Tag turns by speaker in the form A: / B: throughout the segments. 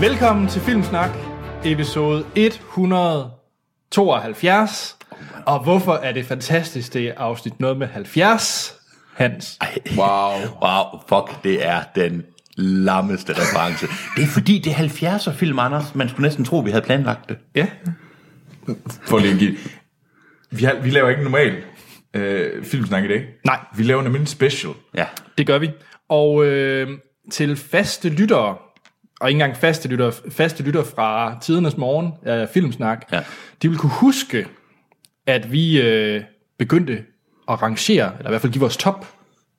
A: Velkommen til Filmsnak, episode 172. Og hvorfor er det fantastisk, det er afsnit noget med 70, Hans?
B: Wow. wow, fuck, det er den lammeste reference. Det er fordi, det er 70'er film, Anders. Man skulle næsten tro, vi havde planlagt det.
A: Ja.
C: For lige at give. Vi, har, vi laver ikke en normal øh, filmsnak i dag.
A: Nej.
C: Vi laver nemlig en special.
B: Ja.
A: Det gør vi. Og øh, til faste lyttere, og ikke engang faste lyttere, faste lyttere fra tidernes morgen, øh, Filmsnak,
B: Ja.
A: de vil kunne huske, at vi øh, begyndte at rangere, eller i hvert fald give vores top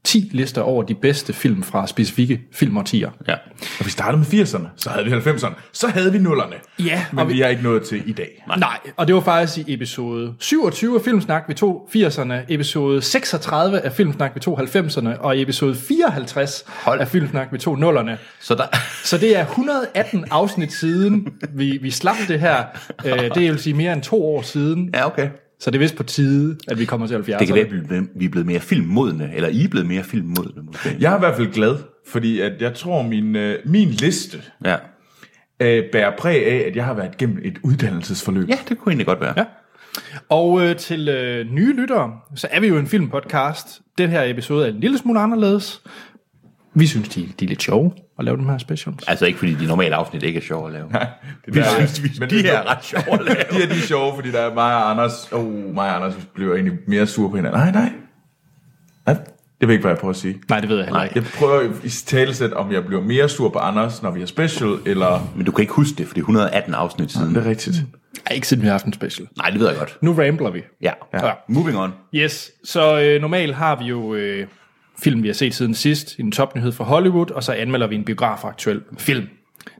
A: 10 lister over de bedste film fra specifikke filmårtier.
B: ja.
C: Og vi startede med 80'erne, så havde vi 90'erne, så havde vi 0'erne.
A: Ja,
C: Men
A: og
C: vi...
A: vi-
C: vi er ikke nået til i dag.
A: Nej, og det var faktisk i episode 27 af Filmsnak ved 80'erne, episode 36 af Filmsnak ved 90'erne, og episode 54 Hold.
B: Hold.
A: af Filmsnak ved 0'erne.
B: Så der...
A: Så det er 118 afsnit siden, vi, vi slap det her. Øh, det vil sige mere end to år siden.
B: Ja, okay.
A: Så det er vist på tide, at vi kommer til 70'erne.
B: Det kan være, at vi er blevet- vi er blevet mere filmmodne, eller I er blevet mere filmmodne, måske.
C: Jeg er i hvert fald glad, fordi at jeg tror, min, øh, min liste
B: ja.
C: øh, bærer præg af, at jeg har været gennem et uddannelsesforløb.
B: Ja, det kunne egentlig godt være.
A: Ja. Og øh, til øh, nye lyttere, så er vi jo en filmpodcast. Den her episode er en lille smule anderledes. Vi synes, de, de er lidt sjove at lave den her special.
B: Altså ikke fordi de normale afsnit ikke er sjove at lave. Nej,
C: Det
B: vi
C: der-
B: synes, vi,
C: men
B: de
C: det-
B: her er ret sjove at lave.
C: De her de er sjove, fordi der er mig og Anders. Åh, oh, mig og Anders bliver egentlig mere sure på hinanden. Nej, nej. Nej, det ved jeg ikke, hvad jeg prøver at sige.
A: Nej, det ved jeg heller
B: Nej.
A: ikke.
C: Jeg prøver i talesæt, om jeg bliver mere sur på Anders, når vi er special, eller...
B: Men du kan ikke huske det, for det er 118 afsnit siden.
C: er rigtigt.
A: Ej, ikke siden vi har haft en special.
B: Nej, det ved jeg godt.
A: Nu rambler vi.
B: Ja.
A: Ja.
B: Moving on.
A: Yes, så øh, normalt har vi jo øh, film, vi har set siden sidst, en topnyhed fra Hollywood, og så anmelder vi en biografaktuel film.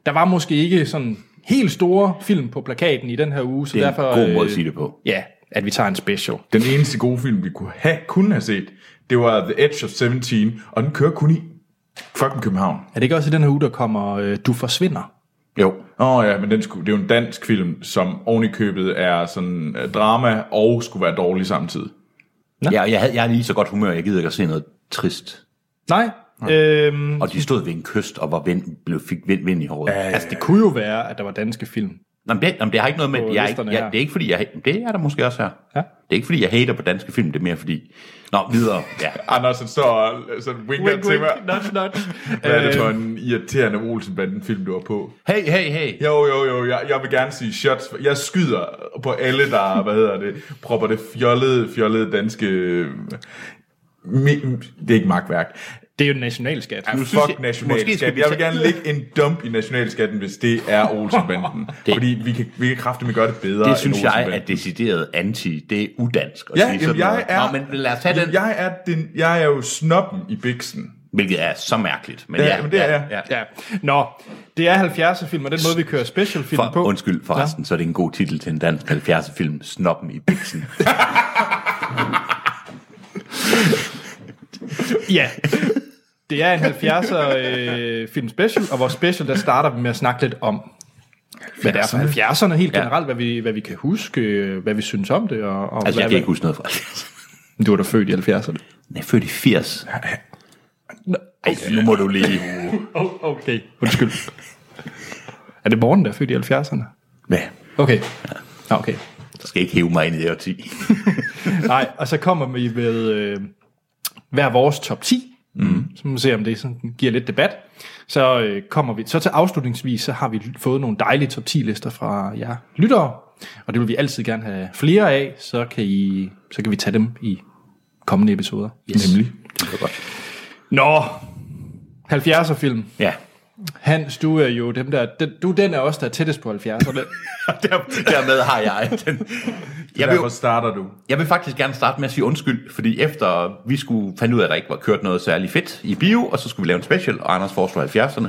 A: Der var måske ikke sådan helt store film på plakaten i den her uge, så
B: Det er
A: derfor... øh,
B: en god måde at sige det på.
A: Ja, at vi tager en special.
C: Den eneste gode film, vi kunne have, kunne have set, det var The Edge of 17, og den kører kun i fucking København.
A: Er det ikke også i den her uge, der kommer øh, Du forsvinder?
B: Jo.
C: Åh oh, ja, men den skulle, det er jo en dansk film, som oven i købet er sådan øh, drama og skulle være dårlig samtidig.
B: Ja, og jeg, havde, jeg er lige så godt humør, jeg gider ikke at se noget trist.
A: Nej, øhm,
B: Og de stod ved en kyst og var vind, blev, fik vind, vind i håret. Ja,
A: altså det kunne jo være, at der var danske film.
B: Jamen, det, jamen, det har ikke noget med...
A: På
B: Jeg,
A: listerne
B: jeg,
A: her.
B: jeg, det er ikke fordi, jeg... Det er der måske også her.
A: Ja.
B: Det er ikke fordi, jeg hater på danske film, det er mere fordi... Nå, videre. Ja.
C: Anders, han står og sådan winker wink, Øh. til mig.
A: nudge, nudge.
C: Hvad er det for en irriterende Olsenbanden-film, du er på?
B: Hey, hey, hey.
C: Jo, jo, jo, jeg, jeg vil gerne sige shots. Jeg skyder på alle, der, hvad hedder det, propper det fjollede, fjollede danske... øh, Me, det er ikke magtværk.
A: Det er jo en nationalskat.
C: Fuck
B: synes jeg-
C: jeg,
B: måske skal
C: nationalskat.
B: vi
C: Jeg vil
B: tage-
C: gerne lægge en dump i nationalskatten, hvis det er Olsenbanden. det. Fordi vi kan, vi kan kraftigt gøre det bedre
B: Det synes
C: end
B: jeg
C: Olsenbanden.
B: er decideret anti. Det er udansk at
C: Ja,
B: sige
C: jamen,
B: sådan
C: jeg
B: noget.
C: er,
B: Nå, men lad os tage
C: jamen,
B: den,
C: Jeg er, den, jeg er jo snoppen i Bixen.
B: hvilket er så mærkeligt. Men
C: Ja,
B: ja,
C: jamen, det er jeg.
B: ja.
A: Ja. Nå, det er 70'er film, og den måde, vi kører specialfilm
B: For,
A: på...
B: undskyld forresten, så er det en god titel til en dansk 70'er film, Snoppen i Altså, Bixen.
A: Ja. Det er en 70'er øh, film special, og vores special, der starter vi med at snakke lidt om, hvad det er for 70'erne helt
B: Ja.
A: generelt, hvad vi, hvad vi kan huske, øh, hvad vi synes om det. Og, og
B: altså,
A: hvad,
B: jeg kan ikke huske noget fra det.
A: Du var da født i 70'erne.
B: Jeg er født i 80. Ej, nu må du lige...
A: Oh, okay. Undskyld. er det Morten, der er født i 70'erne?
B: Hvad?
A: Okay. Ja. okay.
B: Du skal ikke hæve mig ind i det årti.
A: Nej, og så kommer vi med øh, hver vores top 10, mm. så må vi se, om det sådan, giver lidt debat. Så øh, kommer vi, så til afslutningsvis, så har vi fået nogle dejlige top 10 lister fra jer lyttere, og det vil vi altid gerne have flere af, så kan, I, så kan vi tage dem i kommende episoder.
B: Yes. Nemlig. Det er godt.
A: Nå, 70'er film.
B: Ja.
A: Hans, du er jo dem der, den, du er den af os, der er tættest på 70'erne.
B: Der, dermed har jeg den. Jeg vil,
C: Derfor starter du.
B: jeg vil faktisk gerne starte med at sige undskyld, fordi efter vi skulle fandt ud af, at der ikke var kørt noget særlig fedt i bio, og så skulle vi lave en special, og Anders foreslog 70'erne,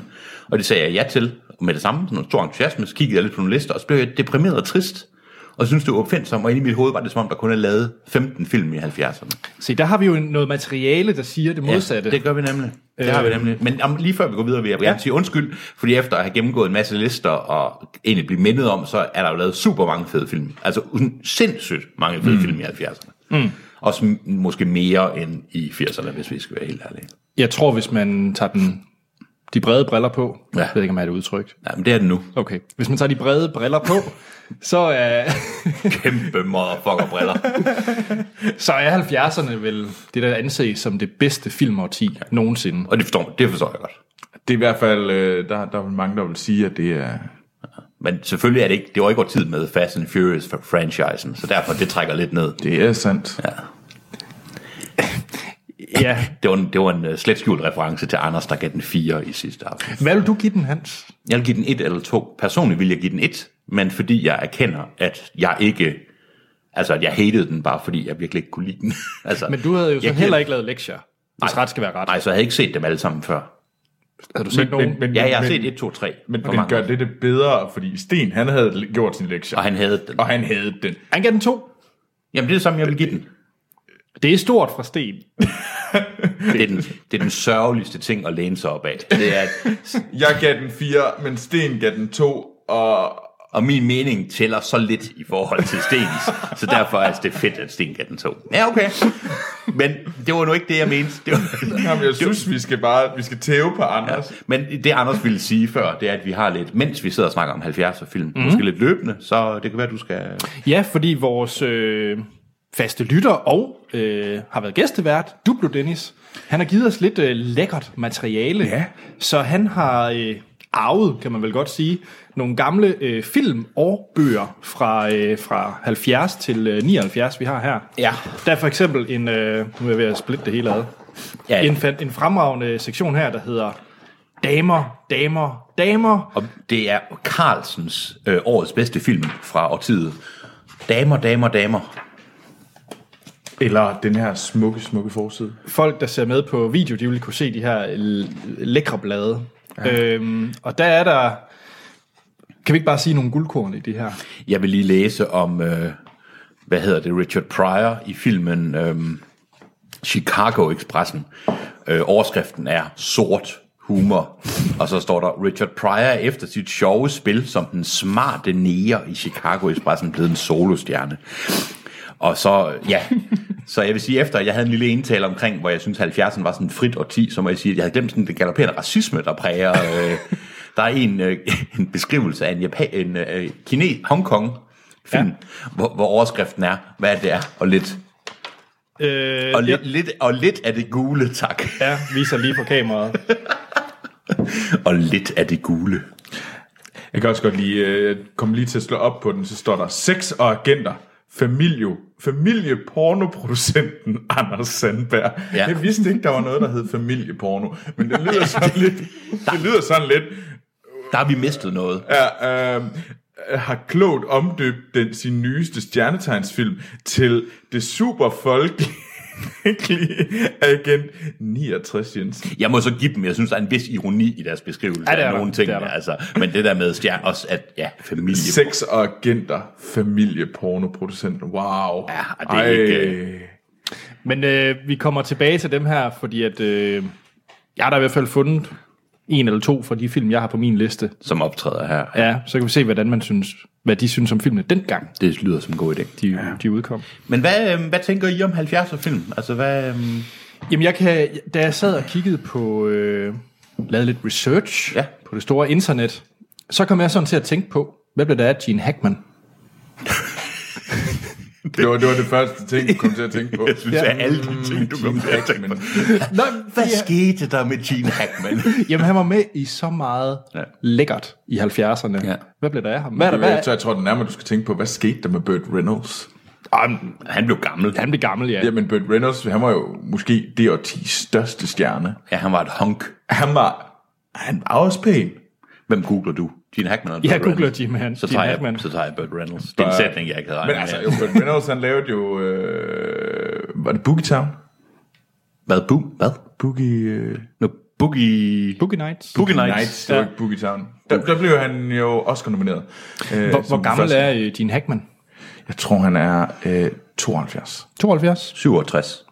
B: og det sagde jeg ja til og med det samme, sådan en stor entusiasme, så kiggede jeg lidt på nogle lister, og så blev jeg deprimeret og trist, og synes det var opfindsomt, og inde i mit hoved var det som om, der kun er lavet 15 film i 70'erne.
A: Se, der har vi jo noget materiale, der siger det modsatte.
B: det gør vi nemlig. Det har vi nemlig. Men om, lige før vi går videre, vil jeg gerne
A: Ja.
B: sige undskyld, fordi efter at have gennemgået en masse lister og egentlig blive mindet om, så er der jo lavet super mange fede film. Altså sådan sindssygt mange fede mm. film i 70'erne. Mm. Også m- måske mere end i 80'erne, hvis vi skal være helt ærlige.
A: Jeg tror, hvis man tager den de brede briller på.
B: Ja.
A: Jeg ved ikke, om jeg er det udtrykt.
B: Ja, men det er det nu.
A: Okay. Hvis man tager de brede briller på, så er,
B: Kæmpe motherfucker briller.
A: så er 70'erne vel det, der anses som det bedste filmårti ja. nogensinde.
B: Og det forstår, det forstår jeg godt.
C: Det er i hvert fald, øh, der, der er mange, der vil sige, at det er...
B: Men selvfølgelig er det ikke, det var ikke over tid med Fast and Furious for franchisen, så derfor det trækker lidt ned.
C: Det er sandt. Ja.
A: Ja.
B: Det var en, det var en uh, slet skjult reference til Anders, der gav den 4 i sidste aften.
A: Hvad vil du give den, Hans?
B: Jeg vil give den 1 eller 2. Personligt vil jeg give den 1, men fordi jeg erkender, at jeg ikke... Altså, at jeg hatede den bare, fordi jeg virkelig ikke kunne lide den. altså,
A: Men du havde jo så
B: jeg
A: heller
B: giver-
A: ikke lavet lektier, hvis
B: Nej.
A: ret skal være ret.
B: Nej, så jeg havde ikke set dem alle sammen før.
A: Har du set nogen? Men,
B: Ja, jeg har
C: men,
B: set 1, 2, 3.
C: Men den gør det, det bedre, fordi Sten, han havde gjort sin lektie.
B: Og han havde den.
C: Og han havde den.
A: Han gav den to.
B: Jamen, det er det samme, jeg vil give den.
A: Det er stort fra Sten.
B: Det er den, det er den sørgeligste ting at læne sig op af. Det er, at-
C: Jeg gav den 4, men Sten gav den 2, og
B: og min mening tæller så lidt i forhold til Stens, så derfor er det fedt, at Sten gav den to. Ja, okay. Men det var nu ikke det, jeg mente. Det var,
C: Jamen, jeg synes, vi skal bare vi skal tæve på Anders. Ja.
B: Men det Anders ville sige før, det er, at vi har lidt, mens vi sidder og snakker om 70'er film, mm. måske lidt løbende, så det kan være, du skal...
A: Ja, fordi vores øh, faste lytter og øh, har været gæstevært, Duplo Dennis, han har givet os lidt øh, lækkert materiale.
C: Ja.
A: Så han har øh, arvet, kan man vel godt sige, nogle gamle øh, film og bøger fra, øh, fra 70 til øh, 79, vi har her.
B: Ja.
A: Der er for eksempel en, øh, nu er jeg ved at splitte det hele ad,
B: Ja, ja.
A: en, fa- en fremragende sektion her, der hedder Damer, Damer, Damer.
B: Og det er Carlsens øh, årets bedste film fra årtiet. Damer, damer, damer.
C: Eller den her smukke, smukke forside.
A: folk, der ser med på video, de vil kunne se de her l- lækre blade. Ja. Øhm, og der er der... Kan vi ikke bare sige nogle guldkorn i det her?
B: Jeg vil lige læse om, øh, hvad hedder det, Richard Pryor i filmen øh, Chicago Expressen. Øh, overskriften er sort humor. Og så står der, Richard Pryor er efter sit sjove spil som den smarte neger i Chicago Expressen blevet en solostjerne. Og så, ja, så jeg vil sige, efter jeg havde en lille indtale omkring, hvor jeg synes 70'erne var sådan frit og 10, så må jeg sige, at jeg havde glemt sådan den galopperende racisme, der præger... Øh, der er en, øh, en beskrivelse af en, Japan, en øh, kine, Hongkong film, ja. hvor, hvor, overskriften er, hvad det er, og lidt,
A: Øh,
B: og lidt, lidt, og lidt af det gule, tak.
A: Ja, viser lige på kameraet.
B: Og lidt af det gule.
C: Jeg kan også godt lige øh, komme lige til at slå op på den, så står der sex og agenter. Familie, familiepornoproducenten Anders Sandberg.
B: Ja.
C: Ja. Jeg vidste ikke, der var noget, der hed familieporno, men det lyder sådan lidt, det lyder sådan lidt,
B: Der har vi mistet noget.
C: ja, øh, har klogt omdøbt den sin nyeste stjernetegnsfilm til det super folkelige agent 69 Jensen.
B: Jeg må så give dem, jeg synes, der er en vis ironi i deres beskrivelse
A: Ja, det er
B: af
A: der.
B: nogle ting.
A: Det er der.
B: Altså, men det der med stjerne, også at, ja, familie.
C: Sex og agenter, familie, pornoproducent. Wow. Ja,
B: det er ikke- øh,
A: Men øh, vi kommer tilbage til dem her, fordi at, øh, jeg har da i hvert fald fundet en eller to fra de film, jeg har på min liste.
B: som optræder her.
A: Ja, så kan vi se, hvordan man synes, hvad de synes om filmene dengang,
B: Det lyder som en god idé.
A: de, ja. de udkom.
B: Men hvad, øhm, hvad tænker I om 70'er film? Altså, hvad, øhm,
A: Jamen, jeg kan, da jeg sad og kiggede på, øh, lavede lidt research
B: Ja.
A: ja. på det store internet, så kom jeg sådan til at tænke på, hvad blev der af Gene Hackman?
C: Det var, det var det første ting, du kom til at tænke på. Mm,
B: jeg synes, ja. er alle de ting, du kommer til at tænke på.
A: Nå,
B: Hvad skete der med Gene Hackman?
A: Jamen, han var med i så meget
B: Ja.
A: ja. lækkert i 70'erne.
B: Ja.
A: Ja. Hvad blev der af ham? Hvad er der, hvad
C: Jeg tror,
A: er?
C: jeg tror det nærmere, du skal tænke på, hvad skete der med Burt Reynolds?
A: Jamen,
B: Han blev gammel.
A: han blev gammel, ja.
C: Jamen, Burt Reynolds, han var jo måske det årtis største stjerne.
B: Ja, han var et honk.
C: Han var, han var også pæn.
B: Hvem googler du? Gene Hackman eller
A: Jeg
B: Burt
A: googler
B: Reynolds?
A: Gene Han-
B: Så
A: Gene
B: tager, jeg,
A: Hackman.
B: så tager jeg Burt Reynolds. Det er en
C: Bare-
B: sætning, jeg ikke havde
C: Men
B: regnet
C: altså,
B: med.
C: jo, Burt Reynolds, han lavede jo... Øh, var det Boogie Town?
B: Hvad? Bu? Hvad?
C: Boogie... Øh,
B: No, Boogie...
A: Boogie Nights.
B: Boogie Nights.
C: Nights, det var
A: Ja.
C: ikke Boogie Town. Der, der blev han jo Oscar-nomineret. Øh,
A: Hvor,
C: som
A: hvor gammel
C: første.
A: er øh, Gene Hackman?
C: Jeg tror, han er øh, 72.
A: 72.
B: 67.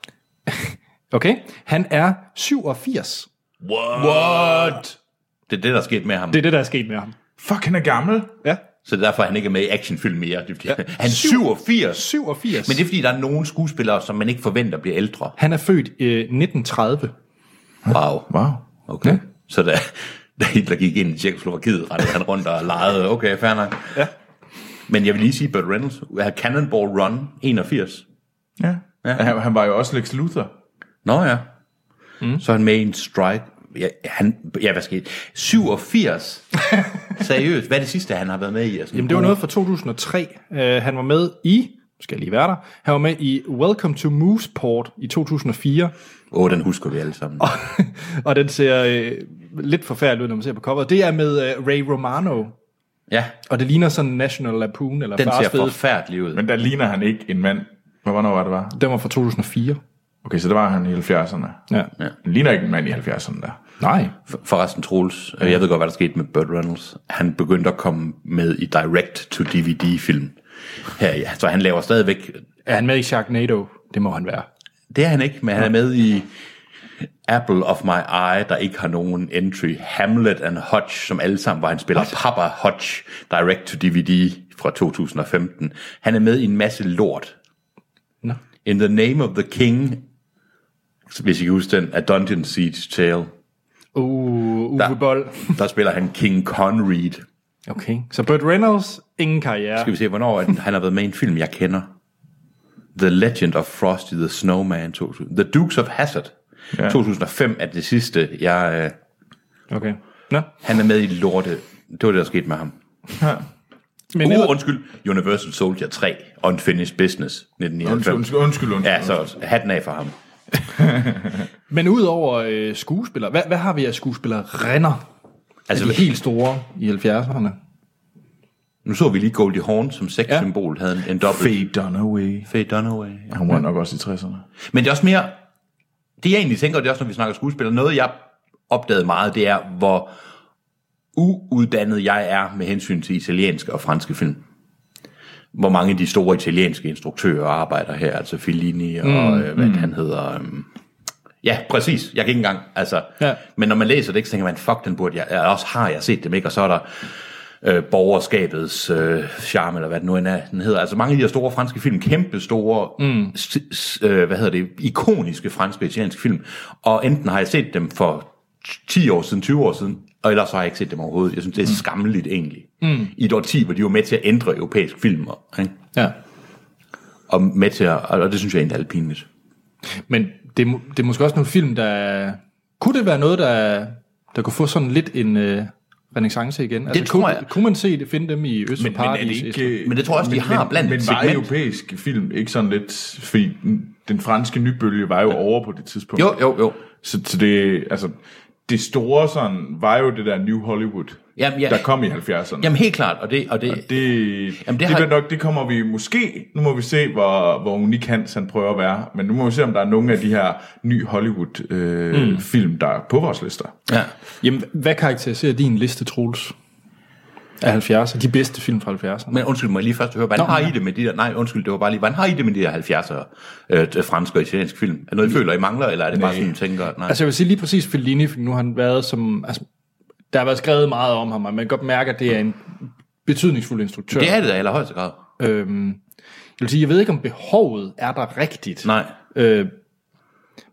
A: Okay. Han er 87.
B: What? What? Det er det, der er sket med ham.
A: Det er det, der er sket med ham.
C: Fuck, han er gammel.
A: Ja.
B: Så det er derfor, han ikke er med i actionfilm mere. Det er, fordi, ja. Han er 87.
A: 87.
B: Men det er, fordi der er nogle skuespillere, som man ikke forventer bliver ældre.
A: Han er født øh, 1930.
B: Wow.
C: Wow.
B: Okay. Så da, da Hitler gik ind i Tjekkoslovakiet, rettede han rundt og legede, okay, fair nok.
A: Ja.
B: Men jeg vil lige sige, Burt Reynolds, uh, Cannonball Run 81.
C: Ja. ja. Han, han var jo også Lex Luthor.
B: Nå ja. Mm. Så er han med i en strike. Ja, han, ja hvad skete? 87. Seriøst, hvad er det sidste, han har været med i? Altså,
A: Jamen, det var noget fra 2003. Uh, han var med i, nu skal jeg lige være der, han var med i Welcome to Mooseport i 2004,
B: Åh, oh, den husker vi alle sammen.
A: og den ser øh, lidt forfærdelig ud, når man ser på coveret. Det er med øh, Ray Romano,
B: Ja,
A: og det ligner sådan National Lampoon, eller
B: den
A: Fars
B: ser
A: Fede.
B: forfærdelig ud.
C: Men der ligner han ikke en mand. Hvor, hvornår var det var?
A: Den var fra 2004.
C: Okay, så det var han i 70'erne.
A: Ja.
B: Ja.
C: Han ligner ikke en mand i 70'erne der.
A: Nej.
B: For- Forresten, Troels, øh, jeg ved godt, hvad der skete med Burt Reynolds. Han begyndte at komme med i direct-to-DVD-film. Her, ja, så han laver stadigvæk...
A: Er han med i Sharknado? Det må han være.
B: Det er han ikke, men han er med i Apple of My Eye, der ikke har nogen entry. Hamlet and Hodge, som alle sammen var, han spiller Papa Hodge, direct-to-DVD fra 2015. Han er med i en masse lort.
A: Nå.
B: In the Name of the King, hvis I kan huske den, af Dungeon Siege Tale.
A: Uh, Uwe
B: Der.
A: Boll.
B: Der spiller han King Conreed.
A: Okay. Så Burt Reynolds, ingen karriere.
B: Skal vi se, hvornår er den, han har været med i en film, jeg kender. The Legend of Frosty the Snowman 2000. The Dukes of Hazzard. Ja. 2005 er det sidste. Jeg, øh,
A: Okay. Nå.
B: han er med i Lorte. Det var det, der skete med ham.
A: Men
B: Uh,
A: ellers-
B: undskyld. Universal Soldier 3. Unfinished Business. 1999.
C: Undskyld, undskyld, undskyld. undskyld.
B: Ja, så hatten af for ham.
A: Men udover øh, skuespillere, hvad, hvad har vi af skuespillere? Renner. Altså
B: Altså,
A: de helt store i 70'erne.
B: nu så vi lige Goldie Hawn som sexsymbol. Havde en, en dobbelt.
C: Faye Dunaway.
B: Faye Dunaway. Ja.
C: Han var nok også i 60'erne.
B: Men det er også mere, det jeg egentlig tænker, det er også, når vi snakker skuespiller, noget jeg opdagede meget, det er, hvor uuddannet jeg er med hensyn til italienske og franske film. Hvor mange af de store italienske instruktører arbejder her, altså Fellini og mm, øh, hvad mm. han hedder. Øhm, ja, præcis. Jeg kan ikke engang, altså.
A: Ja.
B: Men når man læser det, ikke, så tænker man, fuck, den burde jeg, eller også har jeg set dem, ikke? Og så er der øh, borgerskabets øh, charme, eller hvad det nu end er, den hedder. Altså mange af de her store franske film, kæmpe store, mm. s- s- øh, hvad hedder det, ikoniske franske og italienske film. Og enten har jeg set dem for 10 år siden, 20 år siden, og ellers så har jeg ikke set dem overhovedet. Jeg synes, det er skammeligt egentlig. Mm. I et årti, hvor de var med til at ændre europæiske film, og, ikke?
A: Ja.
B: og med til at, og det synes jeg egentlig er lidt pinligt.
A: Men det, er mu- det er måske også nogle film, der... Kunne det være noget, der, der kunne få sådan lidt en øh, renaissance igen? Altså,
B: tror
A: kunne,
B: jeg.
A: Kunne man se det, finde dem i Øst
C: Men,
A: for
C: men er
A: Paradis?
C: det
A: Esther?
C: ikke...
B: Men det tror jeg også, de har blandt
C: Men
B: et
C: var
B: segment.
C: europæisk film ikke sådan lidt... Fordi den- den franske nybølge var jo over på det tidspunkt.
B: Jo, jo, jo.
C: Så, så det, altså, det store sådan, var jo det der New Hollywood,
B: Jamen, ja.
C: der kom i 70'erne.
B: Jamen helt klart, og det, og det, det
C: det,
B: Jamen, det
C: Jamen, det,
B: har-
C: det, har... nok, det kommer vi måske, nu må vi se, hvor, hvor unik Hans han prøver at være, men nu må vi se, om der er nogle af de her nye Hollywood-film,
B: Mm.
C: øh, film, der er på vores lister.
B: ja.
A: Jamen, hvad karakteriserer din liste, Troels? Af 70'erne? De bedste film fra 70'erne?
B: Men undskyld, må jeg lige først høre, hvordan
A: Nå,
B: har
A: ja.
B: I det med de der, nej undskyld, det var bare lige, hvordan har I det med de der 70'er øh, t- franske og italienske film? Er det noget, I føler, I mangler, eller er det bare sådan, I tænker, nej?
A: Altså jeg vil sige lige præcis Fellini, for nu har han været som... Altså, der har været skrevet meget om ham, og man kan godt mærke, at det er en betydningsfuld instruktør.
B: det er det da i allerhøjeste grad.
A: Øhm, jeg vil sige, jeg ved ikke, om behovet er der rigtigt.
B: Nej.
A: Øh,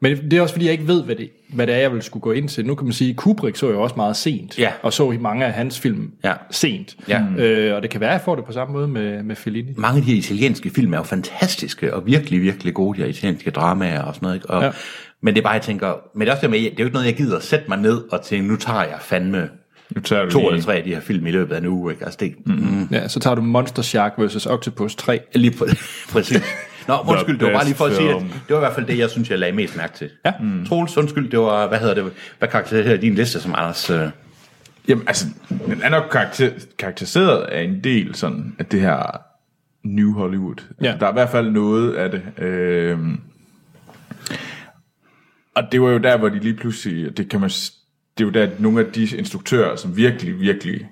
A: men det er også fordi, jeg ikke ved, hvad det, hvad det er, jeg vil skulle gå ind til. Nu kan man sige, Kubrick så jeg også meget sent,
B: Ja.
A: og så i mange af hans film
B: Ja.
A: sent.
B: Ja.
A: Øh, og det kan være, at jeg får det på samme måde med, med Fellini.
B: Mange af de her italienske film er jo fantastiske, og virkelig, virkelig gode, de her italienske dramaer og sådan noget, ikke? Og,
A: Ja.
B: ja. Men det er bare, jeg tænker, men det er også det med, det er jo ikke noget, jeg gider at sætte mig ned og tænke, nu tager jeg fandme
C: Nu tager vi
B: to
C: lige-
B: eller tre af de her film i løbet af en uge, ikke? Altså det, mm.
A: Ja, så tager du Monster Shark vs. Octopus 3.
B: lige på, præcis. Nå, undskyld, det var bare lige for at sige, at
C: film.
B: det var i hvert fald det, jeg synes, jeg lagde mest mærke til. Ja. Mm. Troels, undskyld, det var, hvad hedder det, hvad karakteriserer din liste som Anders? Øh,
C: Jamen, altså, den er nok karakter, karakteriseret af en del sådan, af det her New Hollywood. Altså,
A: Ja.
C: Der er i hvert fald noget af det. Øh, og det var jo der, hvor de lige pludselig, det kan man, s- det er jo der, at nogle af de instruktører, som virkelig, virkelig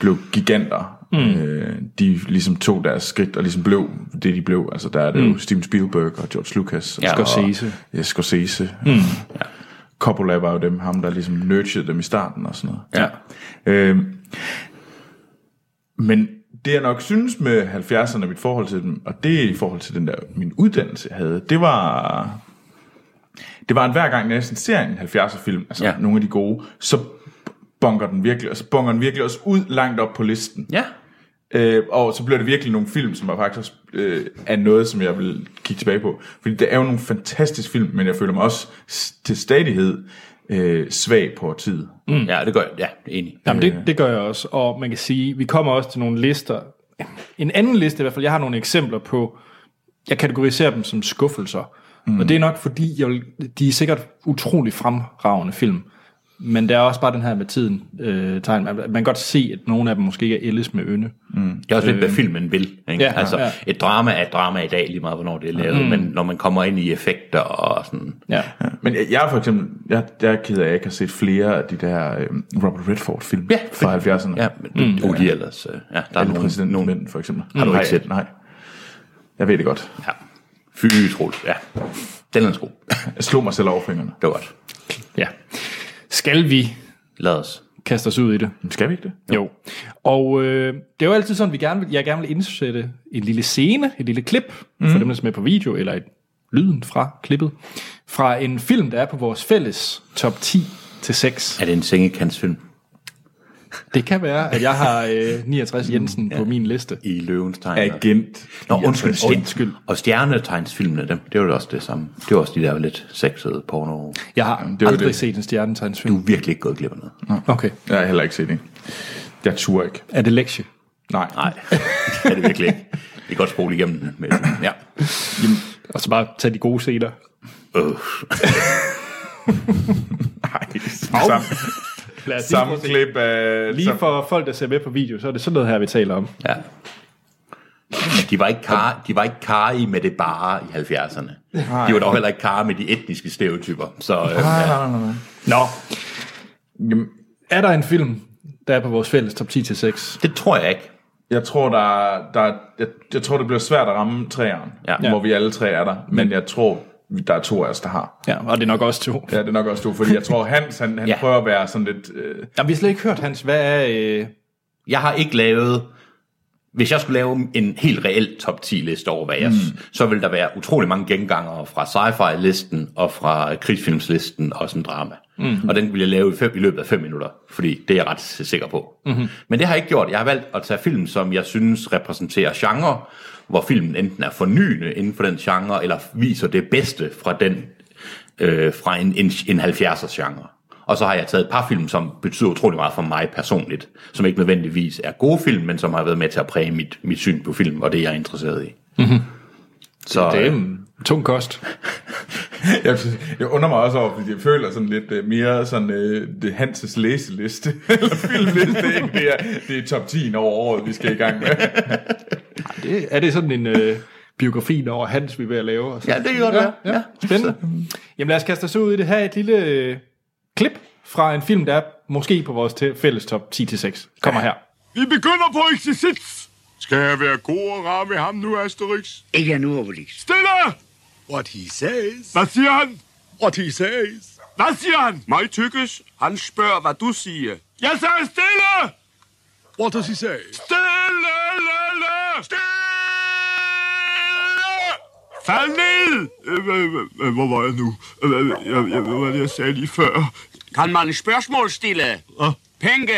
C: blev giganter, mm. øh, de ligesom tog deres skridt og ligesom blev det, de blev. Altså, der er det mm. jo Steven Spielberg og George Lucas. Og
B: Ja.
A: Scorsese.
C: Og, ja, Scorsese. Mm. Ja. Coppola var jo dem, ham der ligesom nurturede dem i starten og sådan noget.
B: Ja.
C: Øhm, men det jeg nok synes med 70'erne, mit forhold til dem, og det er i forhold til den der, min uddannelse jeg havde, det var, det var, at hver gang jeg næsten ser en 70'er-film, altså
B: Ja.
C: ja. nogle af de gode, så bonker den virkelig, og så bonker den virkelig også ud langt op på listen.
B: Ja.
C: Øh, og så bliver det virkelig nogle film, som er faktisk øh, er noget, som jeg vil kigge tilbage på. Fordi der er jo nogle fantastiske film, men jeg føler mig også s- til stadighed øh, svag på tid. Mm.
B: Mm. Ja, det gør jeg. Ja, enig.
A: Jamen, det, det gør jeg også, og man kan sige, vi kommer også til nogle lister. En anden liste i hvert fald, jeg har nogle eksempler på, jeg kategoriserer dem som skuffelser. Mm. Og det er nok fordi, jeg vil, de er sikkert utrolig fremragende film. Men der er også bare den her med tiden øh, tegn. Man, man kan godt se, at nogle af dem måske ikke er ældes med ynde.
B: Det er også lidt, hvad filmen vil. Ikke?
A: ja,
B: altså,
A: ja.
B: et drama er et drama i dag, lige meget hvornår det er lavet, mm. men når man kommer ind i effekter og sådan...
A: Ja.
C: Men jeg, jeg er for eksempel, jeg, jeg er ked af, at jeg ikke har set flere af de der øh, Robert Redford-film
B: Ja,
C: fra 70'erne.
B: Ja, men mm. de er ellers... øh, Ja, der er
C: Alle
B: nogen...
C: præsidenten
B: nogen
C: nogen. for eksempel.
B: Har du ikke
C: Nej,
B: set den?
C: Nej. Jeg ved det godt.
B: ja. Fy, Troels, ja. Den er en sko.
C: Jeg slog mig selv over fingrene.
B: Det var godt.
A: ja. Skal vi
B: Lad os.
A: kaste os ud i det?
C: Men skal vi ikke det?
A: Jo. Og øh, det er jo altid sådan, vi gerne vil, jeg gerne vil indsætte en lille scene, et lille klip, mm. for dem, der ser med på video, eller et, lyden fra klippet, fra en film, der er på vores fælles top 10 til 6.
B: Er det en sengekantsfilm?
A: Det kan være, at jeg har øh, 69 Jensen på min liste.
B: I løvens tegn.
C: Agent.
B: Nå, undskyld,
A: undskyld.
B: undskyld. undskyld. Og stjernetegnsfilmene, dem, det var jo også det samme. Det var også de der lidt sexede porno.
A: Jeg har
C: det er jo
A: aldrig det.
C: det.
A: set en
B: Du
A: stjernetegnsfilm.
B: er virkelig ikke gået glip af noget.
A: Okay.
C: Jeg har heller ikke set det. Jeg turde ikke.
A: Er det lektie?
C: Nej.
B: Nej, det er det virkelig ikke. Vi kan godt spole igennem den. Men, ja.
A: Og så bare tage de gode scener.
B: Øh.
C: Samme,
A: Lad os lige prøve
C: samme
A: at se.
C: klip øh, af...
A: Lige for folk, der ser med på video, så er det sådan noget her, vi taler om.
B: ja. De var, ikke kar, de var ikke kar i med det bare i 70'erne. De var dog heller ikke kar med de etniske stereotyper. Så øh,
C: Nej,
B: ja.
C: nej, nej, nej.
A: Nå,
C: Jamen,
A: er der en film, der er på vores fælles top 10 til 6?
B: det tror jeg ikke.
C: jeg tror, der, er- der, er- jeg, jeg tror, det bliver svært at ramme træeren,
B: Ja.
C: hvor vi alle tre er der. Men jeg tror, der er to af os, der har.
A: Ja, og det er nok også to.
C: Ja, det er nok også to, fordi jeg tror, Hans, han, han
B: Ja.
C: ja. prøver at være sådan lidt... Øh,
A: Jamen, vi har slet ikke hørt, Hans, hvad er... Øh...
B: Jeg har ikke lavet... Hvis jeg skulle lave en helt reel top 10 liste over, hvad jeg, mm. så ville der være utrolig mange gengangere fra sci-fi-listen og fra krigsfilmslisten og sådan drama. Mm. Og den ville jeg lave i, fem, i løbet af 5 minutter, fordi det er jeg ret sikker på. Mm-hmm. Men det har jeg ikke gjort. Jeg har valgt at tage film, som jeg synes repræsenterer genre, hvor filmen enten er fornyende inden for den genre, eller viser det bedste fra den øh, fra en, en, en 70'ers genre. Og så har jeg taget et par film, som betyder utrolig meget for mig personligt, som ikke nødvendigvis er gode film, men som har været med til at præge mit, mit syn på film, og det jeg er interesseret i. Mm-hmm. Så
A: Det er
B: øh,
A: en tung kost.
C: jeg, jeg undrer mig også over, fordi jeg føler sådan lidt øh, mere sådan øh, det er Hanses læseliste, eller filmliste, ikke? Det er, det er top 10 over året, vi skal i gang med.
A: Det, er det sådan en øh, biografi over Hans, vi er ved at lave? Og så?
B: ja, det kan godt være. Ja, ja.
A: Spændende. Jamen lad os kaste os ud i det her. Et lille øh, klip fra en film, der er måske på vores te- fælles top 10-6. Kommer her.
D: Vi begynder på eksercits. Skal jeg være god og rar ved ham nu, Asterix?
E: Ikke nu, Obelix.
D: Stille!
F: What he says,
D: Hvad siger han?
F: what he says.
D: Hvad siger han?
F: Mig tykkes, han spørger, hvad du siger.
D: Jeg sagde stille!
F: What does he say?
D: Stille! Lille! Stille! Fald ned! Øh, øh, øh, Hvor var jeg nu? Øh, øh, Jeg, jeg, hvad var det, jeg sagde lige før?
E: Kan man spørgsmål stille?
D: Ah.
E: Penge.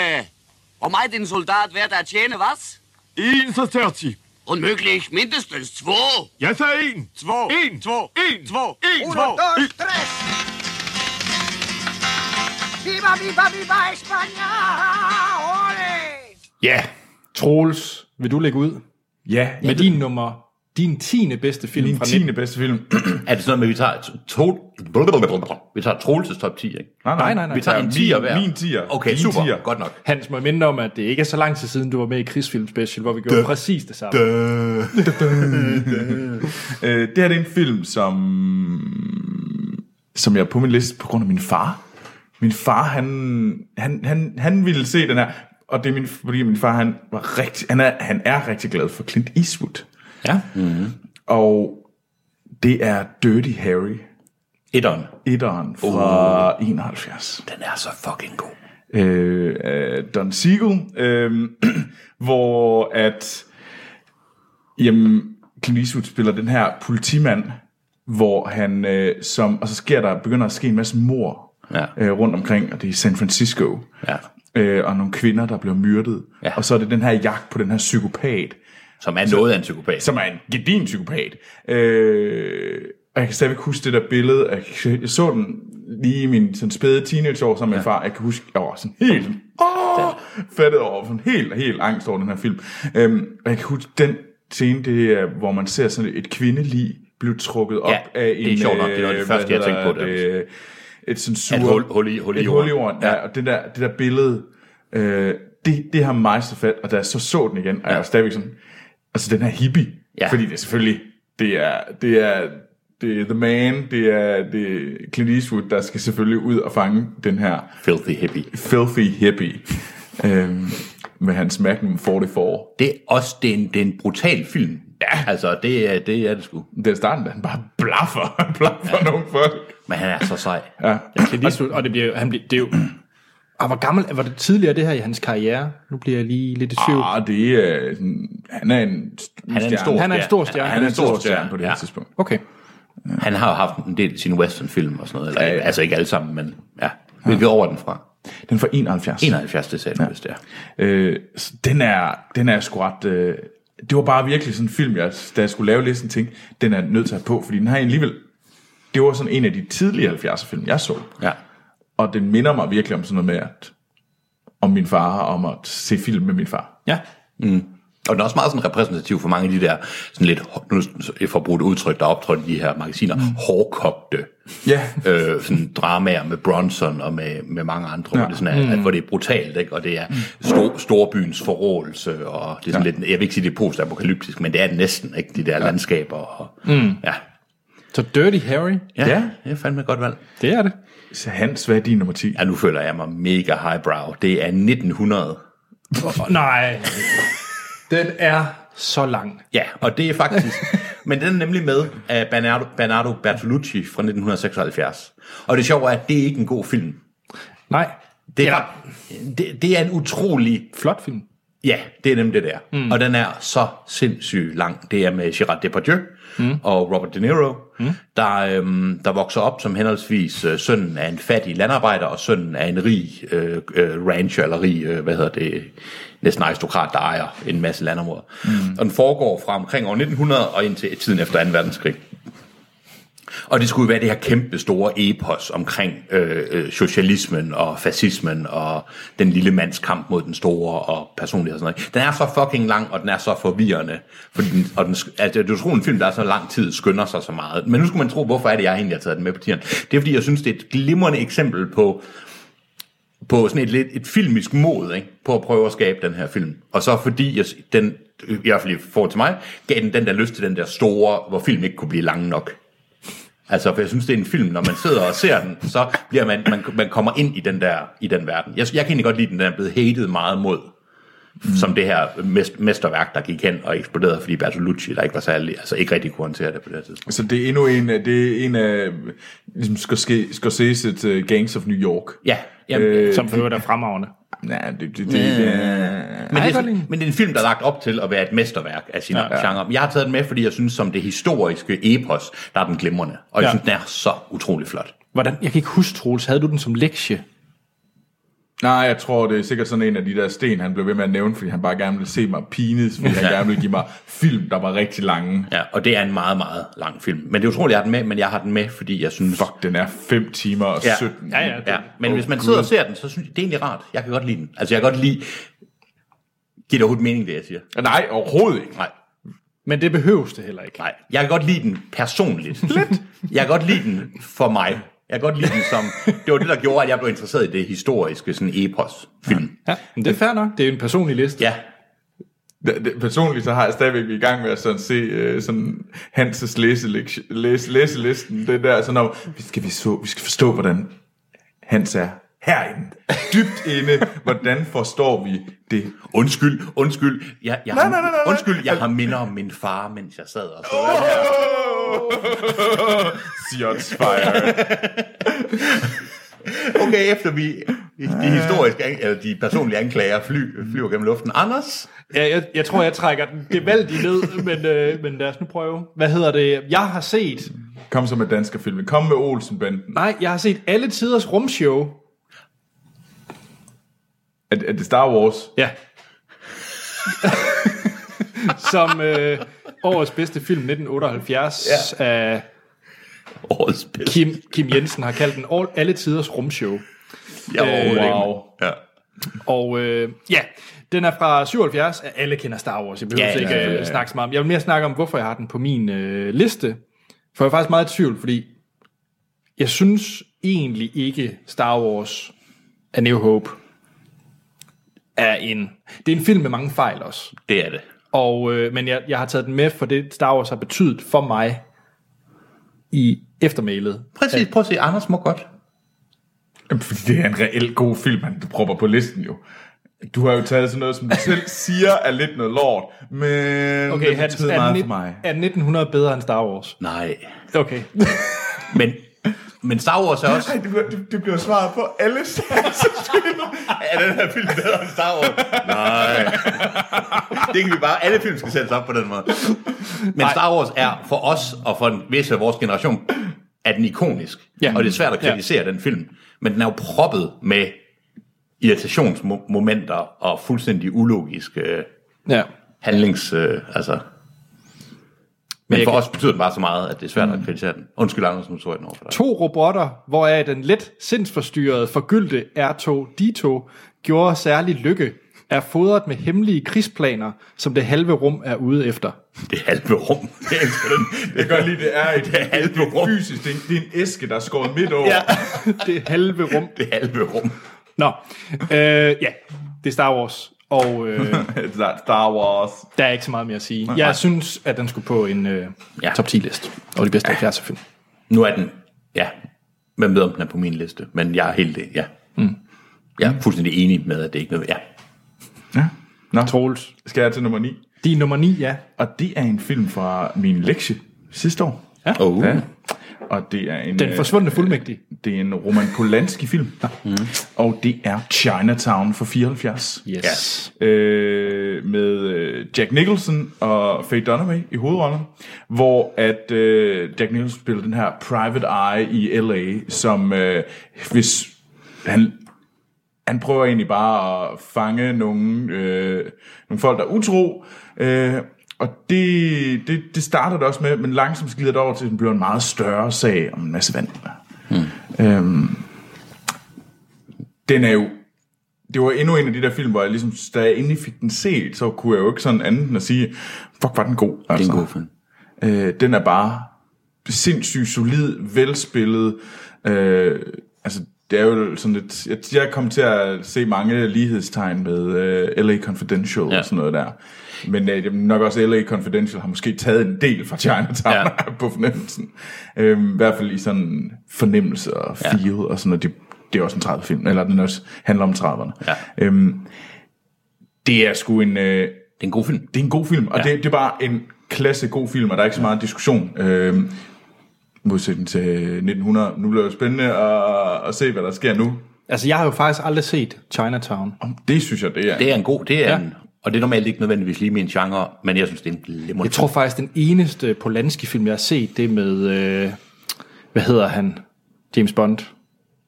E: Hvor meget en soldat værd at tjene, was?
D: 41.
E: Unmöglich, mindestens två.
D: Jeg sagde en.
F: Två,
D: En,
F: två,
D: en,
F: två,
D: en,
F: Uno,
D: två, en.
F: dos, tres. Viva, viva, viva España! Ole!
A: Ja, Troels, vil du lægge ud
C: Ja,
A: med din nummer, din tiende bedste film
C: min
A: fra
C: 10. bedste film.
B: Er det sådan noget med, at vi tager, to, vi tager Troelses top 10, ikke?
A: Nej, nej, nej.
B: Vi tager en
C: min-
B: 10'er hver.
C: min 10'er.
B: Okay,
C: Din
B: super.
C: 10'er.
B: Godt nok.
A: Hans, må jeg minde om, at det ikke er så lang tid siden, du var med i Krigsfilm Special, hvor vi gjorde Dø. præcis det samme. Dø.
C: Øh, det her det er en film, som, som jeg er på min liste på grund af min far. Min far, han, han, han, han ville se den her, og det er min, fordi min far, han, var rigtig, han, er, han er rigtig glad for Clint Eastwood.
B: Ja.
C: Og det er Dirty Harry,
B: Etteren.
C: etteren fra uh. 71.
B: Den er så fucking god.
C: øh, af Don Siegel, øh, hvor at jamen, Clint Eastwood spiller den her politimand, hvor han, øh, som, og så sker der, begynder at ske en masse mor
B: Ja.
C: øh, rundt omkring, og det er i San Francisco.
B: Ja.
C: Øh, og nogle kvinder, der bliver myrdet.
B: Ja.
C: Og så er det den her jagt på den her psykopat,
B: Som er noget af en psykopat.
C: som er en gedin psykopat. Øh, og jeg kan stadigvæk huske det der billede. og Jeg, kan- jeg så den lige i min sådan spæde teenageår sammen med ja. far. Jeg kan huske, jeg var sådan helt åh, fattet over, sådan helt, helt angst over den her film. Øhm, og jeg kan huske den scene, det er, hvor man ser sådan et kvindelig blive trukket op
B: Ja,
C: af en...
B: det er sjovt nok, det er noget af det
C: øh,
B: første, jeg
C: hvad
B: tænkte på,
C: hedder
B: det
C: det, Et sådan sur...
B: Et hul- hul i- hul i
C: et
B: jorden.
C: hul i jorden. Ja, og det der, det der billede, øh, det, det har mig så fat, og da jeg så så den igen, og jeg var stadigvæk sådan, altså den her hippie,
B: Ja.
C: ja. fordi det er selvfølgelig, det er, det er, det er The Man, det er, det er Clint Eastwood, der skal selvfølgelig ud og fange den her
B: Filthy hippie.
C: filthy hippie, øhm, med hans Magnum 44.
B: Det er også det er en, det er en brutal film. Ja. Altså, det er det, er det sgu.
C: Det er starten, da han bare blaffer, han blaffer ja. nogle folk.
B: Men han er så sej.
C: Ja.
A: Clint Eastwood, og det bliver, jo- han bliver, det er jo... Ah, hvor gammel var det tidligere det her i hans karriere? Nu bliver jeg lige lidt i tvivl.
C: Ah, det er, sådan- han er en, han
B: er en stor-
A: han er en stor
B: ja,
A: stjerne.
C: han er en stor stjerne
B: stjerne,
C: på det her
B: ja.
C: tidspunkt.
A: Okay.
B: Han har jo haft en del af sine westernfilm og sådan noget. Eller,
C: Ja,
B: ja,
C: ja.
B: ja. Altså ikke alle sammen, men ja. Hvilket år er den fra?
C: Den er fra 71.
B: 71, det sagde du, ja. hvis det er.
C: Øh, så den er, den er sgu ret... Øh, det var bare virkelig sådan en film, jeg, da jeg skulle lave listen, tænkte, den er jeg nødt til at have på, fordi den har alligevel... Det var sådan en af de tidlige 70'er film, jeg så.
B: Ja.
C: Og den minder mig virkelig om sådan noget med, at, om min far, og om at se film med min far.
A: Ja.
B: Mm. Og den er også meget sådan repræsentativ for mange af de der, sådan lidt, nu for at bruge et udtryk, der er optrådt i de her magasiner, mm. hårdkogte
C: Ja,
B: øh, sådan dramaer med Bronson og med, med mange andre, ja. Mm. hvor, det sådan er, at, hvor det er brutalt, ikke? og det er stor, storbyens forrådelse, og det er sådan ja. lidt, jeg vil ikke sige, det er postapokalyptisk, men det er det næsten, ikke? de der ja. landskaber. Og, mm. ja.
A: Så Dirty Harry,
B: Ja,
C: Ja.
B: ja, det er fandme et godt valg.
A: det er det.
C: så Hans, hvad er din nummer 10?
B: Ja, nu føler jeg mig mega highbrow. Det er 1900.
A: Oh, nej. Den er så lang.
B: Ja, og det er faktisk... men den er nemlig med af Bernardo, Bernardo Bertolucci fra 1976. Og det sjove er, at det er ikke en god film.
A: Nej.
B: Det er,
A: Ja.
B: det, det er en utrolig
A: Flot film.
B: Ja, det er nemlig det der. Mm. Og den er så sindssygt lang. Det er med Gerard Depardieu mm. og Robert De Niro, mm. der, øhm, der vokser op som henholdsvis øh, sønnen af en fattig landarbejder og sønnen af en rig øh, øh, rancher, eller rig, øh, hvad hedder det, næsten aristokrat, der ejer en masse landområder. Mm. Og den foregår fra omkring år 1900 og indtil tiden efter 2. verdenskrig. Og det skulle jo være det her kæmpe store epos omkring øh, øh, socialismen og fascismen og den lille mands kamp mod den store og personlighed og sådan noget. Den er så fucking lang, og den er så forvirrende. Fordi den, og den, sk- altså, det er utroligt en film, der er så lang tid skynder sig så meget. Men nu skulle man tro, hvorfor er det, jeg egentlig har taget den med på tieren. Det er fordi, jeg synes, det er et glimrende eksempel på på sådan et lidt et filmisk mod, ikke? på at prøve at skabe den her film. Og så fordi jeg, s- den, i hvert fald i forhold til mig, gav den den der lyst til den der store, hvor film ikke kunne blive lang nok. Altså, for jeg synes, det er en film, når man sidder og ser den, så bliver man, man, man kommer ind i den der, i den verden. Jeg, jeg kan egentlig godt lide den, den er blevet hated meget mod, mm. som det her mest, mesterværk, der gik hen og eksploderede, fordi Bertolucci, der ikke var særlig, altså ikke rigtig kunne håndtere det på det her tidspunkt.
C: Så det er endnu en, af- det er en af ligesom Scorsese- Scorsese's uh, Gangs of New York.
B: Ja, jamen, øh,
A: Som for øvrigt er fremragende.
C: Nej, det, det, det, det, er-
B: Men,
A: Ej,
B: det er,
A: godt lige.
B: men det er en film, der er lagt op til at være et mesterværk af sin ja, genre. Men Jeg har taget den med, fordi jeg synes, som det historiske epos, der er den glimrende. Og jeg
A: Ja.
B: synes, den er så utrolig flot.
A: Hvordan, jeg kan ikke huske, Troels, havde du den som lektie?
C: Nej, jeg tror, det er sikkert sådan en af de der sten, han blev ved med at nævne, fordi han bare gerne ville se mig pines, fordi han
B: Ja.
C: gerne ville give mig film, der var rigtig lange.
B: Ja, og det er en meget, meget lang film. Men det er utroligt, jeg har den med, men jeg har den med, fordi jeg synes...
C: Fuck, den er 5 timer og
B: Ja.
C: 17.
A: Ja, ja.
B: Ja, men hvis man sidder og ser den, så synes jeg, det er egentlig rart. Jeg kan godt lide den. Altså, jeg kan godt lide... Giver det overhovedet mening, det jeg siger?
C: Nej, overhovedet ikke.
B: Nej.
A: Men det behøves det heller ikke.
B: Nej, jeg kan godt lide den personligt. Lidt. Jeg kan godt lide den for mig. Jeg kan godt lide den som... Det var det, der gjorde, at jeg blev interesseret i det historiske sådan epos-film.
A: Ja, men det er fair nok. Det er en personlig liste.
B: Ja,
C: Det- det- Personligt så har jeg stadigvæk i gang med at sådan se øh, sådan Hanses læselektion- læse, læselisten, det der sådan om, vi skal, vi, så, vi skal forstå, hvordan Hans er herinde, dybt inde, hvordan forstår vi det?
B: undskyld, undskyld. Jeg, jeg har,
C: nej, nej, nej, nej.
B: Undskyld, jeg har minder om min far, mens jeg sad og så.
C: Shots fired.
B: Okay, efter vi... De historiske, an- eller de personlige anklager fly, flyver gennem luften. Anders?
A: Ja, jeg, jeg tror, jeg trækker den gevaldigt ned, men, øh, men lad os nu prøve. Hvad hedder det? Jeg har set
C: Kom så med danskerfilmen. Kom med Olsenbanden.
A: Nej, jeg har set alle tiders rumshow.
C: Er, er det Star Wars?
A: Ja. Som øh, årets bedste film 1978 ja. af
B: Årets bedste.
A: Kim, Kim Jensen har kaldt den all, alle tiders rumshow. Øh,
B: Jeg var overhovedet ikke-
C: wow.
B: Ja.
A: Og øh, ja, den er fra 77, og alle kender Star Wars. Jeg behøver
B: Ja,
A: ja, ikke
B: ja,
A: ja,
B: ja,
A: ja,
B: ja.
A: snakke så meget om. Jeg vil mere snakke om, hvorfor jeg har den på min øh, liste. For jeg er faktisk meget i tvivl, fordi jeg synes egentlig ikke Star Wars A New Hope er en... Det er en film med mange fejl også.
B: Det er det.
A: Og, øh, men jeg, jeg har taget den med, for det Star Wars har betydet for mig i eftermælet.
B: Præcis, prøv at se, Anders må godt.
C: Jamen, Fordi det er en reelt god film, han propper på listen jo. Du har jo taget sådan noget, som du selv siger, er lidt noget lort, men
A: Okay,
C: det
A: Hans,
C: betyder
A: er,
C: meget
A: nit-
C: for mig.
A: er 1900 bedre end Star Wars?
B: Nej.
A: Okay.
B: Men, men Star Wars er også...
C: Ej, det bliver, det, det bliver svaret på alle
B: Er den her film bedre end Star Wars? Nej. Det kan vi bare... Alle film skal sættes op på den måde. Men Star Wars er for os og for en vis af vores generation, er den ikonisk.
A: Ja.
B: Og det er svært at kritisere den film. Men den er jo proppet med irritationsmomenter og fuldstændig ulogiske øh,
A: Ja.
B: handlings... Øh, altså. Men, Mm.
A: jeg
B: for
A: kan-
B: os betyder den bare så meget, at det er svært at kritisere den. Undskyld, Anders, nu tror jeg den over for dig.
A: To robotter, hvoraf den let sindsforstyrrede, forgyldte R2-D2 gjorde særlig lykke, er fodret med hemmelige krigsplaner, som det halve rum er ude efter.
B: Det halve rum. Jeg elsker den.
C: Jeg kan godt lide, det er et,
B: Det er halve rum.
C: fysisk, det er, en- det er en æske, der er skåret midt over.
B: Ja.
A: Det halve rum.
B: Det halve rum.
A: Nå, øh, ja, det er Star Wars, og øh,
C: Star Wars.
A: der er ikke så meget mere at sige. Jeg synes, at den skulle på en øh,
B: Ja.
A: top 10-liste over de bedste 70'er film.
B: Nu er den, ja, hvem ved om den er på min liste, men jeg er helt, ja. Mm. Jeg er fuldstændig enig med, at det ikke er noget, ja.
C: Nå,
A: Troels,
C: skal jeg til nummer 9?
A: de er nummer 9, ja.
C: Og det er en film fra min lektie sidste år.
B: Oh.
C: Ja. Og det er en,
A: Den
C: øh,
A: forsvundne fuldmægtige.
C: det er en Roman Polanski-film. Mm. Og det er Chinatown fra 74.
A: Yes.
C: øh, med øh, Jack Nicholson og Faye Dunaway i hovedrollen, hvor at øh, Jack Nicholson spiller den her private eye i LA, som øh, hvis han han prøver egentlig bare at fange nogle, øh, nogle folk, der er utro. Øh, og det, det, det starter det også med, men langsomt glider det over til, at den bliver en meget større sag om en masse vand.
B: Hmm.
C: Mm. Øhm, den er jo det var endnu en af de der film, hvor jeg ligesom, da jeg endelig fik den set, så kunne jeg jo ikke sådan andet end at sige, fuck, var den god. Altså.
B: Det er en god film.
C: Øh, den er bare sindssygt solid, velspillet. Øh, altså, det er jo sådan lidt... Jeg, jeg kom til at se mange lighedstegn med øh, L.A. Confidential ja.
B: Ja.
C: og sådan noget der. Men øh, jamen, nok også L.A. Confidential har måske taget en del fra Chinatown
B: Ja.
C: ja. på fornemmelsen. Øh, I hvert fald i sådan fornemmelse og
B: Ja.
C: feel og sådan noget. Det, det er også en 30-film, eller den også handler om 30'erne.
B: Ja.
C: Øhm, det er sgu en... Øh,
B: Det er en god film.
C: det er en god film, og ja. det, det er bare en klasse god film, og der er ikke så meget diskussion. Øhm, modsætning til 1900. Nu bliver det spændende at, at se, hvad der sker nu.
A: Altså, jeg har jo faktisk aldrig set Chinatown.
C: Om Det synes jeg, det er.
B: Det er en god, det er
A: Ja.
B: ja. en, og det er normalt ikke nødvendigvis lige min genre, men jeg synes, det er en glimrende
A: Jeg tror faktisk, den eneste Polanski-film, jeg har set, det er med, øh, hvad hedder han, James Bond,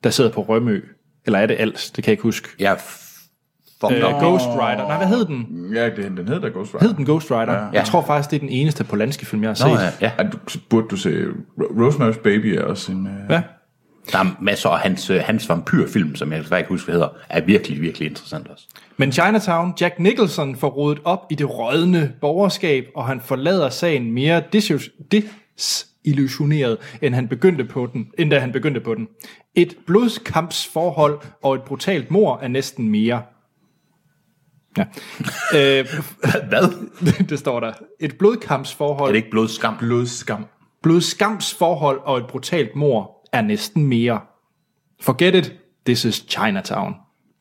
A: der sidder på Rømø. Eller er det Als? Det kan jeg ikke huske.
B: film. Jeg er f- fuck
A: Øh,
B: øh,
A: Ghost Rider. Nej, hvad hed den?
C: Ja, det, den hedder da Ghost
A: Hed
C: Rider.
A: den Ghost Rider? Ja. Jeg tror faktisk, det er den eneste Polanski-film, jeg har set.
B: Nå, ja, ja.
C: Ej, du, så burde du se... Ro- Rosemary's Baby er også en... Øh,
A: Hvad?
B: Der er masser af hans, øh, hans vampyrfilm, som jeg desværre ikke husker, hvad hedder, er virkelig, virkelig interessant også.
A: Men Chinatown, Jack Nicholson får rodet op i det rådne borgerskab, og han forlader sagen mere dis- desillusioneret, end, han begyndte på den, end da han begyndte på den. Et blodskampsforhold og et brutalt mor er næsten mere. Ja. øh,
B: Hvad?
A: det står der. Et blodkampsforhold,
B: Er det ikke blodskam?
C: Blodskam.
A: blodskamsforhold og et brutalt mor er næsten mere. Forget it, this is Chinatown.
B: Er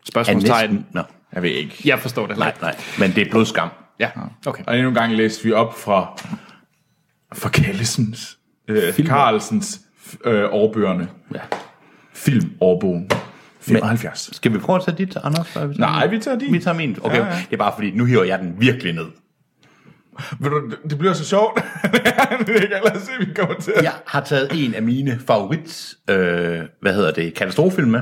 A: Spørgsmålstegn.
B: næsten? Nå.
C: Jeg ved ikke.
A: Jeg forstår det.
B: Nej, nej. Men det er blodskam.
A: Ja, okay.
C: Og endnu en gang læste vi op fra... Fra Kallesens... Øh, Carlsens øh, årbøgerne.
B: Ja.
C: Filmårbogen. 75.
B: Skal vi prøve at tage dit, Anders?
C: Nej, vi tager din.
B: Vi tager min. Okay, ja,
C: Ja,
B: ja.
C: ja.
B: det er bare fordi, nu hiver jeg den virkelig ned.
C: Ved du, det bliver så sjovt. det kan lad os se, vi kommer til.
B: Jeg har taget en af mine favorit, øh, hvad hedder det, katastrofefilm med.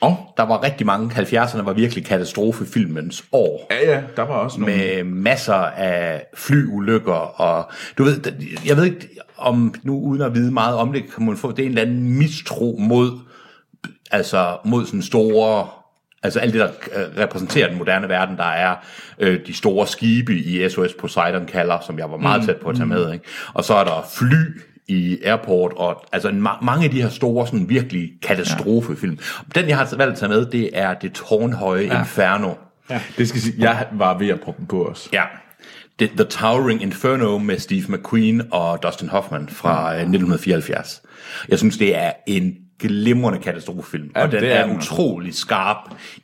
B: Og der var rigtig mange, 70'erne var virkelig katastrofefilmens år.
C: Ja, ja, der var også nogle.
B: Med masser af flyulykker, og du ved, jeg ved ikke om, nu uden at vide meget om det, kan man få, det er en eller anden mistro mod, altså mod sådan store, altså alt det, der øh, repræsenterer den moderne verden, der er øh, de store skibe i SOS Poseidon kalder, som jeg var meget tæt på at tage med, ikke? og så er der fly i Airport, og altså en, ma- mange af de her store, sådan virkelig katastrofefilm. Den, jeg har valgt at tage med, det er Det Tårnhøje ja. Inferno.
C: Det skal sige, jeg var ved at proppe den på os.
B: Ja. The, The Towering Inferno med Steve McQueen og Dustin Hoffman fra øh, 1974. Jeg synes, det er en glimrende katastrofefilm, ja, og den altså.
C: det
B: er,
C: er
B: er
C: den.
B: utrolig skarp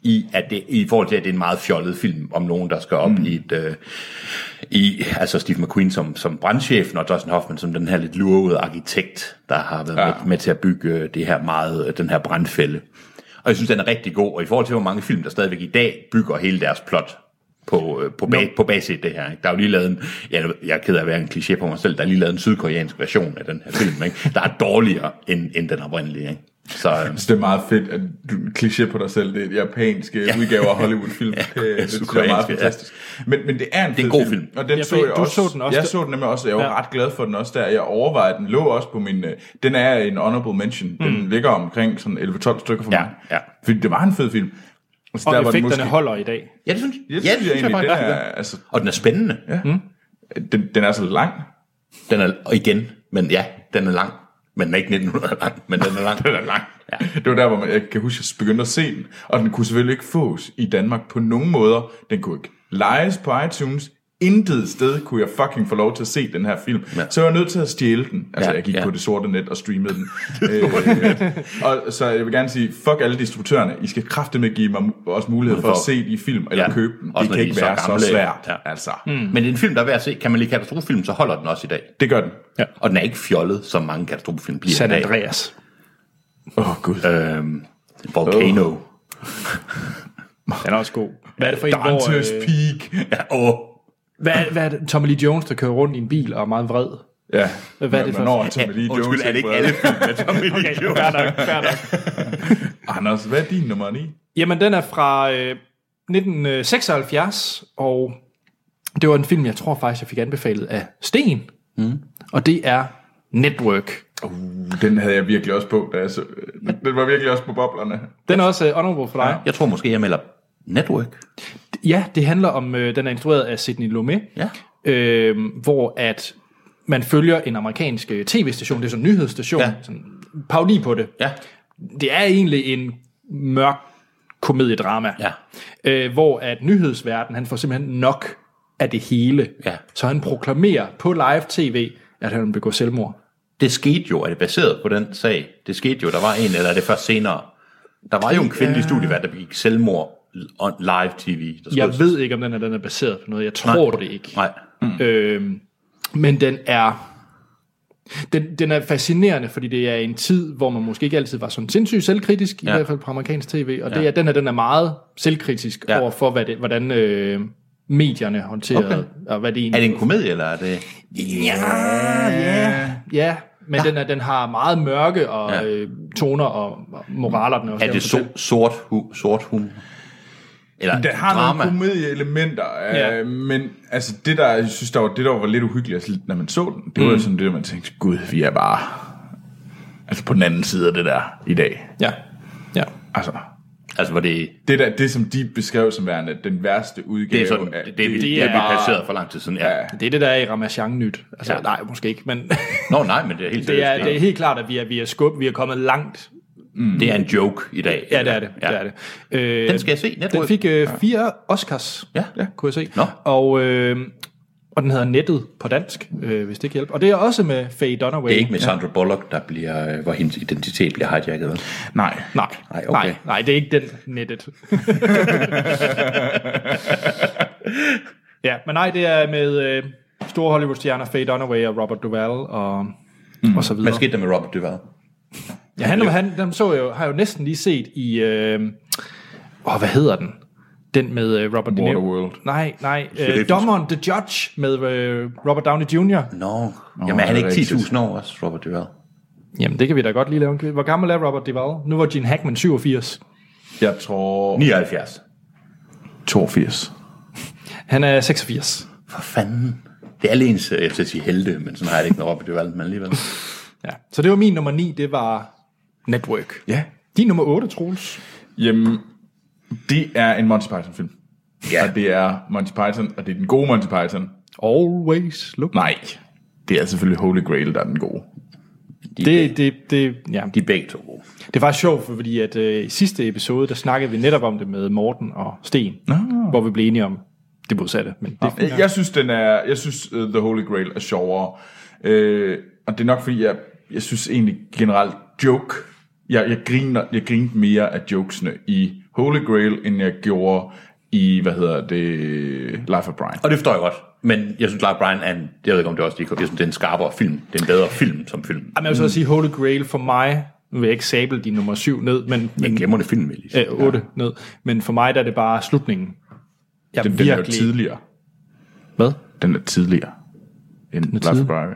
B: i, at det, i forhold til, at det er en meget fjollet film om nogen, der skal op mm. i et... Øh, i, altså Steve McQueen som, som brandchefen, og Dustin Hoffman som den her lidt lurvede arkitekt, der har været ja. med, med til at bygge øh, det her meget, øh, den her brandfælde. Og jeg synes, den er rigtig god, og i forhold til, hvor mange film, der stadigvæk i dag bygger hele deres plot på, øh, på, ba- på basis af det her. Ikke? Der er jo lige lavet en, ja, nu- jeg er ked af at være en kliché på mig selv, der er lige lavet en sydkoreansk version af den her film, ikke? der er dårligere end, end den oprindelige. Ikke? Så, øh,
C: Så Altså, det er meget fedt, at du kliché på dig selv. Det er et japanske ja. udgave af Hollywood-film.
B: Ja,
C: ja, det synes jeg er meget
B: ukrainske, ja.
C: fantastisk. Men, men det er en,
B: er en
C: fed
B: god film.
C: Og den
A: Ja,
C: ja,
A: for
C: så jeg
A: du
C: også.
A: så den også.
C: Jeg så den nemlig også. Jeg var
A: Ja.
C: ja. ret glad for den også der. Jeg overvejede, den lå også på min... øh, Den er en honorable mention. Den ligger omkring sådan 11-12 stykker for
B: Ja,
C: mig.
B: ja.
C: Fordi det var en fed film. Altså,
A: Og
C: der var den
A: effekterne
C: måske-
A: holder i dag.
B: ja, det synes,
C: Ja, det synes jeg egentlig, den
B: faktisk,
C: er,
B: det
C: altså,
B: Og den er spændende. Ja.
C: den, den er så lang.
B: Den er, og igen, men ja, den er lang. Men den er ikke 1900 lang, men den er lang.
C: Den er lang. Ja. Det var der, hvor man, jeg kan huske, at jeg begyndte at se den. Og den kunne selvfølgelig ikke fås i Danmark på nogen måder. Den kunne ikke lejes på iTunes. Intet sted kunne jeg fucking få lov til at se den her film.
B: Ja.
C: Ja. Så jeg var nødt til at stjæle den.
B: Ja,
C: Altså, ja, jeg gik
B: ja.
C: ja. på det sorte net og streamede den. øh, og så jeg vil gerne sige, fuck alle distributørerne. I skal kraftedeme give mig mu- også mulighed for at
B: for-
C: se de film, eller
B: Ja.
C: ja. købe dem.
B: Også
C: det
B: når
C: kan
B: de
C: ikke
B: er så
C: være så,
B: gamle.
C: så svært.
B: Ja. Mm.
C: Ja. Altså,
B: Men det er en film, der er værd at se. Kan man lide katastrofefilm, så holder den også i dag.
C: det gør den.
B: Ja. Og den er ikke fjollet, som mange katastrofefilm bliver
A: San
B: i dag.
A: Andreas.
C: Åh, oh, gud.
B: Øhm, Volcano. Oh.
A: Den er også god. Hvad er det for en, hvor...
C: Dante's
A: Øh,
C: Peak.
B: Ja, åh.
A: hvad, er- hvad er det? Tommy Lee Jones, der kører rundt i en bil og er meget vred.
C: Ja.
A: Hvad er det for-
C: Hvornår er Tommy Lee Jones
B: Undskyld, er det ikke
C: ikke
B: alle film med Tommy Lee
A: Okay,
B: Jones?
A: fair nok, fair nok.
C: Anders, hvad er din nummer 9?
A: Jamen, den er fra øh, 1976, og det var en film, jeg tror faktisk, jeg fik anbefalet af Sten. Mm. Og det er Network.
C: Den havde jeg virkelig også på, da jeg så, den var virkelig også på boblerne.
A: Den er også øh, honorable for dig.
B: Jeg tror måske, jeg melder Network.
A: Ja, det handler om, øh, den er instrueret af Sidney Lumet,
B: Ja.
A: øh, hvor at man følger en amerikansk øh, tv-station, det er sådan en nyhedsstation,
B: Ja.
A: ja. sådan, pauli på det.
B: Ja.
A: Det er egentlig en mørk komediedrama,
B: Ja.
A: øh, hvor at nyhedsverden, han får simpelthen nok af det hele.
B: Ja.
A: Så han proklamerer på live tv, at han vil begå selvmord.
B: Det skete jo, er det baseret på den sag? Det skete jo, der var en, eller er det først senere? Der var jo en kvindelig studievært, der begik selvmord on live tv. Der
A: Jeg ved ikke, om den er, den er baseret på noget. Jeg tror det ikke.
B: Nej.
A: Øhm, men den er den, den er fascinerende, fordi det er en tid, hvor man måske ikke altid var sådan sindssygt selvkritisk, ja.
B: Ja.
A: i hvert fald på amerikansk tv, og det er, den her den er meget selvkritisk
B: Ja.
A: ja. over for, hvad det, hvordan øh, medierne håndterede, okay. og hvad det
B: Er
A: egentlig...
B: det en komedie, eller er det...
A: Ja, men ja. Den, er, den har meget mørke og
B: Ja.
A: ja. øh, toner og, og moraler. Den er, også
B: Er det
A: jævnt
B: so- sort, hu- sort humor? Eller
C: Den har
B: drama?
C: nogle komedieelementer, ja.
A: Ja.
C: øh, men altså det der, jeg synes, der var, det der var lidt uhyggeligt, altså, når man så den, det mm. var jo sådan det, der, man tænkte, gud, vi er bare altså på den anden side af det der i dag.
A: Ja, ja.
C: Altså,
B: Altså, hvor det,
C: det der, det som de beskrev som værende den værste udgave
B: det er sådan, det,
C: af,
B: det, det, det, det
A: det
B: er
A: er-
B: blevet passeret for lang tid siden. Ja.
C: Ja.
A: Det er det, der er i Ramachan nyt. Altså,
B: Ja.
A: ja. nej, måske ikke, men
B: Nå, nej, men det er helt
A: det, er,
B: seriøst,
A: det er helt klart, at vi er, vi er skub, vi er kommet langt.
B: Det er en joke i dag.
A: Ja, det er det.
B: Ja.
A: det, er det. Øh,
B: Den skal jeg se. Network.
A: Den fik øh, fire Oscars,
B: Ja.
A: ja. kunne jeg se.
B: Nå.
A: Og, øh, og den hedder Nettet på dansk, øh, hvis det kan hjælpe. Og det er også med Faye Dunaway.
B: Det er ikke med Sandra Bullock, der bliver, øh, hvor hendes identitet bliver hijacket. vel?
C: Nej,
A: Nej,
B: Nej,
A: nej,
B: okay.
A: okay. nej, nej, det er ikke den Nettet. ja, men nej, det er med øh, store Hollywood-stjerner Faye Dunaway og Robert Duvall og, mm. og så videre.
B: Hvad skete der med Robert Duvall?
A: Ja, han, han, han så jeg jo, har jeg jo næsten lige set i... Øh, åh, hvad hedder den? Den med øh, Robert De Niro.
C: Waterworld.
A: Nej, nej. Øh, dommeren, The Judge, med øh, Robert Downey Jr.
B: Nå, no. jamen er han
C: det er
B: ikke
C: rigtigt.
B: 10.000 år også, Robert Duvall?
A: Jamen, det kan vi da godt lige lave en quiz. Hvor gammel er Robert Duvall? Nu var Gene Hackman 87.
C: Jeg tror...
B: 79.
C: 82.
A: Han er 86.
B: For fanden. Det er alle ens, øh, jeg skal sige helte, men sådan har jeg det ikke med Robert Duvall, men alligevel.
A: Ja. Så det var min nummer 9, det var Network.
C: Ja.
A: Din nummer 8, Troels.
C: Jamen, det er en Monty Python-film.
B: Ja.
C: Og det er Monty Python, og det er den gode Monty Python.
A: Always look.
C: Nej, det er selvfølgelig Holy Grail, der er den gode.
B: De,
A: Det, det, det, ja.
B: de er begge to gode.
A: det var sjovt, fordi at, øh, i sidste episode, der snakkede vi netop om det med Morten og Sten. Nå. Hvor vi blev enige om det modsatte. Men det,
C: Jeg, jeg synes, den er, jeg synes uh, The Holy Grail er sjovere. Øh, og det er nok, fordi jeg, jeg synes egentlig generelt joke. Jeg, jeg, griner, jeg grinte mere af jokesene i Holy Grail, end jeg gjorde i, hvad hedder det, Life of Brian.
B: Og det forstår jeg godt. Men jeg synes, Clark Bryan er en, jeg ved ikke om det er også, de, jeg synes, det er en skarpere film. Det er en bedre film som film.
A: Jamen, jeg vil så også sige, Holy Grail for mig, nu vil jeg ikke sable din nummer 7 ned, men,
B: En
A: men
B: glemrende film, Elis.
A: øh, 8 ned, men for mig der er det bare slutningen. Jeg
C: Den, den er jo
A: virkelig...
C: tidligere.
A: Hvad?
C: Den er tidligere end Life of Brian.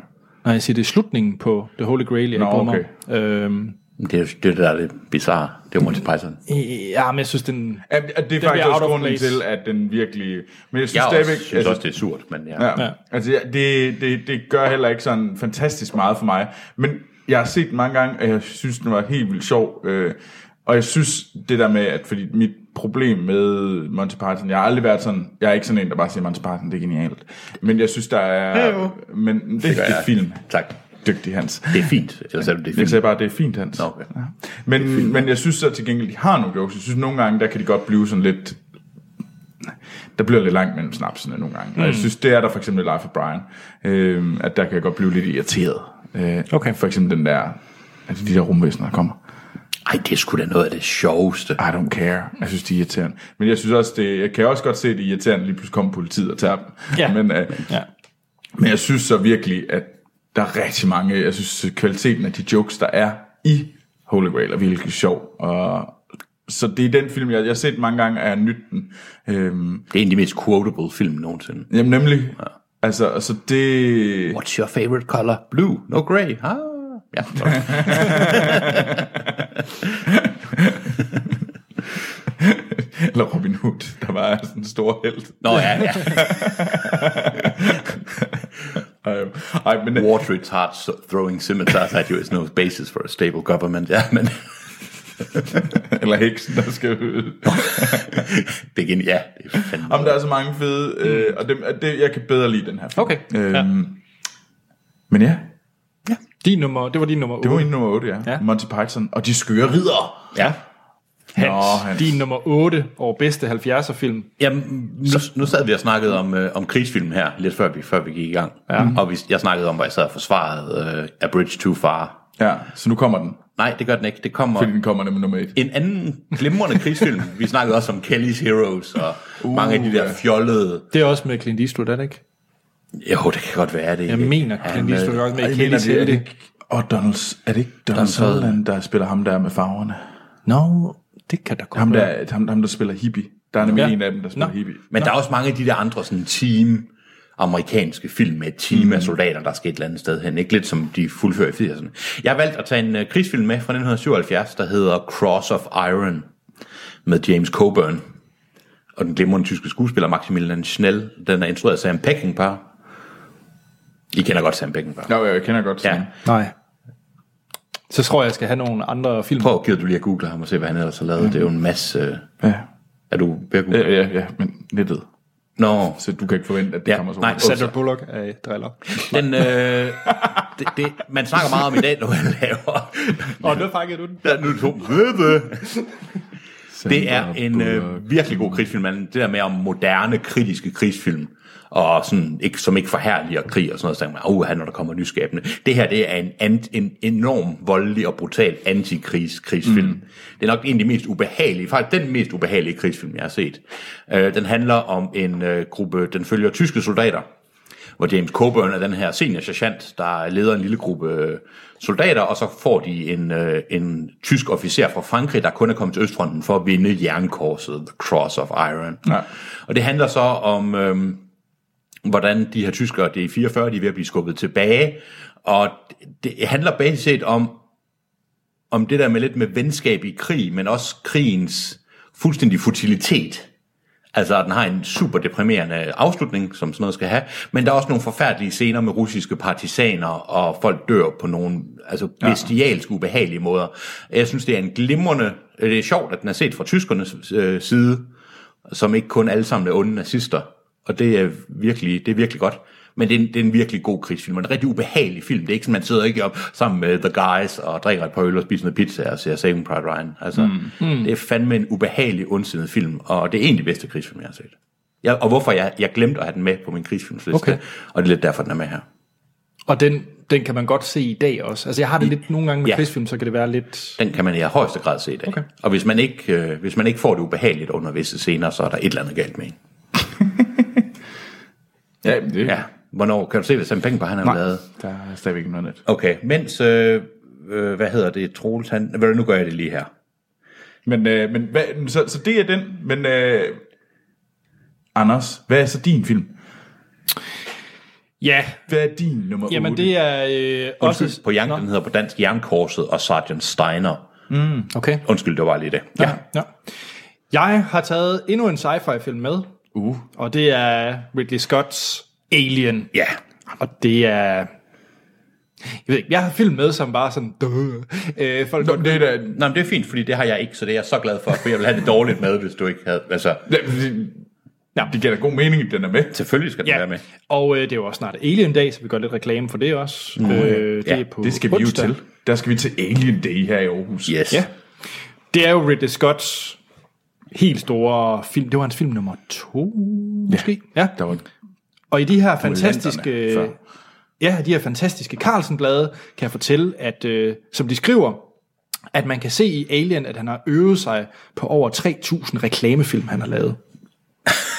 A: Nej, jeg siger, det er slutningen på The Holy Grail, jeg
C: Nå,
A: Nå, okay.
C: okay.
A: øhm,
B: Det er jo det, er det, der er det bizarre. Det er jo Monty Python.
A: øh, Ja, men jeg synes, den...
C: Ja, det er
A: bliver
C: faktisk
A: out
C: også
A: of
C: grunden
A: place.
C: til, at den virkelig... Men jeg synes
B: Jeg
C: stadigvæk...
B: også, synes
C: altså,
B: også, det er surt, men ja.
C: Ja. ja. Altså, ja, det, det, det gør heller ikke sådan fantastisk meget for mig. Men jeg har set den mange gange, og jeg synes, den var helt vildt sjov. Øh, og jeg synes det der med, at fordi mit problem med Monty Python, jeg har aldrig været sådan, jeg er ikke sådan en, der bare siger, Monty Python, det er genialt. Men jeg synes, der er...
B: Jo.
C: Men det, det, det
B: gør
C: er
B: jeg.
C: film.
B: Tak.
C: Dygtig, Hans.
B: Det er fint. Ellers er det, det er
C: Jeg sagde
B: fint.
C: bare, det er fint, Hans.
B: Nå, okay.
C: Ja. Men, men jeg synes så til gengæld, de har nogle jokes. Jeg synes nogle gange, der kan de godt blive sådan lidt... Der bliver lidt langt mellem snapsene nogle gange.
B: Mm.
C: Og jeg synes, det er der for eksempel i Life of Brian, øh, at der kan jeg godt blive lidt irriteret. Øh,
A: Okay.
C: For eksempel den der, altså de der rumvæsener, der kommer.
B: Ej, det er sgu da noget af det sjoveste.
C: I don't care. Jeg synes, de er irriterende. Men jeg synes også, det, jeg kan også godt se, at det er irriterende, lige pludselig kommer politiet og tager dem.
A: Ja.
C: Men, øh,
A: Ja.
C: men jeg synes så virkelig, at der er rigtig mange, jeg synes kvaliteten af de jokes, der er i Holy Grail, er virkelig sjov. Og, så det er den film, jeg, jeg har set mange gange, og jeg nyt den. Øhm,
B: Det er en af de mest quotable film nogensinde.
C: jamen nemlig, ja. altså, altså det...
B: What's your favorite color? Blue, no grey. Ah. Ja, sorry.
C: Eller Robin Hood, der var sådan en stor held.
B: Nå ja, ja.
C: Ej, ej, men,
B: War to retard throwing scimitars at you is no basis for a stable government. Ja, men
C: eller heksen, der skal...
B: det er geni- Ja, det er fandme.
C: Jamen, der er så mange fede, øh, og dem, at det, jeg kan bedre lide den her film.
A: Okay,
C: Øhm,
A: ja.
C: Men ja,
A: Din nummer, det var din nummer 8.
C: det var min nummer 8, ja.
A: Ja.
C: ja. Monty Python og de skøre ridder.
B: Ja.
A: Hans,
C: Nå,
A: Hans.
C: Hans.
A: Din nummer 8 over bedste 70'er film.
B: Jamen, nu, nu sad vi og snakkede om, øh, om krigsfilm her, lidt før vi, før vi gik i gang. Ja. Og vi, jeg snakkede om, hvor jeg sad og forsvarede øh, A Bridge Too Far.
C: Ja, så nu kommer den,
B: Nej, det gør den ikke. Det kommer...
C: fordi den kommer nemlig nummer 1.
B: En anden glimrende krigsfilm, vi snakkede også om Kelly's Heroes og uh, mange af de der
C: ja.
B: fjollede...
A: Det er også med Clint Eastwood, er det ikke?
B: Jo, det kan godt være det.
A: Jeg mener, Clint Eastwood er også med i Kelly's Helte.
C: Og Donald, er det ikke Donald,
B: Donald Sutherland.
C: Sutherland, der spiller ham der med farverne?
A: Nå, det kan da godt
C: Ham
A: være.
C: der, ham, ham der spiller hippie. Der er nemlig
A: Ja.
C: ja. en af dem, der spiller
A: Nå.
C: Nå. hippie.
B: Men der er også mange af de der andre sådan team amerikanske film med et team af soldater, der skal et eller andet sted hen. Ikke lidt som de fuldfører i 80'erne. Jeg har valgt at tage en uh, krigsfilm med fra 1977, der hedder Cross of Iron med James Coburn. Og den glimrende tyske skuespiller Maximilian Schnell. Den er instrueret af Sam Peckinpah. I kender godt Sam Peckinpah.
C: Nå, jeg kender godt
B: Ja.
C: sådan.
A: Nej. Så tror jeg, jeg skal have nogle andre film.
B: Prøv at give du lige at google ham og se, hvad han ellers har lavet. Det er jo en masse... øh,
C: Ja.
B: Er du ved at google?
C: Ja, ja, ja, men nettet.
B: Nå,
C: Så du kan ikke forvente, at det
B: Ja,
C: kommer så
B: nej,
C: hurtigt.
B: så-
A: Sandra Bullock er driller.
B: den, øh, det, det, man snakker meget om i dag, når man laver
A: Og nu fangede du den.
B: Der er nu to. Det er en øh, virkelig god krigsfilm, men det der med om moderne, kritiske krigsfilm, og sådan, ikke, som ikke forhærliger krig og sådan noget, så tænker man, oh, når der kommer nyskabende. Det her, det er en, an, en enorm voldelig og brutal antikrigskrigsfilm. Mm. Det er nok en af de mest ubehagelige, faktisk den mest ubehagelige krigsfilm, jeg har set. Øh, den handler om en øh, gruppe, den følger tyske soldater, hvor James Coburn er den her senior sergeant, der leder en lille gruppe øh, soldater, og så får de en, øh, en tysk officer fra Frankrig, der kun er kommet til Østfronten for at vinde jernkorset, The Cross of Iron. Ja. Og det handler så om... Øh, hvordan de her tyskere, det er 44, de er ved at blive skubbet tilbage, og det handler basisk set om, om det der med lidt med venskab i krig, men også krigens fuldstændig futilitet. Altså, at den har en super deprimerende afslutning, som sådan noget skal have, men der er også nogle forfærdelige scener med russiske partisaner, og folk dør på nogle altså bestialsk ubehagelige måder. Jeg synes, det er en glimrende... Det er sjovt, at den er set fra tyskernes øh, side, som ikke kun alle sammen er onde nazister. Og det er virkelig, det er virkelig godt. Men det er, en, det er en virkelig god krigsfilm, og en rigtig ubehagelig film. Det er ikke sådan, man sidder ikke op sammen med The Guys og drikker et par øl og spiser noget pizza og ser Saving Private Ryan. Altså, mm. Det er fandme en ubehagelig, ondsindet film, og det er egentlig bedste krigsfilm, jeg har set. Jeg, og hvorfor jeg, jeg glemte at have den med på min krigsfilmsliste,
A: Okay.
B: okay. og det er lidt derfor, den er med her.
A: Og den, den kan man godt se i dag også. Altså jeg har det lidt nogle gange med
B: Ja.
A: ja. krigsfilm, så kan det være lidt...
B: Den kan man i højeste grad se i dag. Okay. Og hvis man, ikke, øh, hvis man ikke får det ubehageligt under visse scener, så er der et eller andet galt med en.
C: Ja, det,
B: Ja, hvornår? Kan du se, hvad Sam Peckinpah han har
C: Nej,
B: lavet?
C: der er stadigvæk noget net.
B: Okay, mens, øh, øh, hvad hedder det, Troels, han, ved du, nu gør jeg det lige her.
C: Men, øh, men hvad, så, så det er den, men øh, Anders, hvad er så din film?
A: Ja,
C: Hvad er din nummer
A: jamen
C: 8?
A: det er øh, også...
B: På Young,
A: Nå,
B: den hedder på dansk Jernkorset og Sergeant Steiner.
A: Okay.
B: Undskyld, det var lige det. Ja.
A: ja. Jeg har taget endnu en sci-fi film med. Uh. Og det er Ridley Scotts Alien.
B: ja.
A: Og det er... Jeg ved ikke, jeg har film med, som bare sådan... Duh. Øh, folk Nå,
C: Det er da...
B: Nå, men det er fint, fordi det har jeg ikke, så det er jeg så glad for, for jeg vil have det dårligt med, hvis du ikke havde... Altså,
C: Ja, det, ja. det giver da god mening, at den er med.
B: selvfølgelig skal den
A: Ja,
B: være med.
A: og øh, det er jo også snart Alien-dag, så vi gør lidt reklame for det også. Mm. Øh, det,
B: Ja,
A: er på
C: Det skal vi jo
A: onsdag.
C: til. Der skal vi til Alien Day her i Aarhus.
B: Yes.
A: Ja. Det er jo Ridley Scotts helt store film. Det var hans film nummer to, måske. Ja.
C: Der var,
A: Og i de her fantastiske...
C: før.
A: Ja, de her fantastiske Carlsen-blade kan jeg fortælle, at øh, som de skriver, at man kan se i Alien, at han har øvet sig på over 3.000 reklamefilm, han har lavet.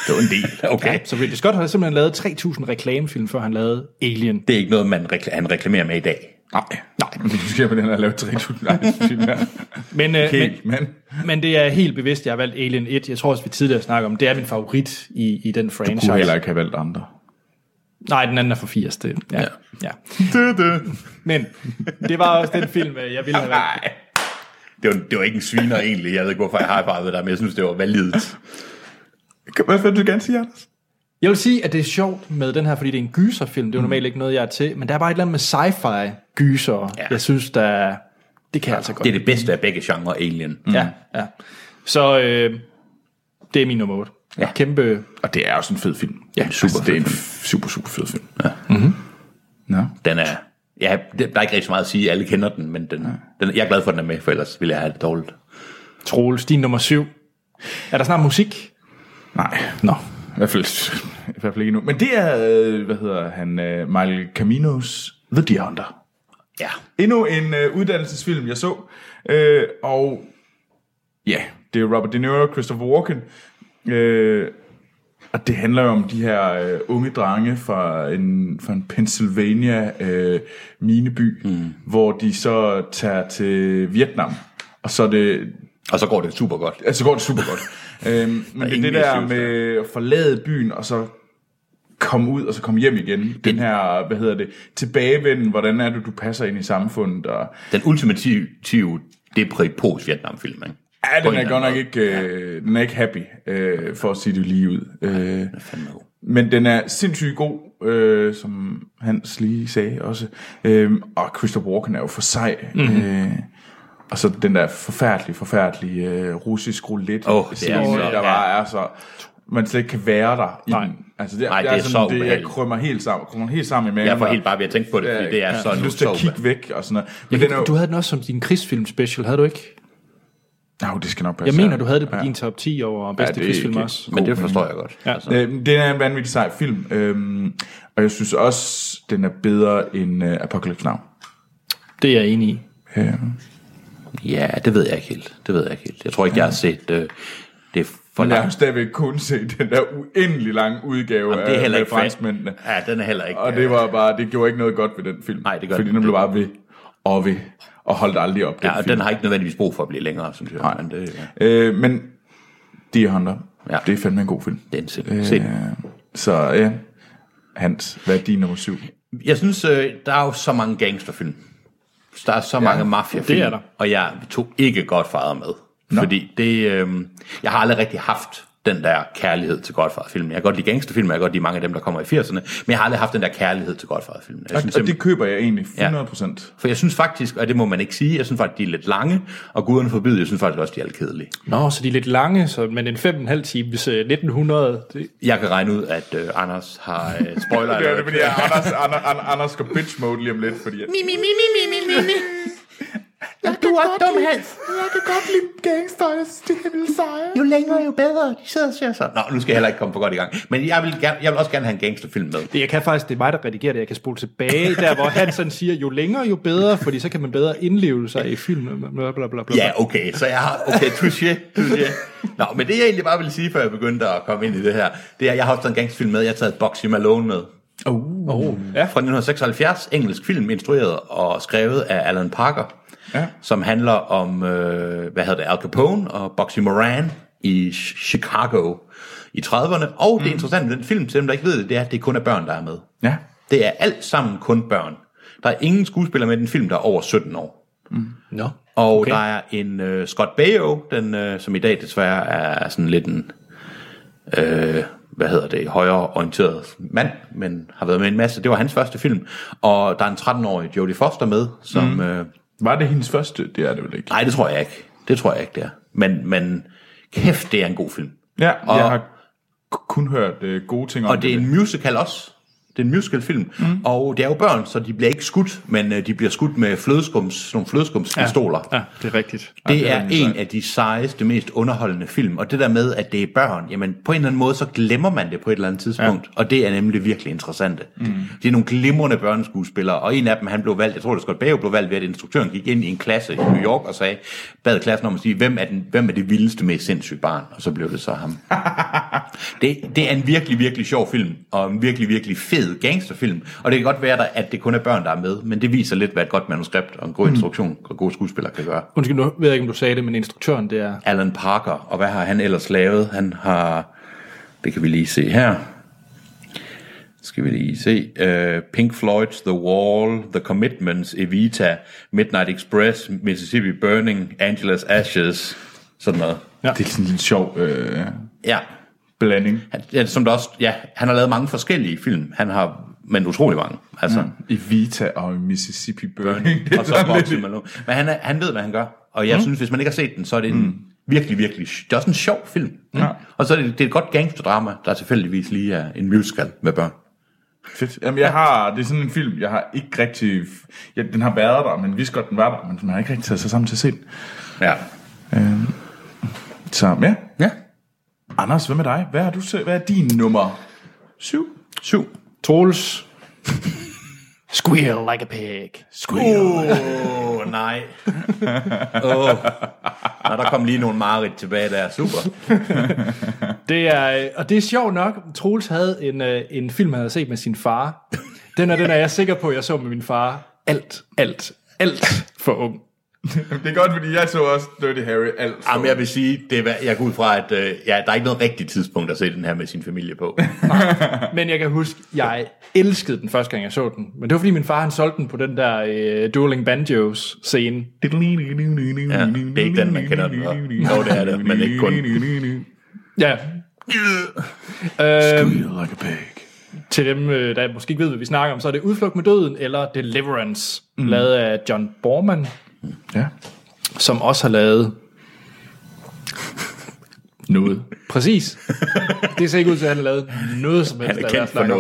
B: Det var en del. Okay.
A: Så Ridley Scott har simpelthen lavet 3.000 reklamefilm, før han lavede Alien.
B: Det er ikke noget, man rekl- han reklamerer med i dag.
C: nej, nej. Men du skal på den her lave 3000 nej, det synes jeg.
A: Men, øh, men,
C: Helt, men...
A: men det er helt bevidst, jeg har valgt Alien 1. Jeg tror også, vi tidligere snakkede om, det er min favorit i, i den franchise.
C: Kunne heller ikke have valgt andre.
A: Nej, den anden er fra 80. Det, ja. ja. ja. Men det var også den film, øh, jeg ville have valgt.
B: Nej. Det var, det var ikke en sviner egentlig. Jeg ved ikke, hvorfor jeg har farvet dig, men jeg synes, det var validt.
C: Hvad vil du gerne sige, Anders?
A: Jeg vil sige, at det er sjovt med den her, fordi det er en gyserfilm. Det er jo normalt ikke noget, jeg er til. Men der er bare et eller andet med sci-fi gyser. Ja. Jeg synes, der det kan jeg altså godt.
B: Det er det bedste af begge genrer, Alien. Mm.
A: Ja, ja. Så øh, det er min nummer 8. Ja. Kæmpe...
C: Og det er også en fed film.
A: Ja,
C: super altså, det er en f- super, super fed film. Ja. Mm-hmm. Nå.
B: Den er... Ja, det- der er ikke rigtig så meget at sige. Alle kender den, men den, den, jeg er glad for, at den er med, for ellers ville jeg have det dårligt.
A: Troels, din nummer 7. Er der snart musik?
C: Nej.
A: Nå.
C: I hvert fald, i hvert fald ikke nu. Men det er, øh, hvad hedder han, øh, Michael Caminos The Deer Hunter.
B: Ja.
C: Endnu en øh, uddannelsesfilm, jeg så. Øh, og ja, det er Robert De Niro og Christopher Walken. Øh, og det handler jo om de her øh, unge drenge fra en, fra en Pennsylvania øh, mineby, mm. hvor de så tager til Vietnam. Og så er det
B: Og så går det super godt.
C: Altså, så går det super godt. øhm, men det er
B: ingen
C: det der
B: issues
C: med at forlade byen, og så komme ud, og så komme hjem igen. Den her, hvad hedder det, tilbagevenden, hvordan er det, du passer ind i samfundet. Og,
B: Den ultimative depripos Vietnamfilm, ikke?
C: ja,
B: På
C: den
B: en
C: er
B: eller
C: godt nok
B: anden
C: ikke, øh, den er ikke happy, øh, for at sige det lige ud. Øh,
B: Fandme god.
C: men den er sindssygt god, øh, som Hans lige sagde også. Øh, og Christopher Walken er jo for sej.
B: Mhm.
C: Mm-hmm. Øh, og så den der forfærdelige, forfærdelige øh, russisk roulette
B: Åh, det er
C: scene,
B: så-
C: der
B: ja.
C: bare er så... Man slet ikke kan være der. I
A: Nej.
C: den. Altså, det, er,
B: Nej,
C: det, er
B: det er
C: sådan,
B: så
C: det, jeg
B: ubehageligt.
C: krymmer helt sammen, krummer helt sammen i maven.
B: Jeg får
C: og-
B: helt bare ved at tænke på det, fordi det er
C: ja,
B: sådan
C: lyst til at
B: så-
C: kigge væk og sådan noget. Men den er
A: Du
C: jo...
A: havde den også som din krigsfilm special, havde du ikke?
C: Nå, det skal nok passe.
A: Jeg mener, du havde det på
C: Ja.
A: din top 10 over bedste
C: Altså, det
A: ja,
C: er
A: krigsfilm
C: ikke-
A: også.
B: Men det forstår jeg godt. Ja. Altså,
C: Øh, den er en vanvittig sej film. Øhm, og jeg synes også, den er bedre end øh, Apocalypse Now.
A: Det er jeg enig i.
C: Øh,
B: ja, det ved jeg ikke helt. Det ved jeg ikke helt. Jeg tror ikke, jeg har set... Øh, det for
C: Men jeg har
B: langt.
C: stadigvæk kun set den der uendelig lange udgave
B: Jamen, det er heller
C: af
B: ikke
C: med franskmændene.
B: fedt. Ja, den er heller ikke.
C: Og det var bare, det gjorde ikke noget godt ved den film.
B: Nej, det gør
C: Fordi
B: den-
C: den blev bare ved og ved, og holdt aldrig op, den
B: ja, og
C: film.
B: den har ikke nødvendigvis brug for at blive længere, synes jeg. Nej. Men det, ja.
C: Øh, men Deer Hunter,
B: Ja.
C: ja. det er fandme en god film.
B: det er en sind. sind.
C: Så ja, Hans, hvad er din nummer syv?
B: Jeg synes, øh, der er jo så mange gangsterfilm. Der er så ja, mange mafiafilm.
A: det er der.
B: Og jeg tog ikke Godfather med. Nå. Fordi det, øh, jeg har aldrig rigtig haft den der kærlighed til Godfather-filmen. Jeg kan godt lide gangsterfilm, jeg kan godt lide mange af dem, der kommer i 80'erne, men jeg har aldrig haft den der kærlighed til Godfather-filmen. Jeg
C: Og,
B: synes
C: og
B: simpelthen-
C: det køber jeg egentlig
B: Ja.
C: 100%.
B: For jeg synes faktisk, og det må man ikke sige, jeg synes faktisk, de er lidt lange, og guderne forbyde, jeg synes faktisk også, de er lidt kedelige.
A: Nå, så de er lidt lange, så, men en 5,5 times øh, 1900, det,
B: Jeg kan regne ud, at øh, Anders har øh, spoiler.
C: Det er det, fordi jeg, Anders, Anders, Anders, Anders går bitch mode lige om lidt, fordi jeg,
B: Mi, mi, mi, mi, mi, mi, mi. Jeg kan du er dumhals. Jeg kan godt lide gangsters, de vil seje. Jo længere, jo bedre. De sidder og siger så. Nå, nu skal jeg heller ikke komme for godt i gang. Men jeg vil, gerne, jeg vil også gerne have en gangsterfilm med.
A: Det, jeg kan faktisk, det er mig, der redigerer det. Jeg kan spole tilbage, der hvor han sådan siger, jo længere, jo bedre, fordi så kan man bedre indleve sig i filmen. Bla, bla, bla, bla.
B: Ja, okay, så jeg har... Okay, touché, touché. Nå, men det jeg egentlig bare ville sige, før jeg begyndte at komme ind i det her, det er, at jeg har også taget en gangsterfilm med. Jeg har taget Boxy Malone med.
A: Oh, ja.
B: fra 1976, engelsk film, instrueret og skrevet af Alan Parker, ja. som handler om, øh, hvad hedder det, Al Capone og Bugsy Moran i Ch- Chicago i 30'erne. Og
A: Mm.
B: det interessante ved den film, til dem, der ikke ved det, det er, at det kun er børn, der er med.
C: ja,
B: Det er alt sammen kun børn. Der er ingen skuespiller med i den film, der er over 17 år.
A: No.
B: Og okay. der er en øh, Scott Baio, den, øh, som i dag desværre er sådan lidt en, øh, hvad hedder det, højere orienteret mand, men har været med i en masse. Det var hans første film. Og der er en 13-årig Jodie Foster med, som... Mm. Øh,
C: var det hendes første? Det er det vel ikke.
B: nej, det tror jeg ikke. Det tror jeg ikke, det er. Men, men kæft, det er en god film.
C: Ja, og, jeg
B: Og-
C: har k- kun hørt øh, gode ting om
B: Og det er en musical også. Det er en musicalfilm. Mm. Og det er jo børn, så de bliver ikke skudt, men øh, de bliver skudt med flødeskums, nogle flødeskumspistoler. Ja.
A: Ja, det er rigtigt.
B: Det er en af de sejeste, mest underholdende film, og det der med, at det er børn, jamen på en eller anden måde, så glemmer man det på et eller andet tidspunkt, ja. og det er nemlig det virkelig interessante. Mm. Det er nogle glimrende børneskuespillere, og en af dem, han blev valgt, jeg tror det er Scott Baio, blev valgt ved, at instruktøren gik ind i en klasse i New York og sagde, bad klassen om at sige, hvem er, den, hvem er det vildeste, mest sindssyge barn? Og så blev det så ham. Det, det er en virkelig, virkelig sjov film, og en virkelig, virkelig fed gangsterfilm. Og det kan godt være, der- at det kun er børn, der er med, men det viser lidt, hvad et godt manuskript og en god instruktion og gode skuespillere kan gøre.
A: Undskyld, nu ved jeg ikke, om du sagde det, men instruktøren, det er...
B: Alan Parker, og hvad har han ellers lavet? Han har, det kan vi lige se her, skal vi lige se, uh, Pink Floyd's The Wall, The Commitments, Evita, Midnight Express, Mississippi Burning, Angela's Ashes, sådan noget.
C: Det er sådan en lidt sjov øh,
B: Ja,
C: blanding.
B: han, ja, som der også, ja, han har lavet mange forskellige film, han har, men utrolig mange, altså. Mm.
C: I Vita og i Mississippi Burning.
B: og så Boxy Malone. Men han, er, han ved, hvad han gør. Og jeg mm. synes, hvis man ikke har set den, så er det en mm. virkelig, virkelig... sj- Det er også en sjov film. Mm. Ja. Og så er det, det er et godt gangsterdrama, der tilfældigvis lige er en musical med børn.
C: Fedt. Jamen, jeg har, det er sådan en film, jeg har ikke rigtig... Ja, den har været der, men vidste godt, den var der, men man har ikke rigtig taget sig sammen til at se den.
B: Ja.
C: Så ja,
B: Ja.
C: Anders, hvad med dig? Hvad, har du, se- hvad er din nummer? Syv?
B: Syv.
A: Troels. Squeal like a pig.
B: Åh, oh, nej. Oh. Nå, der kom lige nogle mareridt tilbage der. Super.
A: Det er, øh, og det er sjovt nok, Troels havde en, øh, en film, han havde set med sin far. Den er, den er jeg sikker på, jeg så med min far. Alt, alt, alt for ung.
C: Det er godt, fordi jeg så også Dirty Harry alt.
B: Jamen, jeg vil sige, det er, hvad- jeg går ud fra, at øh, ja, der er ikke noget rigtigt tidspunkt at se den her med sin familie på.
A: Men jeg kan huske, jeg elskede den første gang, jeg så den. Men det var, fordi min far han solgte den på den der øh, Dueling Banjos scene.
B: Ja, det er ikke den, man kender den for. Jo, det er det, men ikke kun.
A: Ja,
C: like a pig.
A: til dem, øh, der måske ikke ved, hvad vi snakker om, så er det Udflugt med døden eller Deliverance, mm. lavet af John Borman,
C: Ja.
A: som også har lavet...
C: Noget.
A: Præcis. Det ser ikke ud til, at han har lavet noget som helst.
B: Han
A: af,
B: er
A: hvad jeg
B: kendt for
A: snakker om.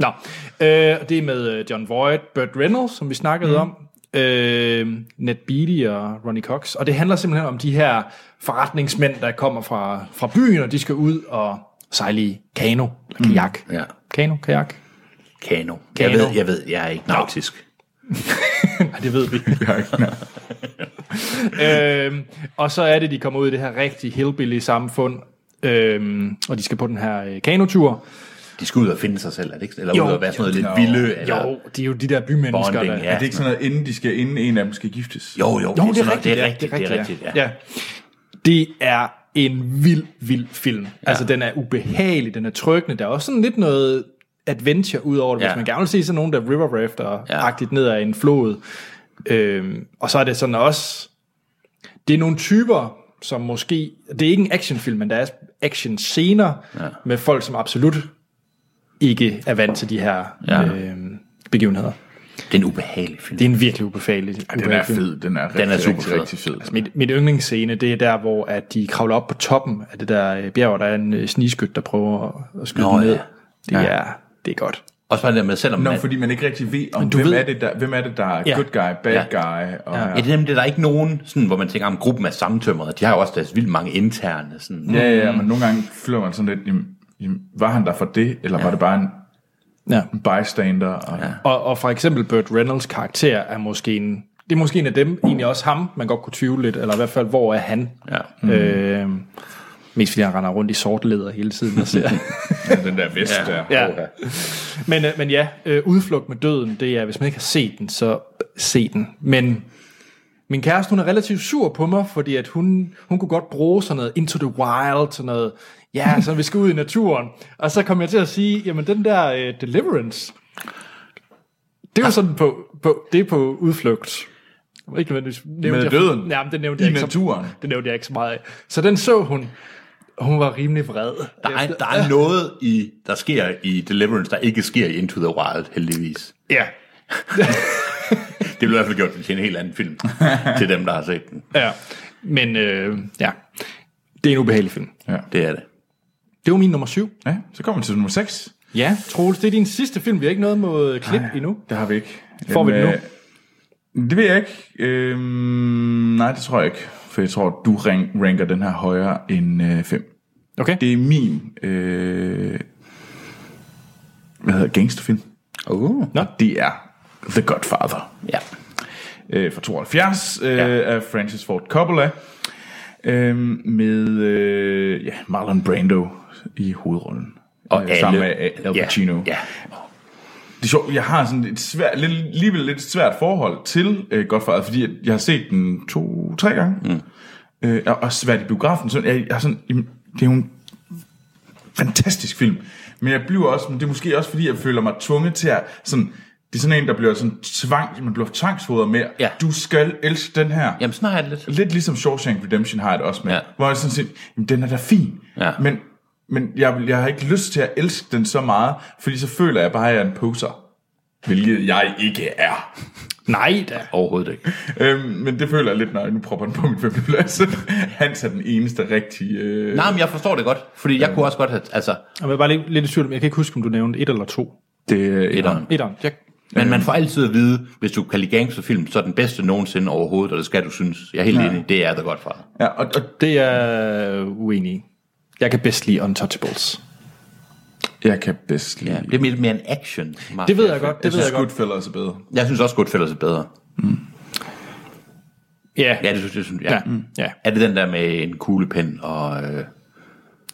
B: noget.
A: Nå, øh, det er med øh, John Voight, Burt Reynolds, som vi snakkede mm. om, øh, Ned Beatty og Ronnie Cox, og det handler simpelthen om de her forretningsmænd, der kommer fra, fra byen, og de skal ud og sejle i kano, eller kajak. Mm.
B: Ja.
A: Kano, kajak?
B: Kano.
A: Kano.
B: Jeg ved, jeg ved, jeg er ikke nautisk.
A: Ja, det ved vi.
C: Jeg har ikke
A: øhm, og så er det, de kommer ud i det her rigtig hillbilly samfund, øhm, og de skal på den her øh, kanotur.
B: De skal ud og finde sig selv, er det ikke? Eller
A: Jo.
B: ud og være sådan noget lidt vilde. Eller,
A: Jo, det er jo de der bymennesker,
B: Bonding,
A: der...
B: ja.
C: Er det ikke sådan noget, inden, de skal, inden en af dem skal giftes?
B: Jo, jo,
A: Jo, det
B: sådan
A: er,
B: noget.
A: rigtigt,
B: det er
A: ja,
B: rigtigt, det er rigtigt, ja.
A: ja. ja. Det er en vild, vild film. Ja. Altså, den er ubehagelig, den er trykkende. Der er også sådan lidt noget adventure ud over det, ja. hvis
B: Ja.
A: man gerne vil se sådan nogen, der river rafter-agtigt ned ad en flod. Øhm, og så er det sådan også... Det er nogle typer, som måske... Det er ikke en actionfilm, men der er action scener ja. med folk, som absolut ikke er vant til de her
B: Ja.
A: ja. øhm, begivenheder.
B: Det er en ubehagelig film.
A: Det er en virkelig ubehagelig,
C: Den er
A: ubehagelig film.
C: fed, den er rigtig, den er
B: er Altså, super
C: super rigtig,
B: fed.
C: rigtig fed.
A: Mit, mit yndlingsscene, det er der, hvor at de kravler op på toppen af det der øh, bjerg, og der er en øh, snigskyt, der prøver at- at skyde
B: Nå,
A: dem ned.
B: ja.
A: Det, ja. er, det er godt.
B: Også bare det der med, selvom
C: Nå,
B: man,
C: fordi man ikke rigtig ved, om
A: du
C: hvem,
A: ved-
C: ved... Er det, der, hvem er det, der er
A: Ja.
C: good guy, bad
B: Ja.
C: guy. Og,
B: Ja, det er nemlig, der er ikke nogen, sådan, hvor man tænker, at gruppen er sammentømrede. De har jo også deres vildt mange interne. Sådan.
C: Ja, ja, ja, men nogle gange føler man sådan lidt, jamen, jamen, var han der for det, eller ja. var det bare en
A: Ja.
C: bystander? Og, ja.
A: Og, og for eksempel Burt Reynolds karakter er måske en... Det er måske en af dem, egentlig også ham, man godt kunne tvivle lidt, eller i hvert fald, hvor er han?
B: Ja.
A: Mm. Øh, mest fordi han render rundt i sort læder hele tiden og ser...
C: den der vest ja. der.
A: Ja. Men, øh, men ja, øh, Udflugt med døden, det er, hvis man ikke har set den, så se den. Men min kæreste, hun er relativt sur på mig, fordi at hun, hun kunne godt bruge sådan noget Into the Wild, sådan noget, ja, så vi skal ud i naturen. Og så kom jeg til at sige, jamen den der øh, Deliverance, det
C: Ah.
A: er jo sådan på, på, det er på udflugt. Jeg ved Ikke nødvendigvis. nævnte
C: Med
A: jeg-
C: døden?
A: Ja, men det nævnte
C: I
A: jeg ikke
C: naturen?
A: Så, det nævnte jeg ikke så meget af. Så den så hun, og hun var rimelig vred.
B: Der, er, der er noget, i, der sker i Deliverance, der ikke sker i Into the Wild, heldigvis.
A: Ja,
B: Det bliver i hvert fald gjort til en helt anden film, til dem, der har set den.
A: Ja, men øh, ja, det er en ubehagelig film.
B: Det er det.
A: Det var min nummer syv.
C: ja. Så kommer vi til nummer 6.
A: Ja, Troels, det er din sidste film. Vi har ikke noget mod klip Ej. endnu.
C: Det har vi ikke.
A: Får vi den nu?
C: nu? Det ved jeg ikke. Øhm, nej, det tror jeg ikke. For jeg tror, du rank, ranker den her højere end 5. Øh, fem.
A: Okay.
C: det er min... Øh, hvad hedder det? gangsterfilm?
B: Uh.
A: Nå.
C: Det er The Godfather.
B: Ja.
C: øh, fra 72 øh, ja. af Francis Ford Coppola øh, med øh, ja, Marlon Brando i hovedrollen.
B: Og
C: øh,
B: alle-
C: sammen med Al
B: Ja,
C: Pacino.
B: ja.
C: Det er sjovt, jeg har sådan et svært, lidt, alligevel lidt svært forhold til øh, Godfather, fordi jeg, jeg har set den to-tre gange. Mm. Øh, og også været i biografen. Så jeg, jeg har sådan, jamen, det er jo en fantastisk film. Men jeg bliver også, men det er måske også fordi, jeg føler mig tvunget til at, sådan, det er sådan en, der bliver sådan tvang, man bliver tvangsfodret med,
B: Ja.
C: du skal elske den her.
B: Jamen, sådan har jeg det lidt.
C: Lidt ligesom Shawshank Redemption har jeg det også med,
B: Ja.
C: hvor jeg sådan set, jamen, den er da fin,
B: Ja.
C: men, men jeg, jeg har ikke lyst til at elske den så meget, fordi så føler jeg bare, at jeg er en poser. Hvilket jeg ikke er.
A: Nej da.
B: Overhovedet ikke.
C: Øhm, men det føler jeg lidt, når jeg nu propper den på min femte plads. Hans er den eneste rigtige... Øh...
B: Nej, men jeg forstår det godt, fordi jeg kunne også godt have... Altså,
A: Og jeg er bare lidt, lidt i tvivl om, jeg kan ikke huske, om du nævnte et eller to.
C: Det er
B: etteren.
A: Etteren. Jeg,
B: Men man får altid at vide, hvis du kan lide gangsterfilm, så er den bedste nogensinde overhovedet, og det skal du synes. Jeg er helt ja. enig, det er The Godfather.
C: Ja, og, og,
A: det er jeg uenig. i. Jeg kan bedst lide Untouchables.
C: jeg kan bedst lide...
B: Ja, det er mere, mere en action.
A: Det ved jeg godt, det ved
C: Jeg synes,
A: jeg godt.
C: Goodfellas er bedre.
B: Jeg synes også, Goodfellas er bedre.
A: Ja.
B: Ja, det synes jeg. Synes, ja.
A: ja. Mm, ja.
B: Er det den der med en kuglepen og... Øh,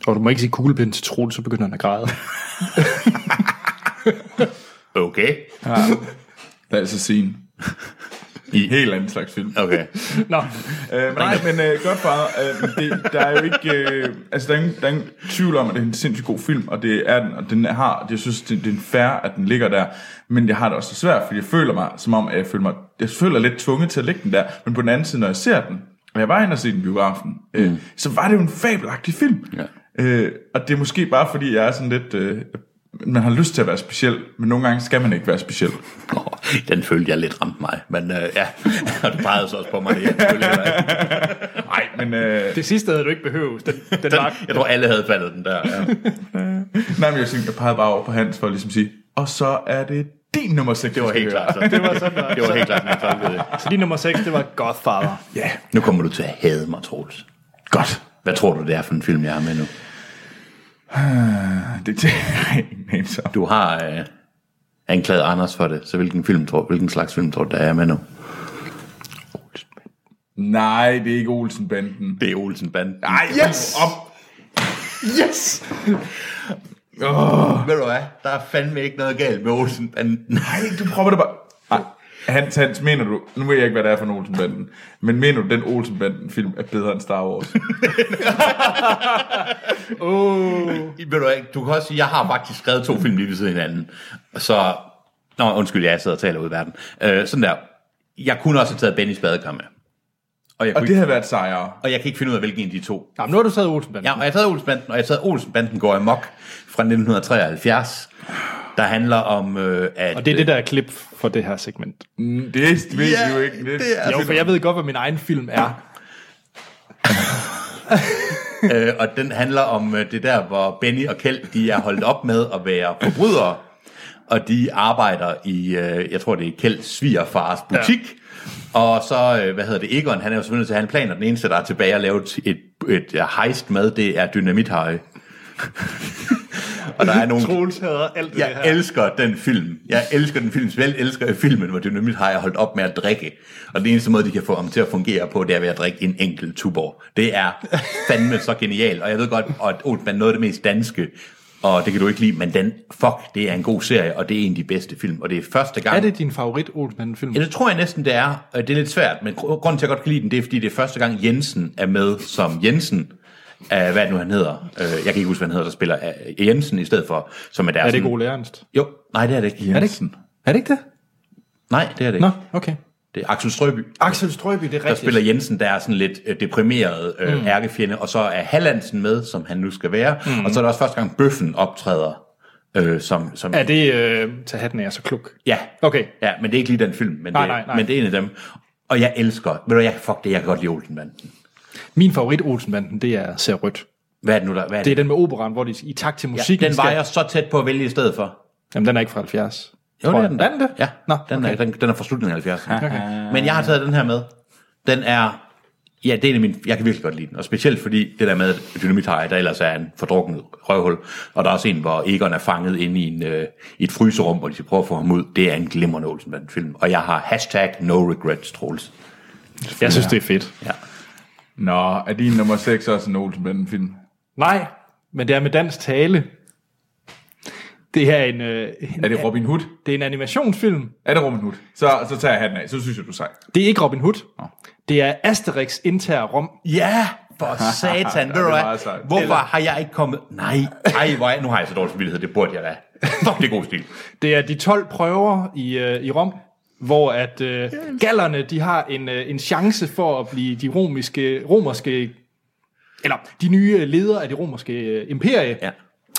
A: Og du må ikke sige kuglepind til Troels, så begynder han at græde.
B: okay.
C: That's a altså scene. I helt anden slags film.
B: Okay.
A: Nå,
C: Øh, men nej, men øh, Godfather, øh, det, der er jo ikke... Øh, altså, der er, ingen, der er ingen tvivl om, at det er en sindssygt god film, og det er den, og den har... Jeg synes, det, det er fair, at den ligger der, men jeg har det også svært, fordi jeg føler mig, som om at jeg føler mig... Jeg føler lidt tvunget til at lægge den der, men på den anden side, når jeg ser den, og jeg var inde og se den i biografen, øh, så var det jo en fabelagtig film. Ja. Øh, og det er måske bare, fordi jeg er sådan lidt... Øh, man har lyst til at være speciel, men nogle gange skal man ikke være speciel.
B: Oh, den følte jeg lidt ramte mig, men øh, ja, og du pegede så også på mig. Det, jeg, selvfølgelig heller ikke.
C: Nej, men... Øh,
A: det sidste havde du ikke behøvet. Den, den, den var...
B: den, jeg tror, alle havde faldet den der. Ja.
C: Nej, men jeg, synes, jeg pegede bare over på Hans for at ligesom sige, og så er det din nummer 6.
B: Det var helt klart. Så. Det var sådan, det var helt klart, den faldt
A: Så din nummer 6, det var Godfather.
C: Ja,
B: Nu kommer du til at hade mig, Troels.
C: godt.
B: Hvad tror du, det er for en film, jeg har med nu?
C: Det er ingen anelse om.
B: Du har øh, anklaget Anders for det, så hvilken, film, tror, hvilken slags film tror du, der er med nu?
C: Nej, det er ikke Olsen-banden.
B: Det er Olsen-banden.
C: Ej, yes! Op.
B: Yes! Oh. Ved du hvad? Der er fandme ikke noget galt med Olsen-banden.
C: Ej, du prøver det bare. Ej, Hans, Hans, mener du, nu ved jeg ikke, hvad det er for en Olsen-banden, men mener du, den Olsen-banden-film er bedre end Star Wars?
B: Ved du hvad? Du kan også sige, jeg har faktisk skrevet to film lige ved siden af hinanden. Så... Nå, undskyld, jeg sidder og taler ud i verden. Øh, sådan der. Jeg kunne også have taget Bennys badekar med. Og jeg, kunne
C: Og det
B: ikke,
C: havde været sejere.
B: og jeg kan ikke finde ud af, hvilken af de to.
A: Jamen, nu har du taget Olsenbanden.
B: Ja, og jeg sad Olsenbanden, og jeg sad Olsenbanden går amok fra 1973, der handler om, øh, at...
A: Og det er det, der er klip for det her segment.
C: Mm, Det ved
B: Ja,
C: vi jo ikke. Det,
B: det er-
C: det
A: Jo, for jeg ved godt, hvad min egen film er.
B: Øh, og den handler om øh, det der, hvor Benny og Kjeld, de er holdt op med at være forbrydere, og de arbejder i, øh, jeg tror det er Kjelds svigerfars butik, ja. og så, øh, hvad hedder det, Egon, han er jo selvfølgelig nødt til at have en plan, og den eneste, der er tilbage at lave et, et, et øh, heist med, det er Dynamithaje. og der er nogle...
A: Troels hader alt det
B: Jeg
A: her.
B: elsker den film. Jeg elsker den film. Vel elsker jeg filmen, hvor Dynamit har jeg holdt op med at drikke. Og den eneste måde, de kan få ham til at fungere på, det er ved at drikke en enkelt tuborg. Det er fandme så genial. Og jeg ved godt, at Oldman er noget af det mest danske. Og det kan du ikke lide, men den, fuck, det er en god serie, og det er en af de bedste film. Og det er første gang...
A: Er det din favorit Olsenbanden-film?
B: Ja, det tror jeg næsten, det er. Øh, Det er lidt svært, men gr- grunden til, at jeg godt kan lide den, det er, fordi det er første gang, Jensen er med som Jensen. Uh, hvad er det nu, han hedder? Uh, jeg kan ikke huske, hvad han hedder, der spiller uh, Jensen i stedet for. Som er, der
A: Er det ikke Ole Ernst?
B: Jo, nej, det er det ikke.
A: Er det ikke? Er det ikke det?
B: Nej, det er det ikke.
A: Nå,
B: Nå.
A: okay.
B: Det er Axel Strøby,
A: Axel Strøby, det er
B: der
A: rigtigt.
B: spiller Jensen, der er sådan lidt øh, deprimeret øh, mm. ærkefjende, og så er Hallandsen med, som han nu skal være, mm. og så er det også første gang Bøffen optræder øh, som... som
A: Er det øh, Tag hatten af jer, så kluk?
B: Ja.
A: Okay.
B: Ja, men det er ikke lige den film, men,
A: Nej,
B: det,
A: nej, nej.
B: men det er en af dem. Og jeg elsker... Ved du, hvad, jeg, fuck det, jeg kan godt lide Olsenbanden.
A: Min favorit Olsenbanden, det er Ser Rødt.
B: Hvad er det nu, der... Hvad er
A: Det er
B: det?
A: den med operan, hvor de i takt til musikken
B: ja, den var
A: skal-
B: jeg så tæt på at vælge i stedet for.
A: Jamen, den er ikke fra 70.
B: Jo,
A: Tror jeg.
B: det er den.
A: Er den det?
B: Ja,
A: Nå,
B: den, er,
A: okay.
B: den, den er fra slutningen af 70'erne. Okay. Men jeg har taget den her med. Den er... Ja, det er en af mine, jeg kan virkelig godt lide den. Og specielt fordi det der med dynamitarie, der ellers er en fordrukket røvhul. Og der er også en, hvor Egon er fanget inde i, en, øh, i et fryserum, hvor de skal prøve at få ham ud. Det er en glimrende Olsen film. Og jeg har hashtag no regrets, Troels.
A: Jeg synes, det er fedt.
B: Ja.
C: Nå, er din nummer 6 også en Olsen-banden-film?
A: Nej, men det er med dansk tale. Det her er en, øh, en,
C: Er det Robin Hood?
A: det er en animationsfilm.
C: Er det Robin Hood? Så, så tager jeg hatten af, så synes jeg, du er sej.
A: Det er ikke Robin Hood. Det er Asterix Inter Rom.
B: Ja, for satan. Ved du
C: det er
B: hvad?
C: meget sejt.
B: Hvorfor har jeg ikke kommet... Nej, ej, hvor er... nu har jeg så dårlig samvittighed. Det burde jeg da. Fuck, det er god stil.
A: Det er de 12 prøver i, øh, i Rom, hvor at øh, gallerne, de har en, øh, en chance for at blive de romiske, romerske, eller de nye ledere af det romerske øh, imperie,
B: Ja.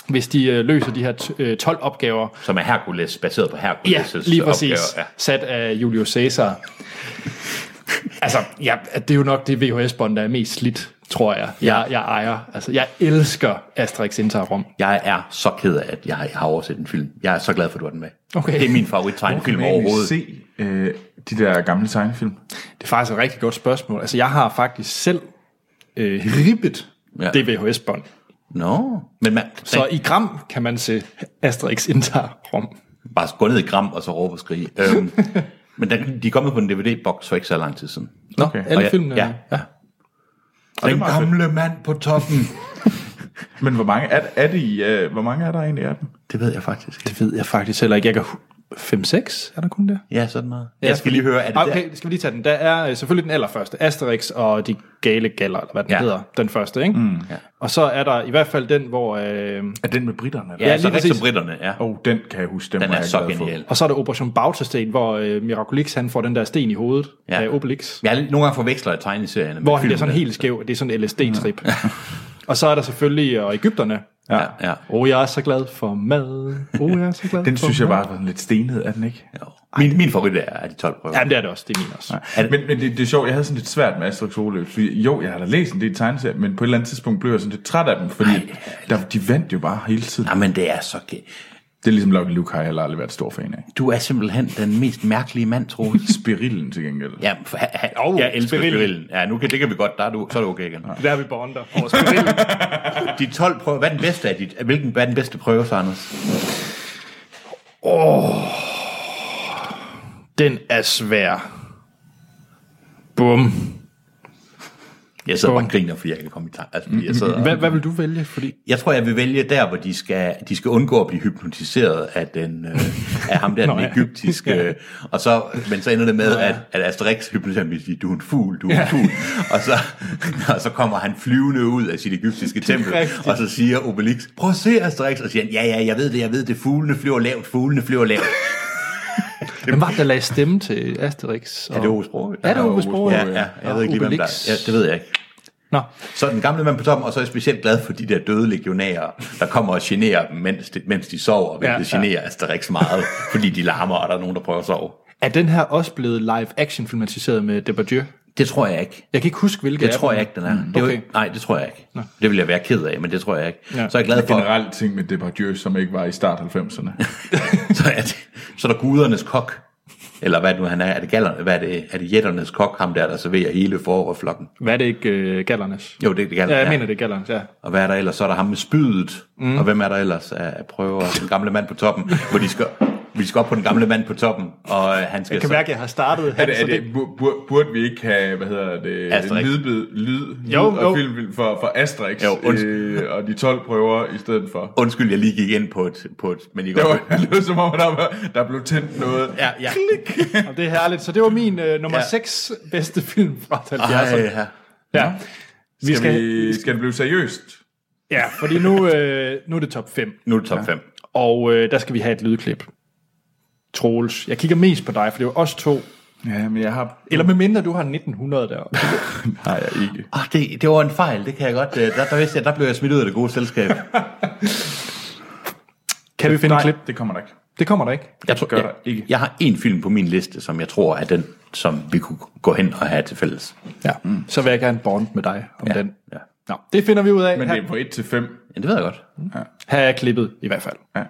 A: hvis de øh, løser de her t- øh, 12 opgaver.
B: Som er Hercules, baseret på
A: Ja,
B: Hercules'
A: lige præcis.
B: Opgave.
A: Opgaver, ja. Sat af Julius Caesar. altså, ja, det er jo nok det VHS-bånd, der er mest slidt, tror jeg,
B: Ja.
A: jeg, jeg ejer. Altså, jeg elsker Asterix Inter Rom.
B: Jeg er så ked af, at jeg har overset en film. Jeg er så glad for, at du har den med.
A: Okay.
B: Det er min favorit tegnefilm overhovedet.
C: se øh, de der gamle tegnefilm?
A: Det er faktisk et rigtig godt spørgsmål. Altså, jeg har faktisk selv øh, ribbet
B: Ja.
A: ja. det VHS-bånd.
B: Nå, no. men man,
A: Så
B: så
A: i gram kan man se Asterix Inter Rom.
B: bare gå ned i gram og så råbe og skrige. øhm, men den, de er kommet på en DVD-boks for ikke så lang tid siden.
A: Nå,
C: Okay.
A: okay. alle
B: Og jeg-
A: filmene.
B: ja.
A: ja.
B: Og den gamle mand på toppen.
C: Men hvor mange er, er det i, øh, hvor mange er der egentlig af dem?
B: det ved jeg faktisk.
A: Det ved jeg faktisk heller ikke. Jeg kan 5-6, er der kun der?
B: Ja, sådan noget. Jeg skal lige høre, er det
A: Ah, okay,
B: der?
A: Okay, skal vi lige tage den. Der er øh, selvfølgelig den allerførste, Asterix og de gale galler, eller hvad den
B: Ja.
A: ja. hedder, den første, ikke? Mm. Ja. Og så er der i hvert fald den, hvor... Øh,
C: Er den med britterne?
A: Ja,
B: Ja, så
A: lige
B: Altså, rigtig
A: præcis.
B: britterne, ja.
C: Oh, den kan jeg huske. Den,
B: Den
C: var
B: er
C: jeg
B: så
C: glad for.
B: genial.
A: og så er der Operation Bautersten, hvor øh, Miraculix han får den der sten i hovedet
B: Ja.
A: ja. af Obelix.
B: Jeg er lidt- nogle gange forveksler jeg tegneserierne med
A: Hvor han bliver sådan
B: filmene.
A: helt skæv. Det er sådan en LSD-trip. og så er der selvfølgelig og Ægypterne.
B: Ja, ja.
A: Åh, oh, jeg er så glad for mad. Åh, oh, jeg er så glad
C: Den
A: for
C: synes jeg
A: mad.
C: bare var sådan lidt stenet, er den ikke?
B: Jo. Min, min favorit er, er de 12 prøver.
A: Jamen, det er det også. Det er min også.
C: Er det? Men, men det, det er sjovt, jeg havde sådan lidt svært med Asterix og Obelix, fordi jo, jeg har da læst en del tegneserier, men på et eller andet tidspunkt blev jeg sådan lidt træt af dem, fordi der, de vandt jo bare hele tiden.
B: Ja, men det er så gæ...
C: Det er ligesom Lucky Luke har jeg heller aldrig været stor fan af.
B: Du er simpelthen den mest mærkelige mand, Troels.
C: Spirillen til gengæld.
B: Ja, for, ha, ha, oh, jeg elsker spirillen.
A: spirillen.
B: Ja, nu kan, det kan vi godt. Der er du, så er du okay igen.
A: Det er der, vi bonder. Over spirillen.
B: De 12 prøver, hvad er den bedste af dit, hvilken, hvad er den bedste prøve, så, Anders?
A: den er svær. Bum.
B: Jeg sidder bare og griner, fordi jeg kan komme i tanke. Altså, fordi jeg, sidder,
A: Hvad, hvad vil du vælge? Fordi
B: jeg tror, jeg vil vælge der, hvor de skal, de skal undgå at blive hypnotiseret af, den, øh, af ham der,
A: Nå,
B: den
A: ja.
B: egyptiske.
A: Ja.
B: Øh, og så, men så ender det med, at, at Asterix hypnotiserer ham, og siger, du er en fugl, du er en fugl. Og så, og så kommer han flyvende ud af sit egyptiske tempel,
A: rigtigt.
B: og så siger Obelix, prøv at se Asterix, og siger han, ja, ja, jeg ved det, jeg ved det, fuglene flyver lavt, fuglene flyver lavt.
A: hvem var det, der lagde stemme til Asterix? Og...
B: Er det Ove Sprogøe?
A: Er det Ove Sprogøe?
B: Ja, ja, jeg ved ikke lige, hvem der er. Ja, det ved jeg ikke.
A: Nå,
B: Så er den gamle mand på toppen, og så er jeg specielt glad for de der døde legionærer, der kommer og generer dem, mens de, mens de sover,
A: Ja,
B: hvilket
A: ja.
B: ja, generer ja. Asterix meget, fordi de larmer, og der er nogen, der prøver at sove.
A: er den her også blevet live-action filmatiseret med Depardieu?
B: Det tror jeg ikke.
A: Jeg kan ikke huske, hvilket
B: Det
A: af
B: tror
A: dem.
B: jeg ikke, den er. Det er jo
A: Mm, okay.
B: ikke- Nej, det tror jeg ikke. Det vil jeg være ked af, men det tror jeg ikke.
A: Ja.
B: Så er jeg glad for,
C: Generelt ting med Depardieu, som ikke var i start 90'erne.
B: så er, det, så er der gudernes kok. Eller hvad nu han er. Er det, gallerne, hvad er det, er det jætternes kok, ham der, der serverer hele foroverflokken?
A: Hvad er det ikke, uh, Gallernes?
B: Jo, det er det
A: Ja,
B: gallerne.
A: jeg mener, det er Gallernes, ja.
B: Og hvad er der ellers? Så er der ham med spydet. Mm. Og hvem er der ellers af af prøver? Den gamle mand på toppen, hvor de skal, vi skal op på den gamle mand på toppen, og øh, han skal
A: Jeg kan
B: så-
A: mærke, at jeg har startet
C: Er
A: her,
C: det,
A: så
C: er det, bu- bu- burde vi ikke have, hvad hedder det, øh,
B: Asterix.
C: lydbid, lyd, lyd
A: Jo, jo.
C: og film for, for Asterix
B: Jo, undskyld.
C: øh, og de 12 prøver i stedet for?
B: Undskyld, jeg lige gik ind på et... På et men I
C: Det
B: godt...
C: var det lød som om, der, var, der blev tændt noget.
B: Ja, ja.
A: Og det er herligt. Så det var min uh, nummer
B: Ja.
A: 6 bedste film fra 70'erne.
B: Ej, ja.
A: Ja. Vi
C: Skal,
A: skal,
C: vi, skal det blive seriøst?
A: Ja, fordi nu, øh, nu er det top 5,
B: Nu er det top 5.
A: og øh, der skal vi have et lydklip. Troels, jeg kigger mest på dig, for det er jo os to.
C: Ja, men jeg har...
A: Eller medmindre du har 1900 deroppe.
C: Nej, jeg ikke.
B: Ah, det, det var en fejl, det kan jeg godt... øh, Der, der vidste jeg, der blev jeg smidt ud af det gode selskab.
A: Kan vi finde et klip?
C: Det kommer der ikke.
A: Det kommer der ikke.
B: Jeg, tror,
C: Gør
B: jeg,
C: der ikke.
B: jeg har en film på min liste, som jeg tror er den, som vi kunne gå hen og have til fælles.
A: Ja. Mm. Så vil jeg gerne bond med dig om ja.
B: Ja.
A: den.
B: ja.
A: Nå, det finder vi ud af.
C: Men
A: her,
C: det er på 1 til 5.
B: Ja, det ved jeg godt.
A: her er klippet i hvert fald.
C: Ja.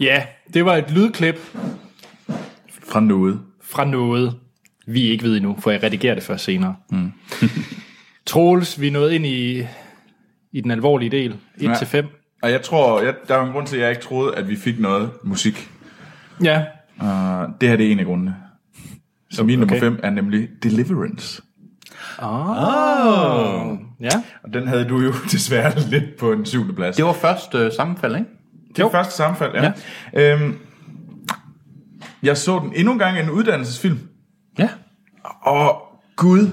A: Ja, det var et lydklip
C: Fra noget.
A: fra noget, vi ikke ved endnu, for jeg redigerer det først senere. Mm. Troels, vi er nået ind i, i den alvorlige del. 1-5. Ja.
C: Og jeg tror, jeg, der er jo en grund til, at jeg ikke troede, at vi fik noget musik.
A: ja.
C: Og det her det er en af grundene. Så min
A: Okay.
C: nummer 5 er nemlig Deliverance.
A: ja.
C: Og den havde du jo desværre lidt på en syvende plads.
B: Det var først øh, sammenfald, ikke?
C: Det er første sammenfald, ja. ja. Øhm, jeg så den endnu en gang en uddannelsesfilm,
B: Ja.
C: og gud,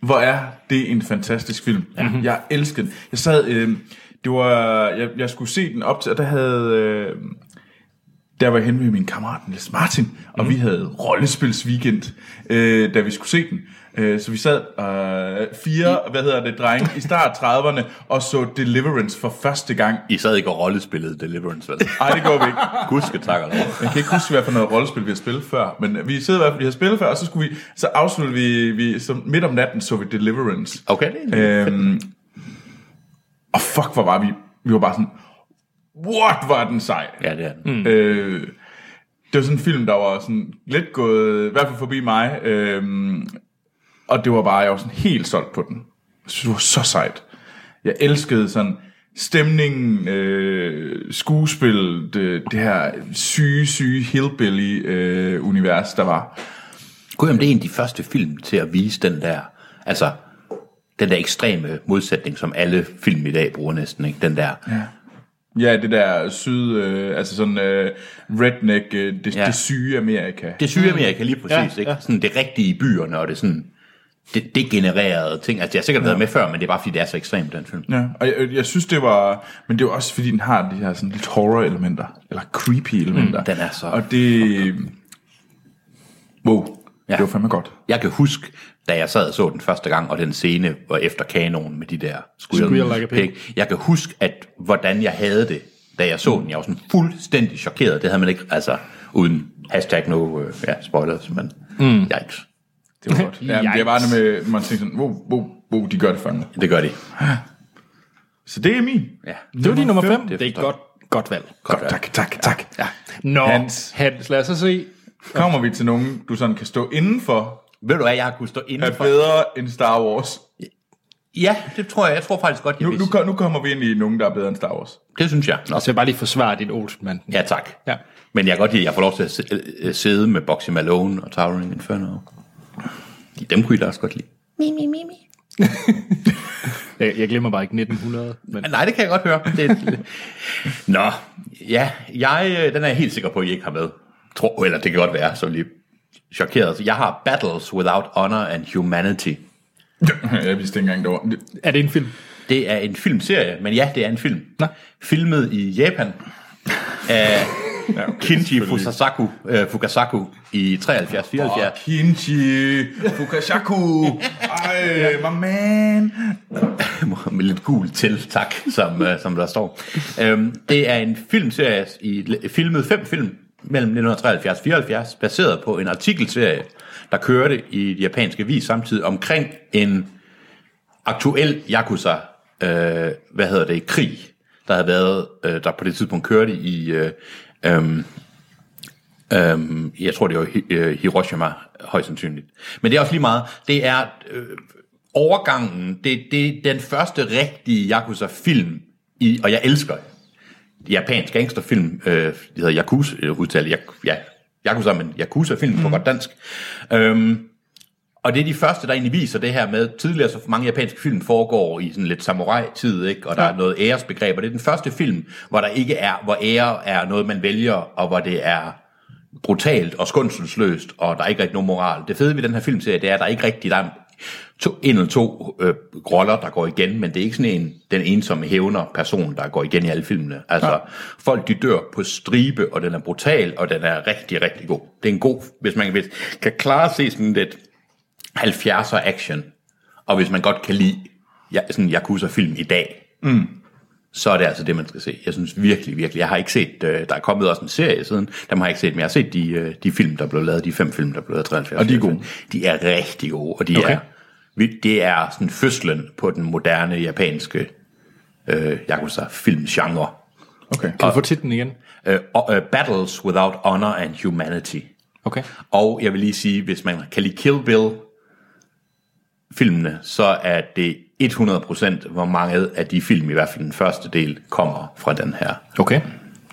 C: hvor er det en fantastisk film. Ja. Mhm. Jeg elskede den. Jeg sad, øhm, det var, jeg, jeg skulle se den op til, og der havde, øh, der var jeg henne med min kammerat Niels Martin, og vi havde rollespilsweekend, øh, da vi skulle se den. Øh, så vi sad øh, fire, hvad hedder det, drenge i start 30'erne, og så Deliverance for første gang.
B: I sad ikke og rollespillede Deliverance, vel?
C: Ej, det går vi ikke.
B: Gudske tak og lov.
C: Jeg kan ikke huske, hvad for noget rollespil vi har spillet før, men vi sidder i hvert fald, vi har spillet før, og så, skulle vi, så afsluttede vi, vi så midt om natten så vi Deliverance.
B: Okay, det er
C: Øhm, og fuck, hvor var vi, vi var bare sådan, what var den sej.
B: Ja, det er den. Mm.
C: Øh, det var sådan en film, der var sådan lidt gået, i hvert fald forbi mig, øhm, og det var bare, jeg var sådan helt solgt på den. Jeg synes, det var så sejt. Jeg elskede sådan stemningen, øh, skuespil, det, det her syge, syge hillbilly-univers, der var.
B: Gud, jamen, det er en af de første film til at vise den der, altså, den der ekstreme modsætning, som alle film i dag bruger næsten, ikke? Den der, ja.
C: Ja, det der syd, øh, altså sådan øh, redneck, øh, det, ja.
B: Ja.
C: det syge Amerika.
B: det er Sydamerika lige præcis, Mm. ja, ikke? Ja. Sådan det rigtige i byerne, og det er sådan, det, det genererede ting. Altså, det har sikkert været med før, men det er bare, fordi det er så ekstremt, den film.
C: Ja, og jeg, jeg synes, det var... Men det var også, fordi den har de her sådan lidt horror-elementer, eller creepy-elementer. Mm,
B: den er så-
C: Og det... Wow, ja.
B: Ja.
C: det var fandme godt.
B: Jeg kan huske, da jeg sad og så den første gang, og den scene var efter kanonen med de der squeal,
A: Squeal like a pig.
B: Jeg kan huske, at hvordan jeg havde det, da jeg så den. Jeg var sådan fuldstændig chokeret. Det havde man ikke, altså, uden hashtag no, øh, ja, spoilers, men mm. yikes.
C: Det var godt. Ja, men det var det med, man tænkte sådan, wow, wow, wow, de gør det fandme.
B: Det gør de.
C: Så det er min.
B: Ja.
A: Det var din nummer 5.
B: Det er
A: Det er et
B: for
A: godt Godt valg.
C: Godt, tak, tak, tak. Ja.
A: Nå,
C: Hans.
A: Hans. Hans, lad os så se.
C: Kommer vi til nogen, du sådan kan stå indenfor,
B: Ved du hvad, jeg har kunnet stå
C: er
B: indenfor?
C: bedre end Star Wars?
B: Ja, det tror jeg. Jeg tror faktisk godt, jeg
C: Nu,
B: vidste.
C: nu, kom- nu kommer vi ind i nogen, der er bedre end Star Wars.
B: Det synes jeg. Nå.
A: Så jeg bare lige forsvare din Olsenmand.
B: Ja, tak.
A: Ja.
B: Men jeg kan godt lide, at jeg får lov til at si- øh, øh, sidde med Boxy Malone og Towering Inferno. Dem kunne I da også godt lide.
A: Jeg, jeg glemmer bare ikke 1900. Men,
B: Men Ah, Nej, det kan jeg godt høre. Det er... Nå, ja, jeg, øh, den er jeg helt sikker på, at I ikke har med. Tror, eller det kan godt være, så er vi lige chokeret. Altså, Jeg har Battles Without Honor and Humanity.
C: Jeg vidste ikke engang, der var... det-
A: er det en film?
B: Det er en filmserie, men ja, det er en film.
A: Nå.
B: Filmet i Japan af Kinji Fusasaku, øh, Fukasaku i 73-74.
C: Kinchi, Fukashaku, ej, my man.
B: med lidt gul til, tak, som, øh, som der står. Øhm, det er en filmserie, i, filmet fem film mellem 1973 og 74, baseret på en artikelserie, der kørte i de japanske vis samtidig omkring en aktuel Yakuza, øh, hvad hedder det, krig, der havde været, øh, der på det tidspunkt kørte i, øh, øhm, øhm, jeg tror det var Hi- øh, Hiroshima, højst sandsynligt. Men det er også lige meget, det er øh, overgangen, det, det er den første rigtige Yakuza-film, i, og jeg elsker japansk gangsterfilm, øh, det hedder Yakuza, øh, udtale, jak, ja, Yakuza, men Yakuza-film på godt dansk. Øhm, og det er de første, der egentlig viser det her med, tidligere så mange japanske film foregår i sådan lidt samurai-tid, ikke? og der er noget æresbegreb, og det er den første film, hvor der ikke er, hvor ære er noget, man vælger, og hvor det er brutalt og skundselsløst, og der er ikke rigtig nogen moral. Det fede ved den her filmserie, det er, at der er ikke rigtig der er to, en eller to øh, roller, der går igen, men det er ikke sådan en, den ensomme hævner person, der går igen i alle filmene. Altså, ja. folk de dør på stribe, og den er brutal, og den er rigtig, rigtig god. Det er en god, hvis man hvis, kan klare at se sådan lidt 70'er action, og hvis man godt kan lide ja, sådan en Yakuza-film i dag, mm. så er det altså det, man skal se. Jeg synes virkelig, virkelig. Jeg har ikke set, øh, der er kommet også en serie siden, dem har jeg ikke set, men jeg har set de, øh, de film, der blev lavet, de fem film, der blev lavet i 73.
C: Og de er gode?
B: De er rigtig gode, og de okay.
A: Okay.
B: er, vi- det er sådan fødslen på den moderne japanske øh, Yakuza-filmgenre.
C: Okay.
A: Kan du få titlen igen?
B: Øh, og, øh, Battles Without Honor and Humanity.
A: Okay.
B: Og jeg vil lige sige, hvis man kan lide Kill Bill filmene, så er det 100% hvor mange af de film, i hvert fald den første del, kommer fra den her.
A: Okay.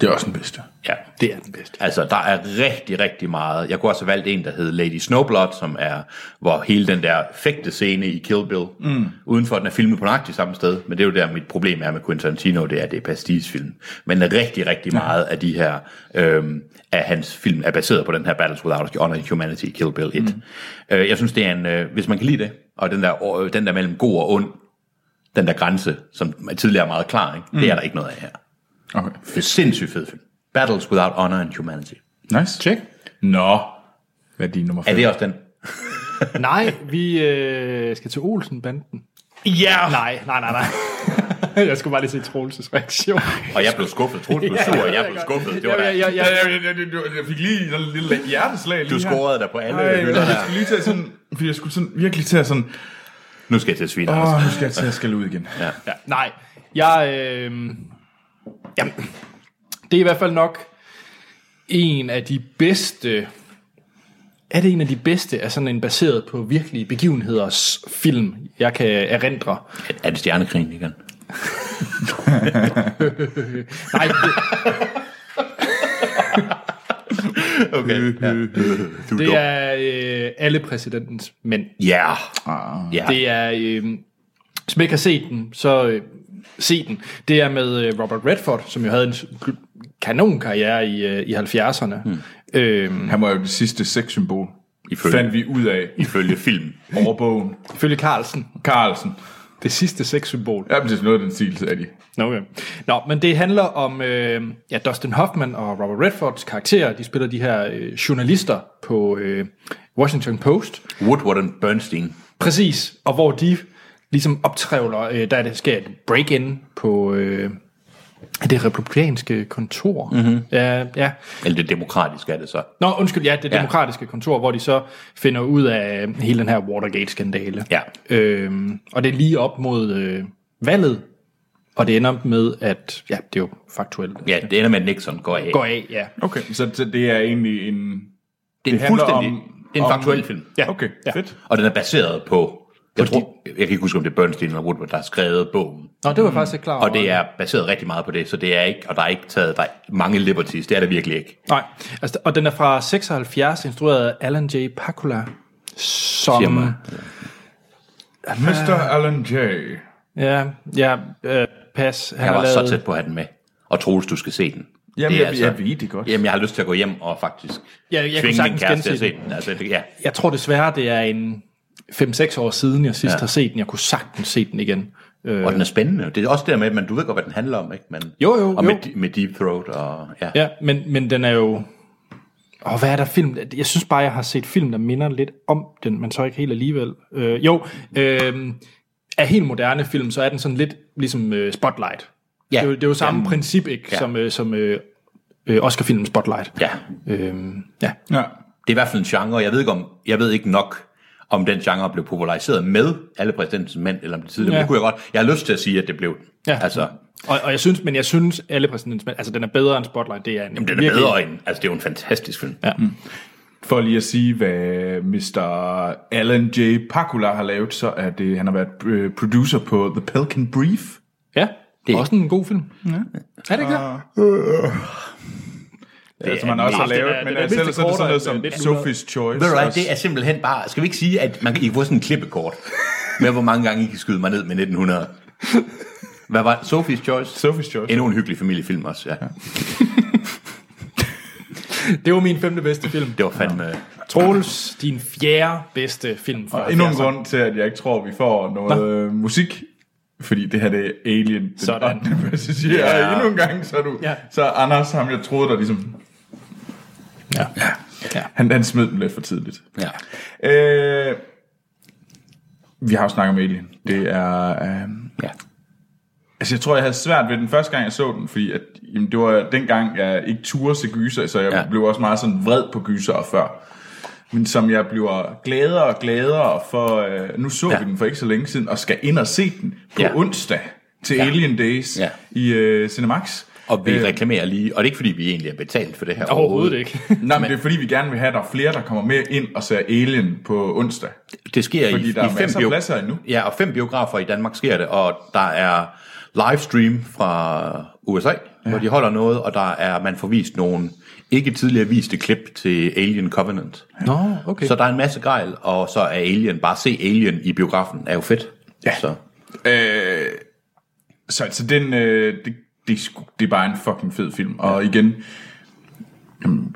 C: Det er også den bedste.
B: Ja.
A: Det er den bedste.
B: Altså, der er rigtig, rigtig meget. Jeg kunne også have valgt en, der hed Lady Snowblood, som er, hvor hele den der fægtescene i Kill Bill, mm. udenfor den er filmet på nøjagtigt samme sted, men det er jo der, mit problem er med Quentin Tarantino, det er, at det er pastigesfilm. Men rigtig, rigtig meget af de her, øhm, af hans film, er baseret på den her Battles Without Honor and Humanity i Kill Bill 1. Mm. Øh, jeg synes, det er en, øh, hvis man kan lide det, og den der, øh, den der mellem god og ond, den der grænse, som er tidligere meget klar, ikke? Mm. det er der ikke noget af her.
C: Okay.
B: Sindssygt fed film. Battles Without Honor and Humanity.
C: Nice. Check. Nå. Hvad er din nummer 5?
B: Er det også den?
A: Nej, vi øh, skal til Olsenbanden.
B: Ja! Yeah.
A: Nej, nej, nej, nej. jeg skulle bare lige se Troelses reaktion.
B: Og jeg blev skuffet. Troels blev sur, og jeg blev skuffet. Det var
A: jeg,
B: da,
A: jeg, jeg,
C: Jeg, jeg, jeg, jeg, jeg fik lige en lille hjerteslag lige
B: du
C: her.
B: scorede der på alle
C: Ej,
B: hylder
C: jeg
B: der.
C: skulle lige til at sådan, fordi jeg skulle sådan, virkelig til at sådan,
B: Nu skal jeg til at svine.
C: åh,
B: Oh.
C: nu skal jeg til at skælde ud igen. Ja.
B: Øh.
A: ja, nej, jeg... Øh, jamen, det er i hvert fald nok en af de bedste... Er det en af de bedste af sådan en baseret på virkelige begivenheders film, jeg kan erindre?
B: Er det stjernekrigen igen?
A: Nej, det,
B: Okay. Ja. Du
A: det er øh, alle præsidentens mænd.
B: Ja. Ja.
A: Det er, øh, hvis man ikke har set den, så øh, se den. Det er med øh, Robert Redford, som jo havde en s- kanonkarriere i, øh, i 70'erne. Mm. Øh,
C: Han var jo det sidste sexsymbol.
B: Ifølge-
C: Fandt vi ud af
B: Ifølge film.
C: over bogen.
A: ifølge Carlsen,
C: Carlsen.
A: det sidste sexsymbol.
C: Ja, men det er noget af den stil, er de.
A: Nå, Okay. Nå, men det handler om øh, ja, Dustin Hoffman og Robert Redfords karakterer. De spiller de her øh, journalister på øh, Washington Post.
B: Woodward and Bernstein.
A: Præcis, og hvor de ligesom optrævler, øh, der er det sker et break-in på øh, det republikanske kontor.
B: Mhm.
A: Mm-hmm. Ja, ja.
B: Eller det demokratiske er det så.
A: Nå, undskyld, ja, det
B: Ja.
A: demokratiske kontor, hvor de så finder ud af øh, hele den her Watergate-skandale.
B: Ja.
A: Øhm, og det er lige op mod øh, valget, Og det ender med, at... Ja, det er jo faktuelt.
B: Ja, det ender med, at Nixon går af.
A: Går af, ja.
C: Okay, så så det er egentlig en...
B: det er en
C: handler
B: fuldstændig...
C: om-
B: det er en
C: om-
B: faktuel film.
A: Ja.
C: Okay,
A: Ja.
C: fedt.
B: Og den er baseret på... Jeg, tror, jeg kan ikke huske, om det er Bernstein eller Woodward, der har skrevet bogen.
A: Nå, det var jeg faktisk ikke klar over.
B: Mm. Og det er baseret rigtig meget på det, så det er ikke, og der er ikke taget der er mange liberties, det er der virkelig ikke.
A: Nej, altså, og den er fra 76, instrueret af Alan J. Pakula,
B: Siger
A: som...
B: mig.
C: Mr. Alan J.
A: Ja, ja, øh, pas. Han
B: Jeg
A: har
B: var så
A: lavet-
B: tæt på at have den med. Og Troels, du skal se den.
C: Jamen,
B: Det er
C: jeg, jeg ved det godt.
B: Jamen, jeg har lyst til at gå hjem og faktisk
A: Ja, jeg kunne
B: tvinge min
A: sagtens
B: kæreste til at
A: gense
B: se den. Altså, det- ja.
A: Jeg tror desværre, det er en 5-6 år siden, jeg sidst
B: Ja.
A: ja. har set den. Jeg kunne sagtens se den igen. Øh,
B: Og den er spændende. Det er også det der med, at man, du ved godt, hvad den handler om, ikke? Men,
A: Jo, jo,
B: og
A: jo.
B: Med, med Deep Throat og... Ja.
A: ja, men, men den er jo... Og hvad er der film? Jeg synes bare, jeg har set film, der minder lidt om den, men så ikke helt alligevel. Øh, jo, øh, af helt moderne film, så er den sådan lidt ligesom øh, Spotlight.
B: Ja.
A: Det, er jo, det er jo samme princip, ikke?
B: Ja.
A: Ja. Som, øh, som øh, øh, Oscar-filmen Spotlight.
B: ja.
A: Øh, ja.
C: Ja.
B: Det er i hvert fald en genre, og jeg ved ikke, om, jeg ved ikke nok om den genre blev populariseret med alle præsidentens mænd, eller om det tidligere, ja.
A: Ja.
B: men det kunne jeg godt. Jeg har lyst til at sige, at det blev den.
A: Ja.
B: Altså,
A: Og, og jeg synes, men jeg synes, alle præsidentens mænd, altså den er bedre end Spotlight, det er en
B: jamen, den er
A: virkelig-
B: bedre end... Altså, det er jo en fantastisk film.
A: Ja.
C: For lige at sige, hvad Mr. Alan J. Pakula har lavet, så er det, han har været øh, producer på The Pelican Brief.
A: Ja, det er også en god film. Ja. Er det ikke
C: Ah.
A: det?
C: Det som han også har
A: den er-
C: lavet,
A: den
C: men
A: er
C: altså, ellers er det sådan noget
A: mindst
C: som
A: kortere end, øh, 1900.
C: Sophie's Choice.
B: Ved du hvad,
C: også.
B: det er simpelthen bare... Skal vi ikke sige, at man kan, I kan få sådan en klippekort med, hvor mange gange I kan skyde mig ned med 1900? Hvad var det? Sophie's Choice?
C: Sophie's Choice.
B: Endnu en hyggelig familiefilm også, ja.
A: Det var min femte bedste film.
B: Det var fandme...
A: Troels, din fjerde bedste film fra
C: Og endnu en
B: altså-
A: 70'erne.
C: grund til, at jeg ikke tror, vi får noget øh, musik. Fordi det her, det er Alien. Den
A: Sådan.
C: ottende passager. Ja.
B: Ja.
C: Endnu en gang, så er du... Ja.
A: Ja.
C: Så er Anders, ham jeg troede, der ligesom...
A: Ja.
C: ja. Han, han smed den lidt for tidligt.
B: Ja.
C: Øh, vi har jo snakket om Alien. Det er... Øh,
B: ja.
C: altså, jeg tror, jeg havde svært ved den første gang, jeg så den, fordi at, jamen, det var dengang, jeg ikke turde se gyser, så jeg
B: Ja.
C: ja. blev også meget sådan vred på gyser før. Men som jeg bliver gladere og gladere for... Øh, nu så
B: Ja.
C: ja. vi den for ikke så længe siden, og skal ind og se den på
B: Ja.
C: ja. onsdag til ja. Alien Days
B: Ja.
C: ja. i øh, Cinemax.
B: Og vi reklamerer lige... Og det er ikke, fordi vi egentlig er betalt for det her
A: Overhovedet ikke.
C: Nej, men det er fordi, vi gerne vil have, at der er flere, der kommer med ind og ser Alien på onsdag.
B: Det sker
C: Fordi
B: i,
C: der er
B: i fem
C: masser af pladser endnu.
B: Ja, og fem biografer i Danmark sker det, og der er livestream fra USA, ja. hvor de holder noget, og der er man får vist nogle ikke tidligere viste klip til Alien Covenant.
A: Nå, okay.
B: Så der er en masse gejl, og så er Alien, bare se Alien i biografen, er jo fedt. Ja. Så,
C: Øh, så altså, den, øh, det, det, er sgu- det er bare en fucking fed film. Og igen, jamen,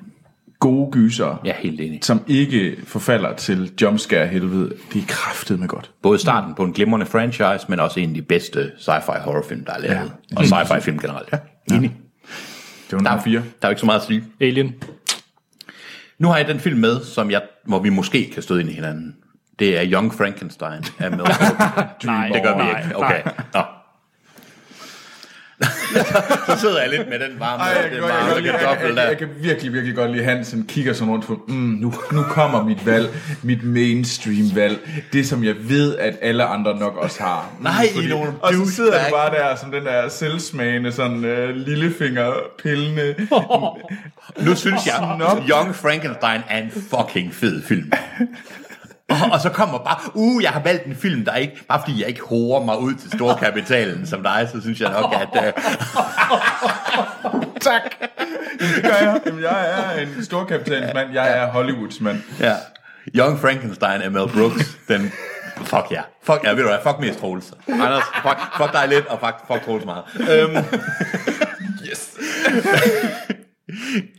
C: gode gyser,
B: jeg er helt enig.
C: som ikke forfalder til jumpscare-helvede, det er kraftet med godt.
B: Både starten på en glimrende franchise, men også en af de bedste sci-fi horrorfilm, der er lavet. Ja. Og sci-fi film generelt. Ja.
C: Det var nummer
B: Der,
C: 4.
B: der er jo ikke så meget at sige.
A: Alien.
B: Nu har jeg den film med, som jeg, hvor vi måske kan støde ind i hinanden. Det er Young Frankenstein af Mel Brooks.
A: Nej,
B: det gør vi
A: nej,
B: ikke.
A: nej.
B: Okay. Nå. så sidder jeg lidt med den varme, Ej, den varme kartoffel der.
C: jeg kan virkelig, virkelig godt lide, at han sådan kigger sådan rundt på, mm, nu, nu kommer mit valg, mit mainstream-valg, det som jeg ved, at alle andre nok også har. Mm,
B: Nej, I er nogle
C: og så sidder
B: douchebag.
C: du bare der, som den der selvsmagende, sådan øh, lillefingerpillende,
B: Nu synes jeg,
C: Snop.
B: Young Frankenstein er en fucking fed film. Og, og så kommer bare, uh, jeg har valgt en film, der ikke, bare fordi jeg ikke hårer mig ud til storkapitalen som dig, så synes jeg nok, at... Uh,
C: Tak. Det gør jeg. Jamen, jeg er en storkapitalens mand. Jeg er Hollywoods mand.
B: Ja. Young Frankenstein af Mel Brooks, den... Fuck ja. Yeah. Fuck ja, ved du hvad, fuck mest Troels. Anders, fuck, fuck dig lidt, og fuck, fuck Troels meget. Øhm. yes.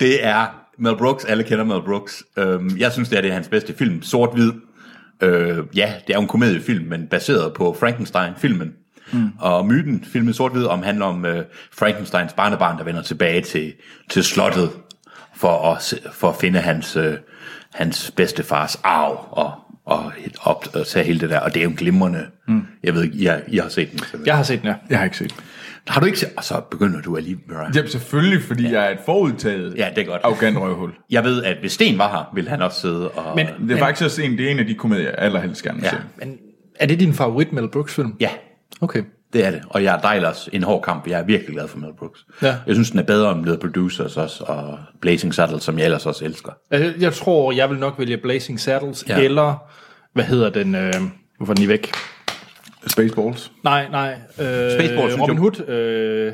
B: det er Mel Brooks, alle kender Mel Brooks. Øhm, jeg synes, det er, det er hans bedste film, sort-hvid. Øh, ja, det er jo en komediefilm, men baseret på Frankenstein-filmen. Mm. Og myten, filmen sort-hvid, om, handler om øh, Frankensteins barnebarn, der vender tilbage til, til slottet for at, se- for at finde hans, øh, hans bedstefars arv og, og, op, og tage hele det der. Og det er jo en glimrende. Mm. Jeg ved ikke, I har, I har set den. Ja.
A: Jeg har set den, ja.
C: Jeg har ikke set.
B: Har du ikke set? Og så begynder du alligevel. Mariah.
C: Jamen selvfølgelig, fordi ja. jeg er et forudtaget
B: Ja, det er godt.
C: arrogant røvhul. Det
B: Jeg ved, at hvis Sten var her, ville han også sidde og...
A: Men,
C: er faktisk også en, det er en af de komedier, jeg allerhelst gerne vil
B: ja,
C: se.
A: men er det din favorit Mel Brooks film?
B: ja,
A: Okay.
B: Det er det. Og jeg er ellers en hård kamp. Jeg er virkelig glad for Mel Brooks.
A: Ja.
B: Jeg synes, den er bedre end The Producers også, og Blazing Saddles, som jeg ellers også elsker.
A: Altså, Jeg tror, jeg vil nok vælge Blazing Saddles,
B: Ja.
A: ja. eller, hvad hedder den, øh, hvorfor er den lige væk?
C: Spaceballs.
A: Nej, nej. Øh,
B: Spaceballs, synes
A: Robin
B: jeg.
A: Hood. Øh,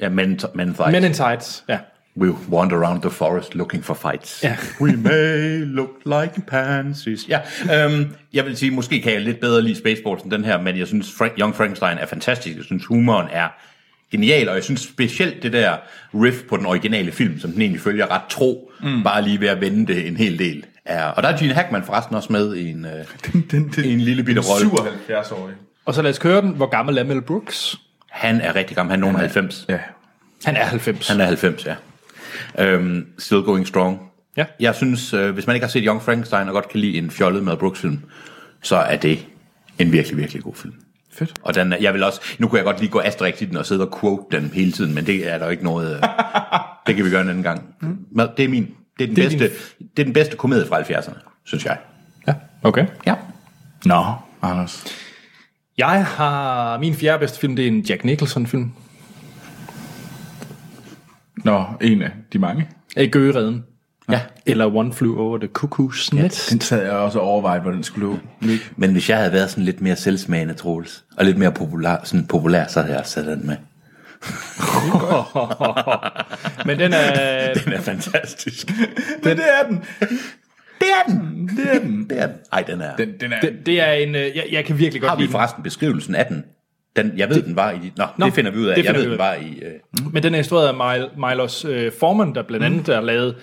B: Ja, Men, men
A: Men in Tights. Ja.
B: We wander around the forest looking for fights.
A: Ja.
B: We may look like pansies. Ja, øhm, jeg vil sige, måske kan jeg lidt bedre lide Spaceballs end den her, men jeg synes, Frank, Young Frankenstein er fantastisk. Jeg synes, humoren er genial, og jeg synes specielt det der riff på den originale film, som den egentlig følger ret tro, mm. bare lige ved at vende det en hel del. Er, og der er Gene Hackman forresten også med i en, øh,
C: Den, den,
B: i en lille bitte rolle.
C: 77-årig.
A: Og så lad os køre den. Hvor gammel er Mel Brooks?
B: Han er rigtig gammel, han er nogen 90.
C: Ja.
A: Han er 90.
B: Han er 90, ja. Øhm, still going strong.
A: Ja.
B: Jeg synes, øh, hvis man ikke har set Young Frankenstein og godt kan lide en fjollet med Brooks film, så er det en virkelig, virkelig god film.
C: Fedt.
B: Og den, er- jeg vil også, nu kunne jeg godt lige gå asterix i den og sidde og quote den hele tiden, men det er der jo ikke noget, øh, det kan vi gøre en anden gang. Men det er min, det er den, det
A: er
B: bedste, det er den bedste komedie fra 70'erne, synes jeg.
A: Ja, okay.
B: Ja.
C: Nå, Anders.
A: Jeg har... Min fjerde bedste film, det er en Jack Nicholson-film.
C: Nå, en af de mange.
A: Ikke Gøgereden.
B: ja.
A: Eller One Flew Over the Cuckoo's Nest.
C: Den sad jeg også og overvejede, hvor den skulle ligge.
B: Men hvis jeg havde været sådan lidt mere selvsmagende, Troels, og lidt mere populær, sådan populær så havde jeg også sat den med.
A: Men den er...
B: Den er fantastisk.
C: Men det er den.
B: Det er den.
C: Det er den.
B: Det er den. Ej, den er. Den,
C: Den, den er...
A: Det, det er en... øh, Jeg, jeg kan virkelig godt
B: har vi
A: lide den.
B: forresten beskrivelsen af den? den jeg ved, det, den var i... Nå, Nå,
A: Nå,
B: det finder vi ud af.
A: det
B: Jeg
A: finder
B: ved,
A: vi
B: den
A: ud
B: var i... Øh,
A: Men den er instrueret af Mil- Milos øh, Forman, der
B: Mm.
A: blandt andet har lavet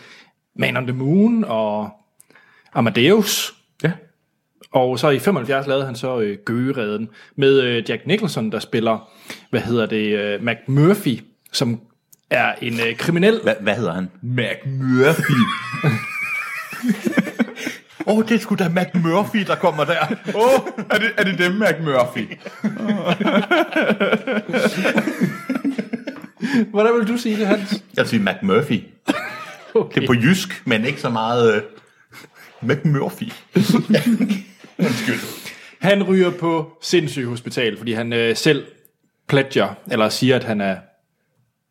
A: Man on the Moon og Amadeus.
C: Ja.
A: Og så i 75 lavede han så øh, Gøgereden med øh, Jack Nicholson, der spiller, hvad hedder det, øh, McMurphy, som er en øh, kriminel.
B: hvad, hvad hedder han?
C: McMurphy.
B: Åh, oh, det er sgu da McMurphy, der kommer der.
C: Åh, oh, er, det, er det dem, McMurphy?
A: Hvordan vil du sige det, Hans?
B: Jeg siger McMurphy.
A: Okay.
B: Det er på jysk, men ikke så meget... Øh, McMurphy.
A: Han ryger på sindssyg hospital, fordi han øh, selv pledger, eller siger, at han er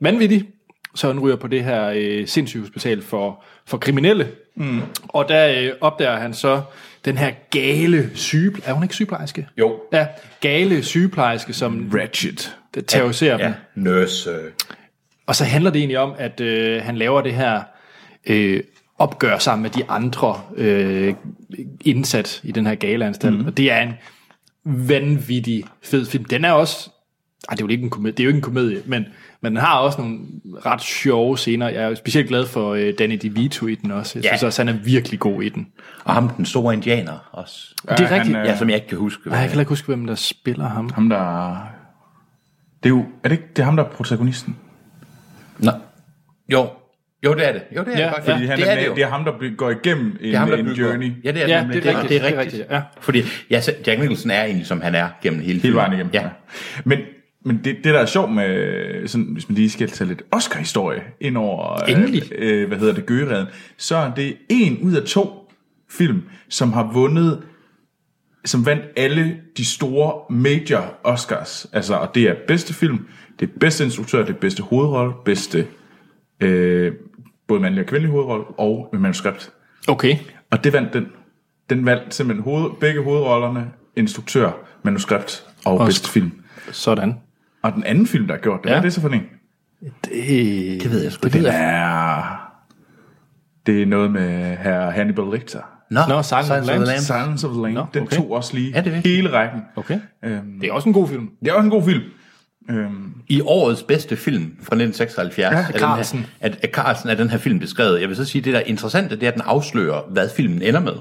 A: vanvittig. Så han ryger på det her øh, sindssyge hospital for, for kriminelle. Mm. Og der øh, opdager han så den her gale syge... Er hun ikke sygeplejerske?
B: Jo.
A: Ja, gale sygeplejerske, som
C: Ratchet.
A: det terroriserer ja.
B: Ja,
A: dem.
B: nurse. Øh.
A: Og så handler det egentlig om, at øh, han laver det her øh, opgør sammen med de andre øh, indsat i den her galeanstalt. Mm. Og det er en vanvittig fed film. Den er også... Ej, det er jo ikke en komedie, det er jo ikke en komedie men, men den har også nogle ret sjove scener. Jeg er jo specielt glad for øh, Danny DeVito i den også. Jeg
B: Ja.
A: synes også, han er virkelig god i den.
B: Og ham, den store indianer også.
A: Ja, det er
C: han,
A: rigtigt.
C: øh,
A: Han,
B: Ja, som jeg ikke kan huske.
A: øh... Jeg kan heller ikke huske, hvem der spiller ham.
C: Ham, der... Det er jo... Er det ikke det er ham, der er protagonisten?
B: Nå. Jo. Jo, det er det. Jo, det er
A: Ja,
B: det faktisk.
A: fordi
C: Fordi han
B: det
C: er
B: er det
C: med,
B: jo.
C: det er ham, der be- går igennem en,
B: Det er ham, der
C: en
B: bygger.
C: journey.
B: Ja, det er,
A: Ja,
B: nemlig.
A: det er rigtigt,
B: ret-
A: det er rigtigt, ja.
B: Fordi ja, så Jack Nicholson er egentlig, som han er gennem hele,
C: Hele
B: filmen.
C: vejen igennem.
B: Ja.
C: Men, men det, det, der er sjovt med, sådan, hvis man lige skal tage lidt Oscar-historie ind over, øh,
A: Endelig.
C: Øh, hvad hedder det, Gøreden, så er det en ud af to film, som har vundet som vandt alle de store major Oscars. Altså, og det er bedste film, det er bedste instruktør, det er bedste hovedrolle, bedste øh, både mandlig og kvindelig hovedrolle og manuskript.
A: Okay.
C: Og det vandt den. Den vandt simpelthen hoved, begge hovedrollerne, instruktør, manuskript og, og bedste film.
A: Sådan.
C: Og den anden film, der har gjort det, ja.
A: Ja.
C: hvad er det så for en?
A: Det, det ved jeg sgu det ved jeg.
C: Ja, det er noget med her Hannibal Lecter.
B: Nå,
A: Nå, Silence of the Lambs.
B: Lambs.
C: Silence of the Lambs.
A: Nå,
C: Den
A: okay.
C: tog også lige
B: Mm. Ja, det er rigtigt.
C: hele rækken.
A: Okay.
C: Øhm,
A: Det er også en god film.
C: det er også en god film. Øhm,
B: I årets bedste film fra 1976
C: Ja,
B: er den
A: Carlsen.
B: Her, at, at Carlsen er den her film beskrevet. Jeg vil så sige, det der er interessant, det er, at den afslører, hvad filmen ender med.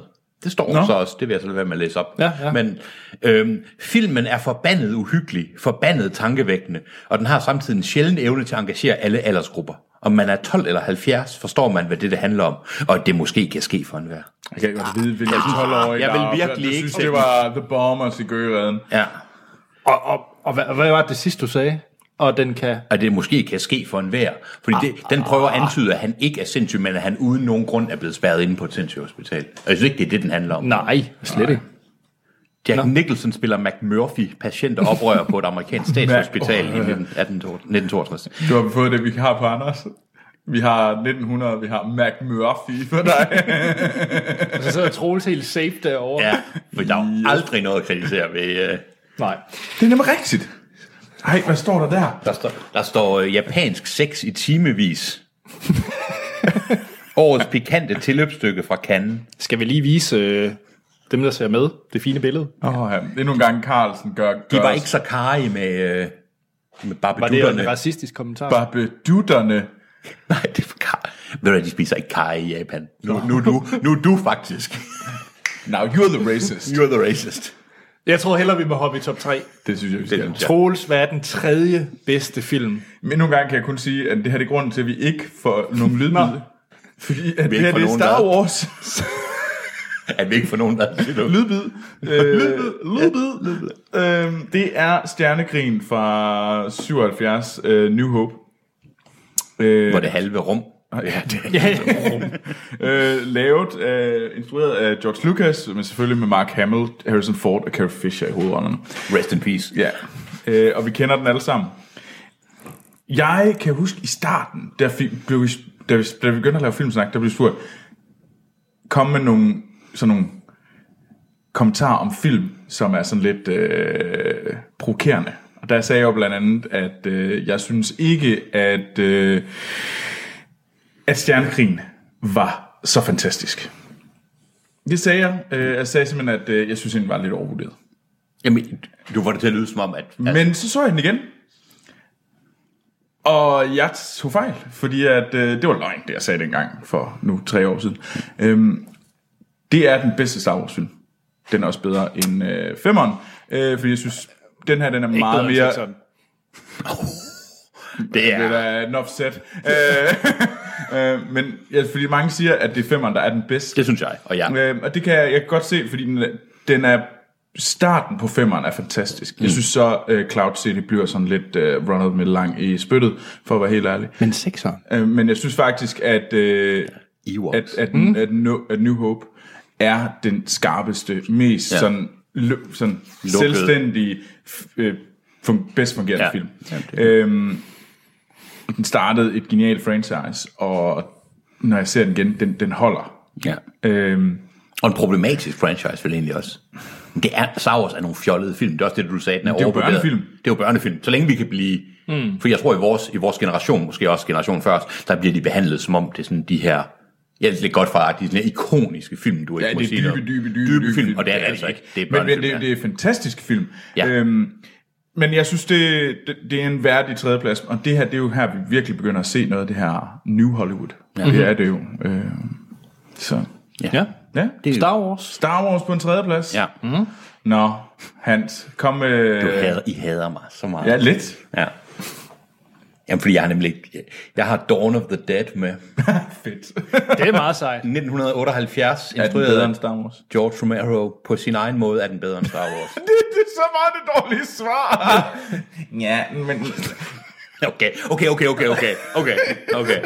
B: Det står
C: Nå.
B: Nå. så også, det vil jeg så lade være med at læse op.
A: Ja, ja.
B: Men øhm, filmen er forbandet uhyggelig, forbandet tankevækkende, og den har samtidig en sjælden evne til at engagere alle aldersgrupper. Om man er 12 eller 70, forstår man, hvad det, det handler om, og at det måske kan ske for enhver.
C: jeg kan godt vide, hvilken 12-årig
B: Ah, jeg vil
C: der-
B: virkelig
C: der
B: ikke
C: synes,
B: sætte-
C: det var The Bombers i Gøreden.
B: Ja,
A: Og, og, og hvad, hvad var det sidste, du sagde? Og den kan...
B: at det måske kan ske for enhver. Fordi det, den prøver at antyde, at han ikke er sindssyg, men at han uden nogen grund er blevet spærret inde på et sindssygt hospital. Og jeg synes ikke, det er det, den handler om.
A: Nej, slet ikke.
B: Jack Nicholson spiller McMurphy, patient og oprører på et amerikansk statshospital i 19- 1962.
C: Du har fået det, vi har på Anders. Vi har 1900, vi har Mac Murphy for dig.
A: Altså, Så sidder Troels helt safe derovre.
B: Ja, for der er jo aldrig noget at kritisere ved... øh,
A: Nej.
C: det er nemlig rigtigt. Ej, hvad står der der?
B: Der står, der står øh, japansk sex i timevis. Årets pikante tilløbsstykke fra Cannes.
A: Skal vi lige vise øh, dem, der ser med, det fine billede?
C: Åh, oh, ja. Endnu en gang Carlsen gør, gør
B: De var
C: os
B: ikke så karige med, øh, med
A: Var det en
B: barbedutterne.
A: racistisk kommentar?
C: barbedutterne.
B: Nej, det er for kar. Ved du, hvad, de spiser ikke karry i Japan. Nu, nu, nu, nu er du faktisk.
C: Now you're the racist.
B: You're the racist.
A: Jeg tror hellere, vi må hoppe i top 3.
C: Det synes jeg, vi skal.
B: Ja.
A: Troels, hvad er den tredje bedste film?
C: Men nogle gange kan jeg kun sige, at det her det er grunden til, at vi ikke får nogen lydbid. Fordi at det her
B: får
C: det er
B: nogen,
C: Star
B: der-
C: Wars.
B: At vi ikke får nogen, der er til det.
C: lydbid. Øh, lydbid. lydbid. Øhm, det er Stjernekrigen fra 77, øh, New Hope. Øh,
B: Hvor det halve rum.
C: Ja, det er øh, lavet, øh, instrueret af George Lucas, men selvfølgelig med Mark Hamill, Harrison Ford og Carrie Fisher i hovedrollerne.
B: Rest in peace.
C: Ja, øh, og vi kender den alle sammen. Jeg kan huske i starten, da vi, blev vi, da vi, da vi begyndte at lave filmsnak, der blev vi spurgt, kom med nogle, sådan nogle kommentarer om film, som er sådan lidt øh, provokerende. Og der sagde jeg jo blandt andet, at øh, jeg synes ikke, at, øh, at Stjernekrigen var så fantastisk. Det sagde jeg. Øh, jeg sagde simpelthen, at øh, jeg synes, at den var lidt overvurderet.
B: Jamen, du var det til at lyde som om, at... at
C: Men så så jeg den igen. Og jeg tog fejl, fordi at, øh, det var løgn, det jeg sagde dengang for nu tre år siden. Øhm, det er den bedste Star Wars film. Den er også bedre end øh, femmeren, øh, fordi jeg synes, den her den er meget mere...
B: det
C: Det er
B: er...
C: da en offset. øh, øh, men ja, fordi mange siger, at det er femmeren, der er den bedste.
B: Det synes jeg, og jeg.
C: Øh, og det kan jeg, jeg kan godt se, fordi den, er- den er starten på femmeren er fantastisk.
B: Mm.
C: Jeg synes så, øh, Cloud City bliver sådan lidt øh, Ronald med lang i spyttet, for at være helt ærlig.
B: Men sekseren.
C: Øh, men jeg synes faktisk, at, øh,
B: Ewoks.
C: at, at, mm. at, no, at New Hope er den skarpeste, mest ja.
B: Ja.
C: sådan, lø, sådan selvstændige, f- øh, fun, bedst fungerende
B: Ja.
C: film.
B: Jamen, det-
C: Øhm, den startede et genialt franchise, og når jeg ser den igen, den, den holder.
B: Ja.
C: Øhm,
B: Og en problematisk franchise, vel egentlig også. Men Det er, Star Wars er nogle fjollede film. Det er også det, du sagde, den er
C: det er jo
B: overvurderet.
C: børnefilm.
B: Det er jo børnefilm. Så længe vi kan blive... Mm. For jeg tror, i vores, i vores generation, måske også generation før os, der bliver de behandlet som om det er sådan de her... Ja, det er lidt godt fra de sådan her ikoniske film, du ikke
C: Ja,
B: må
C: det er
B: sige
C: dybe,
B: noget.
C: dybe, dybe,
B: dybe, film, og det er det altså ikke. Det er
C: men, men
B: børnefilm,
C: det,
B: ja.
C: det er fantastisk film.
B: Ja.
C: Øhm, men jeg synes, det, det, det er en værdig tredjeplads, og det her, det er jo her, vi virkelig begynder at se noget af det her New Hollywood. Ja.
B: Mhm.
C: Det er det jo. Øh, så,
A: Ja.
C: ja.
B: Det-
A: Star Wars.
C: Star Wars på en tredjeplads.
B: Ja. Mm.
C: Nå, Hans, kom med...
B: Du hader, I hader mig så meget.
C: Ja, lidt.
B: ja. Jamen, fordi jeg har nemlig ikke... Jeg har Dawn of the Dead med.
C: Fedt.
A: Det er meget sejt.
B: 1978,
C: Er den bedre
B: instrueret
C: end
B: af
C: Star Wars?
B: George Romero. På sin egen måde er den bedre end Star Wars.
C: Det, det er så meget det dårlige svar. ja, men...
B: Okay, okay, okay, okay, okay, okay, okay.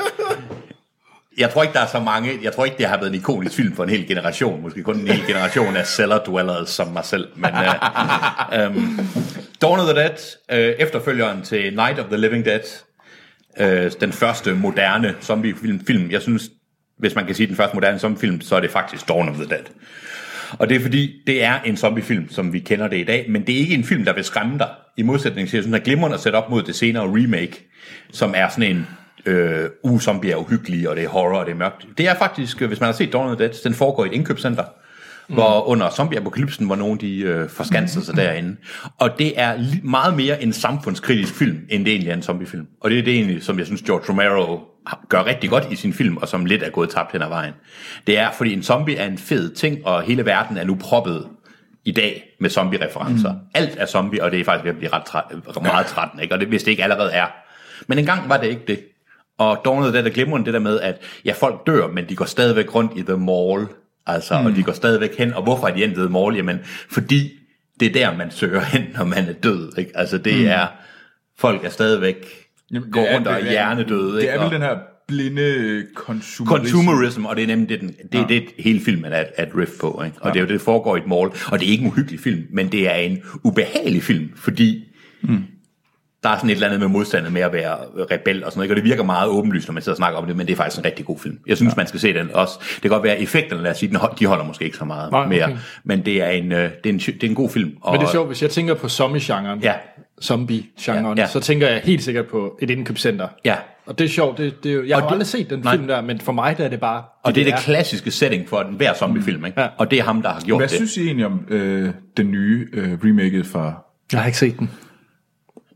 B: Jeg tror ikke, der er så mange, jeg tror ikke, det har været en ikonisk film for en hel generation, måske kun en hel generation af cellar dwellers som mig selv, men uh, um, Dawn of the Dead, uh, efterfølgeren til Night of the Living Dead, uh, den første moderne zombiefilm, film. jeg synes, hvis man kan sige den første moderne zombiefilm, så er det faktisk Dawn of the Dead. Og det er fordi, det er en zombiefilm, som vi kender det i dag, men det er ikke en film, der vil skræmme dig. I modsætning til, jeg synes, den er glimrende at sætte op mod det senere remake, som er sådan en øh, uh, zombier er uhyggelig, og det er horror, og det er mørkt. Det er faktisk, øh, hvis man har set Dawn of the Dead, den foregår i et indkøbscenter, mm. hvor under zombieapokalypsen, hvor nogen de øh, forskanser sig derinde. Og det er li- meget mere en samfundskritisk film, end det egentlig er en zombiefilm. Og det er det egentlig, som jeg synes, George Romero har- gør rigtig godt i sin film, og som lidt er gået tabt hen ad vejen. Det er, fordi en zombie er en fed ting, og hele verden er nu proppet i dag med zombie-referencer. Mm. Alt er zombie, og det er faktisk ved at blive ret træ- meget trættende, ikke? Og det, hvis det ikke allerede er. Men engang var det ikke det. Og Dawn of the Dead er glimrende det der med, at ja, folk dør, men de går stadigvæk rundt i The Mall, altså, mm. og de går stadigvæk hen. Og hvorfor er de endt i The Mall? Jamen, fordi det er der, man søger hen, når man er død, ikke? Altså, det mm. er, folk er stadigvæk, Jamen, går rundt og er hjernedøde,
C: Det
B: ikke?
C: er vel
B: Og-
C: den her blinde konsumerisme.
B: Consumerism, og det er nemlig det, den, det, er det hele filmen er et riff på. Ikke? Og ja. det er jo det, der foregår i et mall. Og det er ikke en uhyggelig film, men det er en ubehagelig film, fordi mm. der er sådan et eller andet med modstandet med at være rebel og sådan noget. Ikke? Og det virker meget åbenlyst, når man sidder og snakker om det, men det er faktisk en rigtig god film. Jeg synes, ja. man skal se den også. Det kan godt være, at effekterne, lad os sige, den hold- de holder måske ikke så meget
A: Nej,
B: Nej,
A: okay.
B: mere. Men det er en, øh, det er en, det er en god film. Og,
A: Men det er sjovt, hvis jeg tænker på zombie-genren,
B: Ja.
A: zombie-genren,
B: Ja,
A: ja,
B: ja.
A: ja. så tænker jeg helt sikkert på et indkøbscenter.
B: Ja.
A: Og det er sjovt, det, det, er jo- jeg
B: Og
A: har
B: det-
A: aldrig set den
B: nej.
A: film der, men for mig der er det bare...
B: Og det er det klassiske setting for den hver zombiefilm, ikke?
A: Ja.
B: Og det er ham, der har gjort
C: Hvad
B: det.
C: synes I egentlig om øh, den nye øh, remaket fra...
A: Jeg har ikke set den.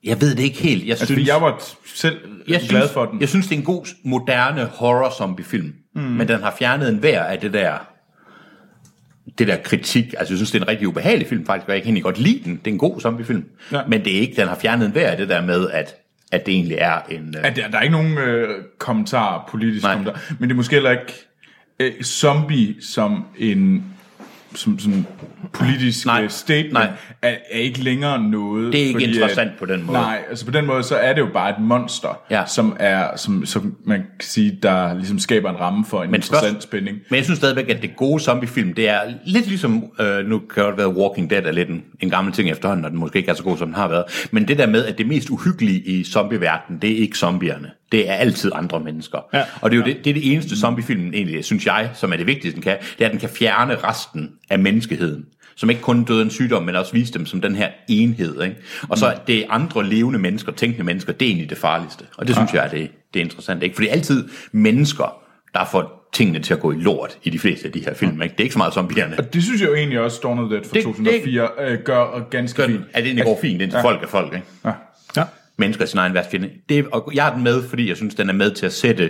B: Jeg ved det ikke helt. Jeg
C: Altså,
B: synes,
C: fordi jeg var selv jeg glad for den.
B: Jeg synes, det er en god, moderne horror-zombie-film. Mm. Men den har fjernet en hver af det der det der kritik, altså jeg synes, det er en rigtig ubehagelig film faktisk, og jeg kan egentlig godt lide den. Det er en god zombiefilm.
C: Ja.
B: Ja. Men det er ikke, den har fjernet en hver af det der med, at, at det egentlig er en... øh,
C: Ja, der, der er ikke nogen øh, kommentar, politisk
B: Nej.
C: kommentar, men det er måske heller ikke øh, zombie som en som sådan politisk
B: Nej.
C: nej, statement
B: Nej.
C: nej. Er, er ikke længere noget.
B: Det er ikke
C: fordi
B: interessant på den måde.
C: Nej, altså på den måde, så er det jo bare et monster,
B: Ja.
C: som er, som, som man kan sige, der ligesom skaber en ramme for en men
B: spørg-
C: interessant spænding.
B: Men jeg synes stadigvæk, at det gode zombiefilm, det er lidt ligesom, øh, nu kan det godt være Walking Dead er lidt en, en gammel ting efterhånden, og den måske ikke er så god, som den har været. Men det der med, at det mest uhyggelige i zombieverdenen, det er ikke zombierne. Det er altid andre mennesker. Ja. Og det er jo det, det, er det eneste zombiefilmen egentlig, synes jeg, som er det vigtigste, den kan, det er, at den kan fjerne resten af menneskeheden som ikke kun døde af en sygdom, men også viste dem som den her enhed. Ikke? Og så det andre levende mennesker, tænkende mennesker, det er egentlig det farligste. Og det synes jeg, det, det er interessant. Ikke? For det er altid mennesker, der får tingene til at gå i lort i de fleste af de her film. Ikke? Det er ikke så meget zombierne.
C: Og det synes jeg jo egentlig også, Dawn of the Dead fra
B: Det-
C: 2004 øh, gør ganske
B: Gør Altså, den,
C: fint.
B: at det egentlig
A: Altså,
B: går fint, indtil ja. folk er folk. Ikke?
C: Ja.
A: Ja.
B: Mennesker er sin egen værste fjende. Det, er- og jeg har den med, fordi jeg synes, den er med til at sætte...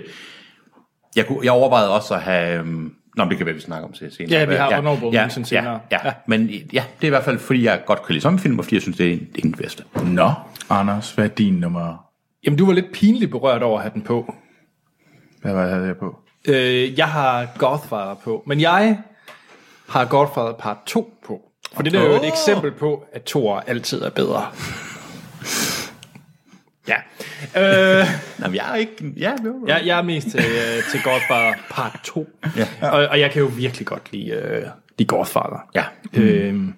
B: Jeg, kunne, jeg overvejede også at have... øhm, Nå, men det kan være, vi snakker om det senere.
A: Ja, vi har
B: ja,
A: honorable
B: ja,
A: mention
B: ja,
A: senere.
B: ja, ja,
A: Ja.
B: men ja, det er i hvert fald, fordi jeg godt kan lide zombiefilm, og fordi jeg synes, det er en- det er den bedste.
C: Nå, Anders, hvad er din nummer?
A: Jamen, du var lidt pinligt berørt over at have den på.
C: Hvad var det, jeg havde jeg på?
A: Øh, jeg har Godfather på, men jeg har Godfather part 2 på. For det der er jo et eksempel på, at toer altid er bedre. ja. Øh,
B: Nå, men jeg er ikke... Ja, jo.
A: jeg, jeg er mest til, øh, til Godfather part 2. Ja. Og, og jeg kan jo virkelig godt lide, øh, lide Godfather.
B: ja.
A: Øhm,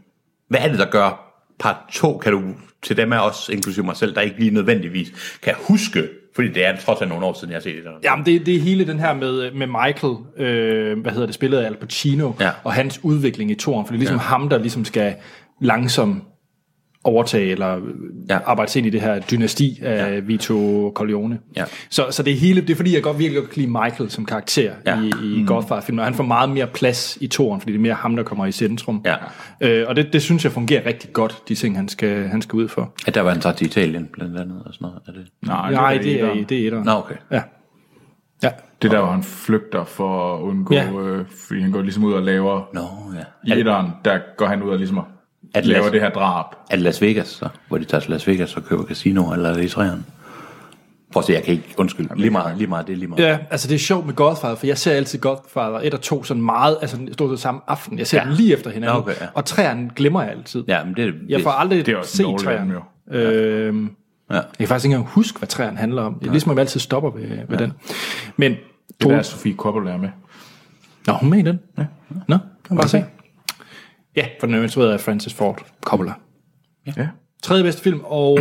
B: Hvad er det, der gør part 2, kan du til dem af os, inklusive mig selv, der ikke lige nødvendigvis kan huske, fordi det er trods alt nogle år siden, jeg har set det.
A: jamen, det, det er hele den her med, med Michael, øh, hvad hedder det, spillet af Al Pacino,
B: Ja.
A: og hans udvikling i toren, for det er ligesom ja. ham, der ligesom skal langsomt overtage eller
B: Ja.
A: ja. arbejde sig ind i det her dynasti af ja. Vito Corleone.
B: Ja.
A: Så, så det hele, det er fordi, jeg godt virkelig godt kan lide Michael som karakter
B: Ja.
A: ja. i, i mm. Godfather-filmen, og han får meget mere plads i toren, fordi det er mere ham, der kommer i centrum.
B: Ja.
A: Øh, og det, det synes jeg fungerer rigtig godt, de ting, han skal, han skal ud for.
B: At der var en tager til Italien, blandt andet, og sådan noget. Er det?
C: Nej,
A: Nej,
C: ikke
A: det er, det er etteren.
B: Nå, okay.
A: Ja. ja.
C: Det er der, hvor han flygter for at undgå,
A: Ja.
C: ja. øh, fordi han går ligesom ud og laver...
B: Nå, ja.
C: I etteren, der går han ud og ligesom og
B: At
C: laver
B: Las-
C: det her drab.
B: Er det Las Vegas, så? Hvor de tager til Las Vegas og køber casino, eller er det i træerne? Prøv at se, jeg kan ikke... Undskyld. Lige meget, lige meget, det er lige meget.
A: Ja, altså det er sjovt med Godfather, for jeg ser altid Godfather 1 og 2 sådan meget, altså stort set samme aften. Jeg ser
B: Ja.
A: ja. dem lige efter hinanden.
B: Okay, ja.
A: Og træerne glemmer jeg altid.
B: Ja, men det, det
A: Jeg får aldrig
C: det er
A: det
C: også
A: set
C: Nolan,
A: træerne.
C: jo.
A: Øhm,
B: Ja.
A: Jeg kan faktisk ikke engang huske, hvad træerne handler om. Det er ligesom, at vi altid stopper ved, ved den. Men
C: Det
A: to...
C: er der, Sofie Coppola er med.
A: Nå, hun er med i den. Ja. Nå, kan bare se. Ja, for den er instrueret af Francis Ford Coppola.
C: Ja.
A: Tredje bedste film, og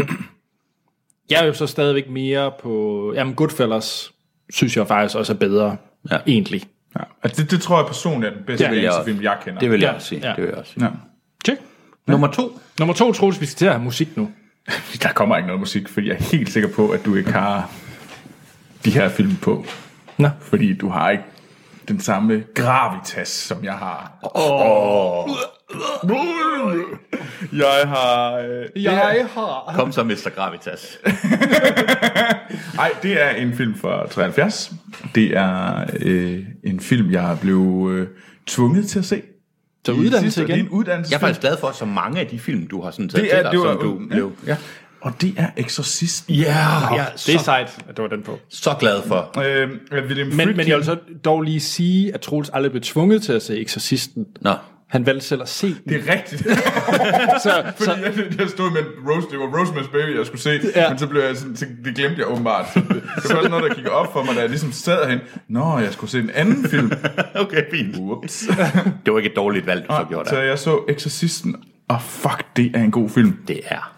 A: jeg er jo så stadigvæk mere på... Jamen, Goodfellas synes jeg faktisk også er bedre,
B: Ja.
A: ja. egentlig.
C: ja. Altså, det, det tror jeg personligt er den bedste
A: Ja.
C: ja,
B: Ja.
C: ja. film, jeg kender.
B: Det vil jeg
A: Ja,
B: også sige.
A: ja.
B: Det vil jeg også sige.
C: ja.
A: Tjek.
B: Nummer to.
A: Nummer to, Troels, vi skal til at have musik nu.
C: Der kommer ikke noget musik, for jeg er helt sikker på, at du ikke har de her film på.
A: Nå.
C: Fordi du har ikke den samme gravitas, som jeg har. Oh. Jeg har... Øh,
A: Jeg har...
B: Kom så, Mr. Gravitas.
C: Nej, det er en film fra 73. Det er øh, en film, jeg blev øh, tvunget til at se.
A: Så
C: I sidste-
A: uddannelse
C: Det er
A: igen.
C: en uddannelse.
B: Jeg er faktisk glad for, så mange af de film, du har sådan taget
C: det
B: til
C: er,
B: dig,
C: det var,
B: som du
C: ja,
B: blev
C: ja. Og det er Exorcisten.
B: Ja, jeg er
A: Det er
B: så,
A: sejt, at du var den på.
B: så glad for.
C: Øh, William
A: Men, men
C: Friedkin-
A: jeg vil så dog lige sige, at Troels aldrig blev tvunget til at se Exorcisten.
B: Nå,
A: Han valgte selv at se den.
C: Det er rigtigt.
A: så,
C: Fordi
A: så,
C: jeg, jeg stod med Rose, det var Rosemary's Baby, jeg skulle se,
A: Ja.
C: ja. men så blev jeg sådan, tænkte, det glemte jeg åbenbart. Det var også noget, der gik op for mig, da jeg ligesom sad hen. Nå, jeg skulle se en anden film.
B: Okay, fint.
C: Whoops.
B: Det var ikke et dårligt valg, du så gjorde
C: Så
B: der.
C: jeg så Exorcisten, og fuck, det er en god film.
B: Det er.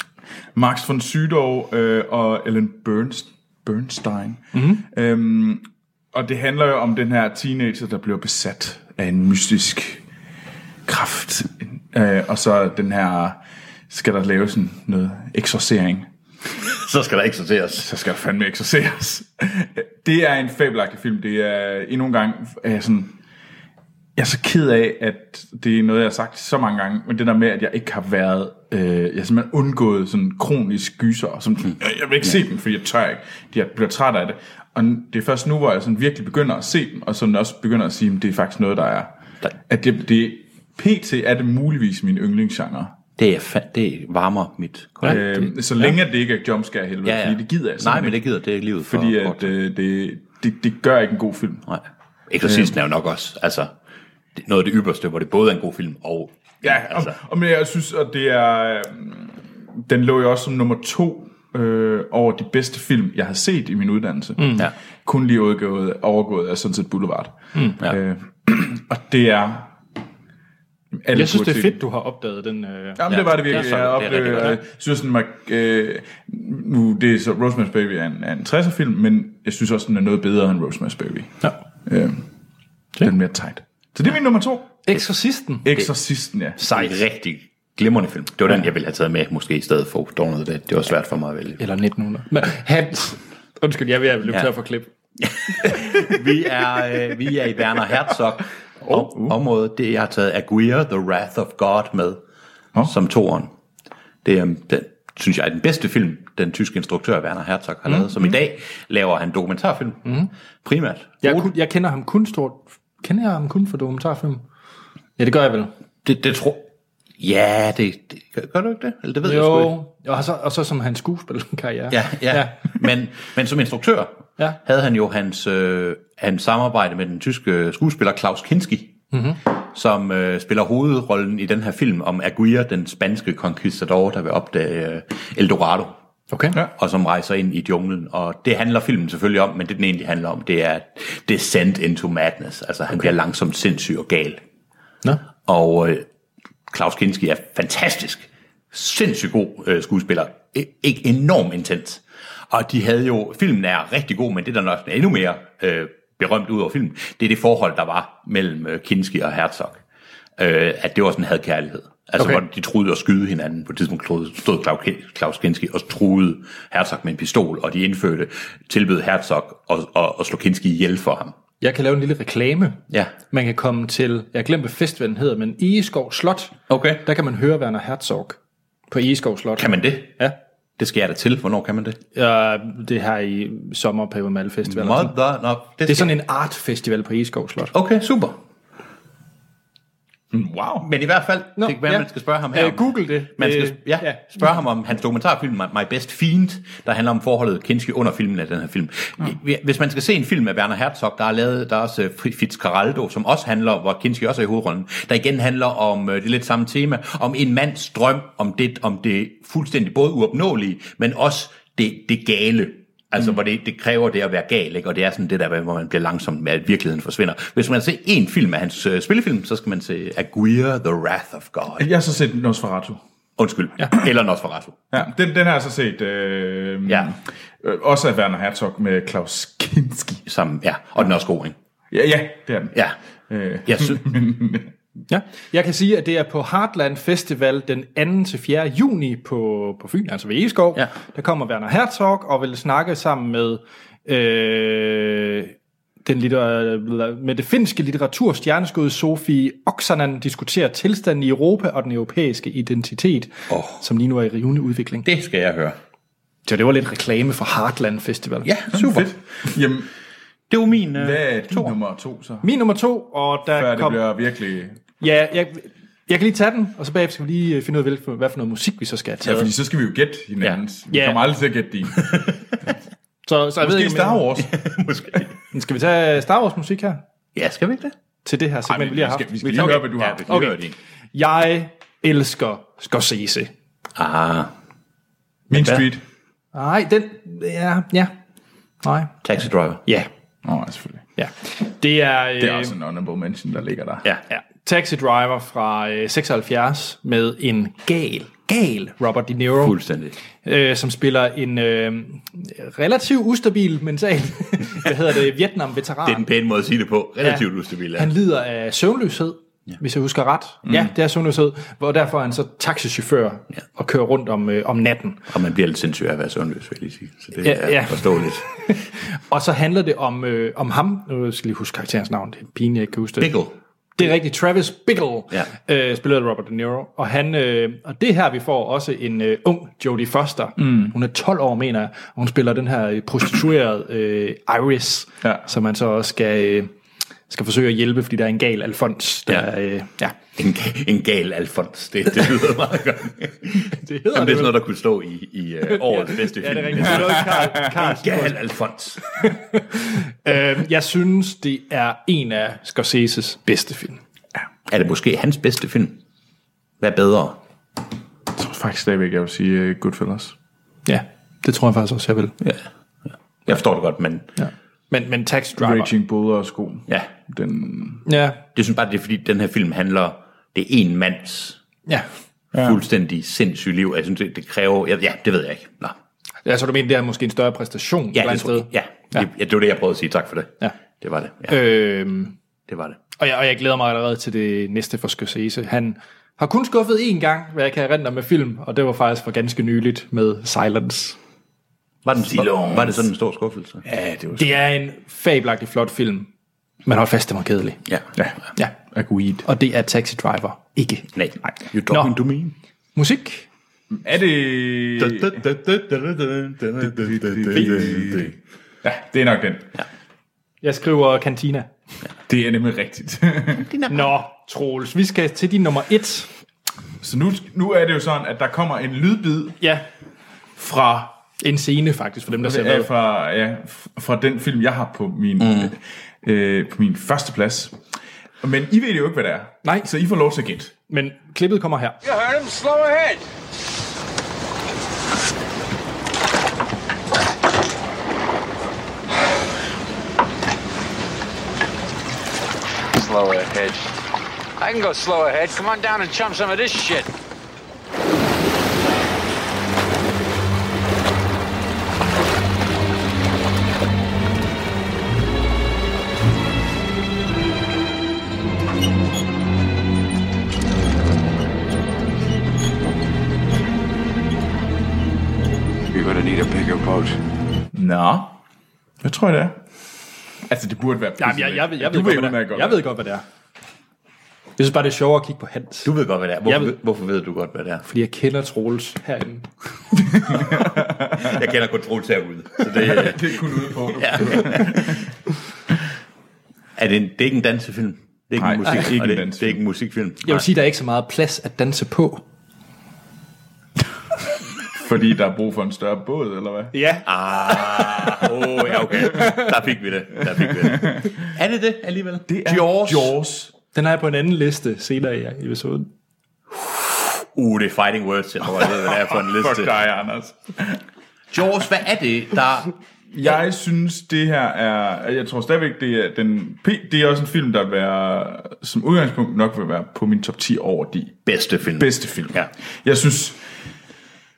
C: Max von Sydow øh, og Ellen Burns, Bernstein.
B: Mhm.
C: Mm-hmm. Øhm, og det handler jo om den her teenager, der bliver besat af en mystisk kraft. Øh, og så den her, skal der laves en, noget eksorcering.
B: Så skal der eksorteres.
C: Så skal der fandme eksorceres. Det er en fabelagtig film. Det er endnu en gang, er jeg sådan... Jeg er så ked af, at det er noget, jeg har sagt så mange gange, men det der med, at jeg ikke har været... Øh, jeg har simpelthen undgået sådan kronisk gyser. Som, jeg, "Øh, jeg vil ikke se dem, fordi jeg tør ikke. Jeg bliver træt af det. Og det er først nu, hvor jeg sådan virkelig begynder at se dem, og sådan også begynder at sige, at det er faktisk noget, der er...
B: Der-
C: At det, det PT er det muligvis min yndlingsgenre.
B: Det, er fa- det varmer mit kolde.
C: Øh, så længe ja. det ikke er jumpscare helvede,
B: Ja, ja.
C: fordi det gider jeg
B: Nej,
C: simpelthen
B: men det gider det er ikke livet for.
C: fordi
B: kort.
C: at, øh, det, det, det gør ikke en god film.
B: Nej.
C: Øh.
B: Exorcisten er jo nok også, altså, det- noget af det ypperste, hvor det både er en god film og...
C: Ja,
B: altså,
C: og, og men jeg synes, at det er... mm, Den lå jo også som nummer to øh, over de bedste film, jeg har set i min uddannelse. Mm.
B: Ja.
C: Kun lige overgået, overgået af sådan set Boulevard. Mm.
B: Ja.
C: Øh, og det er... Alle
A: jeg synes,
C: burde
A: det er
C: se den.
A: fedt, du har opdaget den. Øh,
C: Jamen, ja, det var det virkelig.
B: Ja, så-
C: Ja, jeg
B: det er rigtig
C: oplevede,
B: godt, ja.
C: jeg synes, den var, øh, nu, det er så, Rosemary's Baby er en, er en 60'er film, men jeg synes også, den er noget bedre end Rosemary's Baby.
A: ja.
C: Øh, den er mere tight. Så det er min nummer to.
A: Exorcisten.
C: Exorcisten, ja.
B: Sej. Rigtig glimrende film. Det var den, jeg ville have taget med, måske i stedet for Dawn of the Dead. Det var svært for mig at vælge.
A: Eller 1900. Men, han, undskyld, jeg er ved at løbe
B: Ja.
A: ja. tør for klip.
B: Vi er, øh, vi er i Werner Herzog oh, uh. området. Det, jeg har taget Aguirre, The Wrath of God med oh. som toeren. Det er, den, synes jeg, er den bedste film, den tyske instruktør Werner Herzog har lavet, som i dag laver han dokumentarfilm mm. primært.
A: Jeg, er kun, jeg kender ham kun stort... Kender jeg ham kun for dokumentarfilm? Ja, det gør jeg vel.
B: Det, det tror... Ja, det, det gør, gør du ikke det? Eller det ved jeg sgu ikke.
A: Jo, og så, og så som hans skuespillerkarriere.
B: Ja, ja. ja. Men, men som instruktør
A: Ja.
B: havde han jo hans, øh, hans samarbejde med den tyske skuespiller Klaus Kinski, mm-hmm. som øh, spiller hovedrollen i den her film om Aguirre, den spanske conquistador, der vil opdage øh, Eldorado,
A: Okay. Ja.
B: og som rejser ind i junglen. Og det handler filmen selvfølgelig om, men det den egentlig handler om, det er Descent into Madness. Altså han okay. bliver langsomt sindssyg og gal.
A: Nå.
B: Og øh, Klaus Kinski er fantastisk. Sindssygt god øh, skuespiller. I, ikke enormt intens. Og de havde jo, filmen er rigtig god, men det der nok er endnu mere øh, berømt ud over filmen, det er det forhold, der var mellem øh, Kinski og Herzog. Øh, at det var sådan en hadkærlighed. Altså,
A: Okay.
B: okay. hvor de troede at skyde hinanden. På et tidspunkt stod- stod Klaus Kin- Klaus Kinski og troede Herzog med en pistol, og de indførte, tilbød Herzog og, og, og slå Kinski ihjel for ham.
A: Jeg kan lave en lille reklame.
B: Ja.
A: Man kan komme til, jeg glemte festivalen hedder, men Egeskov Slot.
B: Okay.
A: Der kan man høre Werner Herzog på Egeskov Slot.
B: Kan man det?
A: Ja.
B: Det skal jeg da til. Hvornår kan man det?
A: ja det her i sommerperioden med alle festivaler. og sådan.
B: Mother, no,
A: Det er sådan en artfestival på Egeskov Slot.
B: Okay, super.
C: Mm, Wow.
B: Men i hvert fald, Nå, det kan være,
A: ja.
B: man skal spørge ham her.
A: Øh,
B: om-
A: Google det.
B: Man skal,
A: Øh,
B: ja,
A: ja.
B: spørge ham om hans dokumentarfilm, My Best Fiend, der handler om forholdet Kinski under filmen af den her film. Hvis man skal se en film af Werner Herzog, der er lavet, der er også øh, Fitzcarraldo, som også handler, hvor Kinski også er i hovedrollen, der igen handler om, øh, det er lidt samme tema, om en mands drøm, om det, om det fuldstændig både uopnåelige, men også det, det gale. Altså, mm. hvor det, det kræver det at være gal, ikke? Og det er sådan det der, hvor man bliver langsomt med, at virkeligheden forsvinder. Hvis man ser en film af hans øh, spillefilm, så skal man se Aguirre, The Wrath of God.
C: Jeg har så set Nosferatu.
B: Undskyld. Ja. Eller Nosferatu.
C: Ja, den, den har jeg så set. Øh,
B: Ja.
C: øh, også af Werner Herzog med Klaus Kinski.
B: Som, ja. Og den er også god, ikke?
C: Ja, ja, det er den.
B: Ja.
C: Øh,
B: Jeg synes,
A: Ja. Jeg kan sige, at det er på Heartland Festival den 2. til 4. juni på, på Fyn, altså ved Egeskov.
B: Ja.
A: Der kommer Werner Herzog og vil snakke sammen med øh, den litter, med det finske litteraturstjerneskud Sofie Oksanen diskuterer tilstanden i Europa og den europæiske identitet, oh. som lige nu er i rivende udvikling.
B: det skal jeg høre.
A: Så det var lidt reklame for Heartland Festival.
B: Ja, super.
C: Fedt. Jamen,
B: Det var min... Øh,
C: hvad er din nummer to så?
A: Min nummer to, og der
C: Før det
A: kom...
C: bliver virkelig...
A: Ja, jeg, jeg kan lige tage den, og så bagefter skal vi lige øh, finde ud af, hvad for, hvad for noget musik vi så skal have
C: Ja,
A: taget.
C: fordi så skal vi jo gætte hinandens. Ja. Vi
A: Ja.
C: kommer aldrig til at gætte din.
A: så, så jeg ved
C: Måske
A: ikke, om jeg-
C: Star Wars.
B: Måske.
A: Skal vi tage Star Wars musik her?
B: Ja, skal vi ikke det?
A: til det her
C: Ej,
A: segment,
C: men
A: vi lige
C: vi
A: har
C: skal, vi
A: haft.
C: skal lige
B: Okay.
C: høre, hvad du
B: Ja,
C: har.
B: vi skal
A: Okay.
B: høre din.
A: Jeg elsker Scorsese.
B: Ah,
C: Min
B: Hvad?
C: Street.
A: Nej, den... Ja, ja. Nej.
B: Taxi Driver.
A: Ja,
C: Åh, oh, selvfølgelig.
A: ja. Det er...
C: Det er også en honorable mention, der ligger der.
B: Ja.
A: Ja. Taxi Driver fra øh, 76 med en gal, gal Robert De Niro,
B: Fuldstændig.
A: øh, som spiller en øh, relativt ustabil mental, hvad hedder det, Vietnam-veteran.
B: Det er den pæne måde at sige det på. Relativt ja. ustabil.
A: Han lider af søvnløshed, ja. hvis jeg husker ret. Mm. Ja, det er søvnløshed, hvor derfor er han så taxichauffør ja. og kører rundt om, øh, om natten.
B: Og man bliver lidt sindssyg af at være søvnløs, vil jeg lige sige. Så det
A: Ja,
B: ja,
A: ja.
B: er forståeligt.
A: Og så handler det om, øh, om ham, nu skal jeg lige huske karakterens navn, det er pinligt, jeg ikke kan huske det.
B: Pickle.
A: Det er rigtigt, Travis Bickle,
B: Ja.
A: øh, spillet af Robert De Niro. Og, han, øh, og det er her, vi får også en øh, ung Jodie Foster. Mm. Hun er 12 år, mener jeg, og hun spiller den her øh, prostituerede øh, Iris,
C: Ja.
A: som man så også skal, øh, skal forsøge at hjælpe, fordi der er en gal Alfons. Der,
B: Ja.
A: Øh, ja.
B: En, en gal Alfons. Det, det lyder meget godt.
A: Det
B: Jamen, det er
A: hedder
B: sådan
A: det, vel?
B: noget, der kunne stå i, i uh, årets bedste
A: Ja,
B: film.
A: det er rigtigt. Det er noget, Karl- Karl-
B: Gal Alfons.
A: Øhm, jeg synes, det er en af Scorseses bedste film.
B: Er det måske hans bedste film? Hvad er bedre?
C: Jeg tror faktisk stadigvæk, jeg vil sige uh, Goodfellas.
A: Ja, det tror jeg faktisk også, jeg vil.
B: Ja. Jeg forstår det godt, men
A: Ja. Men, men Tax Driver...
C: Raging Bull og sko.
B: ja.
C: Den,
A: Ja,
B: Det synes bare, det er fordi, den her film handler, det er en mands
A: ja.
B: ja. fuldstændig sindssyge liv. Jeg synes, det, det kræver... Ja, ja, det ved jeg ikke. Nå.
A: Jeg tror, Altså, du mener, det er måske en større præstation. et
B: Ja,
A: eller
B: det
A: andet
B: tror jeg. Ja. Ja. Det, ja, det var det, jeg prøvede at sige. Tak for det.
A: Ja.
B: Det var det. Ja,
A: Øhm,
B: det var det.
A: og, jeg, og jeg glæder mig allerede til det næste for Scorsese. Han har kun skuffet én gang, hvad jeg kan erindre med film, og det var faktisk for ganske nyligt med Silence.
B: Var, den, var, var det sådan en stor skuffelse?
C: ja, det var
A: Det er en fabelagtig flot film, men hold fast, den var kedelig.
B: Ja.
C: Ja,
A: Ja,
C: agreed.
A: og det er Taxi Driver ikke.
B: Nej. You
A: talking
B: talking to me?
A: Musik?
C: Er det... Ja, det er nok den.
A: Jeg skriver Cantina.
C: Det er nemlig rigtigt.
A: Nå, Troels, vi skal til din nummer et.
C: Så nu, nu er det jo sådan, at der kommer en lydbid
A: Ja,
C: fra
A: en scene faktisk, for dem, der ser
C: Ja,
A: med.
C: fra, ja, fra den film, jeg har på min, mm. øh, på min første plads. Men I ved jo ikke, hvad det er.
A: Nej.
C: Så I får lov til at gætte.
A: Men klippet kommer her.
G: You heard him. Slow ahead. Slow ahead. I can go slow ahead. Come on down and chum some of this shit.
H: You're gonna need a bigger boat.
C: Nå. Hvad tror jeg, det er? Altså, det burde være
A: Jamen, jeg, jeg, ved, jeg, ved, godt, hvad det er.
C: udmærket godt,
A: jeg ved godt, hvad det er. Jeg synes bare, det er sjovere at kigge på Hans.
B: Du ved godt, hvad det er.
A: Jeg
B: Hvorfor,
A: ved-
B: ved. hvorfor ved du godt, hvad det er?
A: Fordi jeg kender Troels herinde.
B: Jeg kender kun Troels herude. Så det, øh,
C: Det er kun ude på.
B: ja. er det, en, det er ikke en dansefilm. Det er ikke
C: Nej,
B: en musik,
C: ikke en
B: og det, det
C: dansefilm.
B: er ikke en musikfilm.
A: Jeg vil sige, der er ikke så meget plads at danse på.
C: Fordi der er brug for en større båd, eller hvad?
A: Ja.
B: Ah, oh, ja, okay. Der fik vi det. Der fik vi det. Er det det alligevel? Det er Jaws.
C: Jaws.
A: Den har jeg på en anden liste senere i episoden.
B: Uh, det er Fighting Words. Jeg tror, jeg ved, hvad det er for en
C: Fuck
B: liste.
C: dig, Anders.
B: Jaws, hvad er det, der...
C: Jeg synes, det her er... Jeg tror stadigvæk, det er, den, P- det er også en film, der vil være, som udgangspunkt nok vil være på min top 10 over de
B: Bedste film.
C: bedste film.
B: Ja.
C: Jeg synes...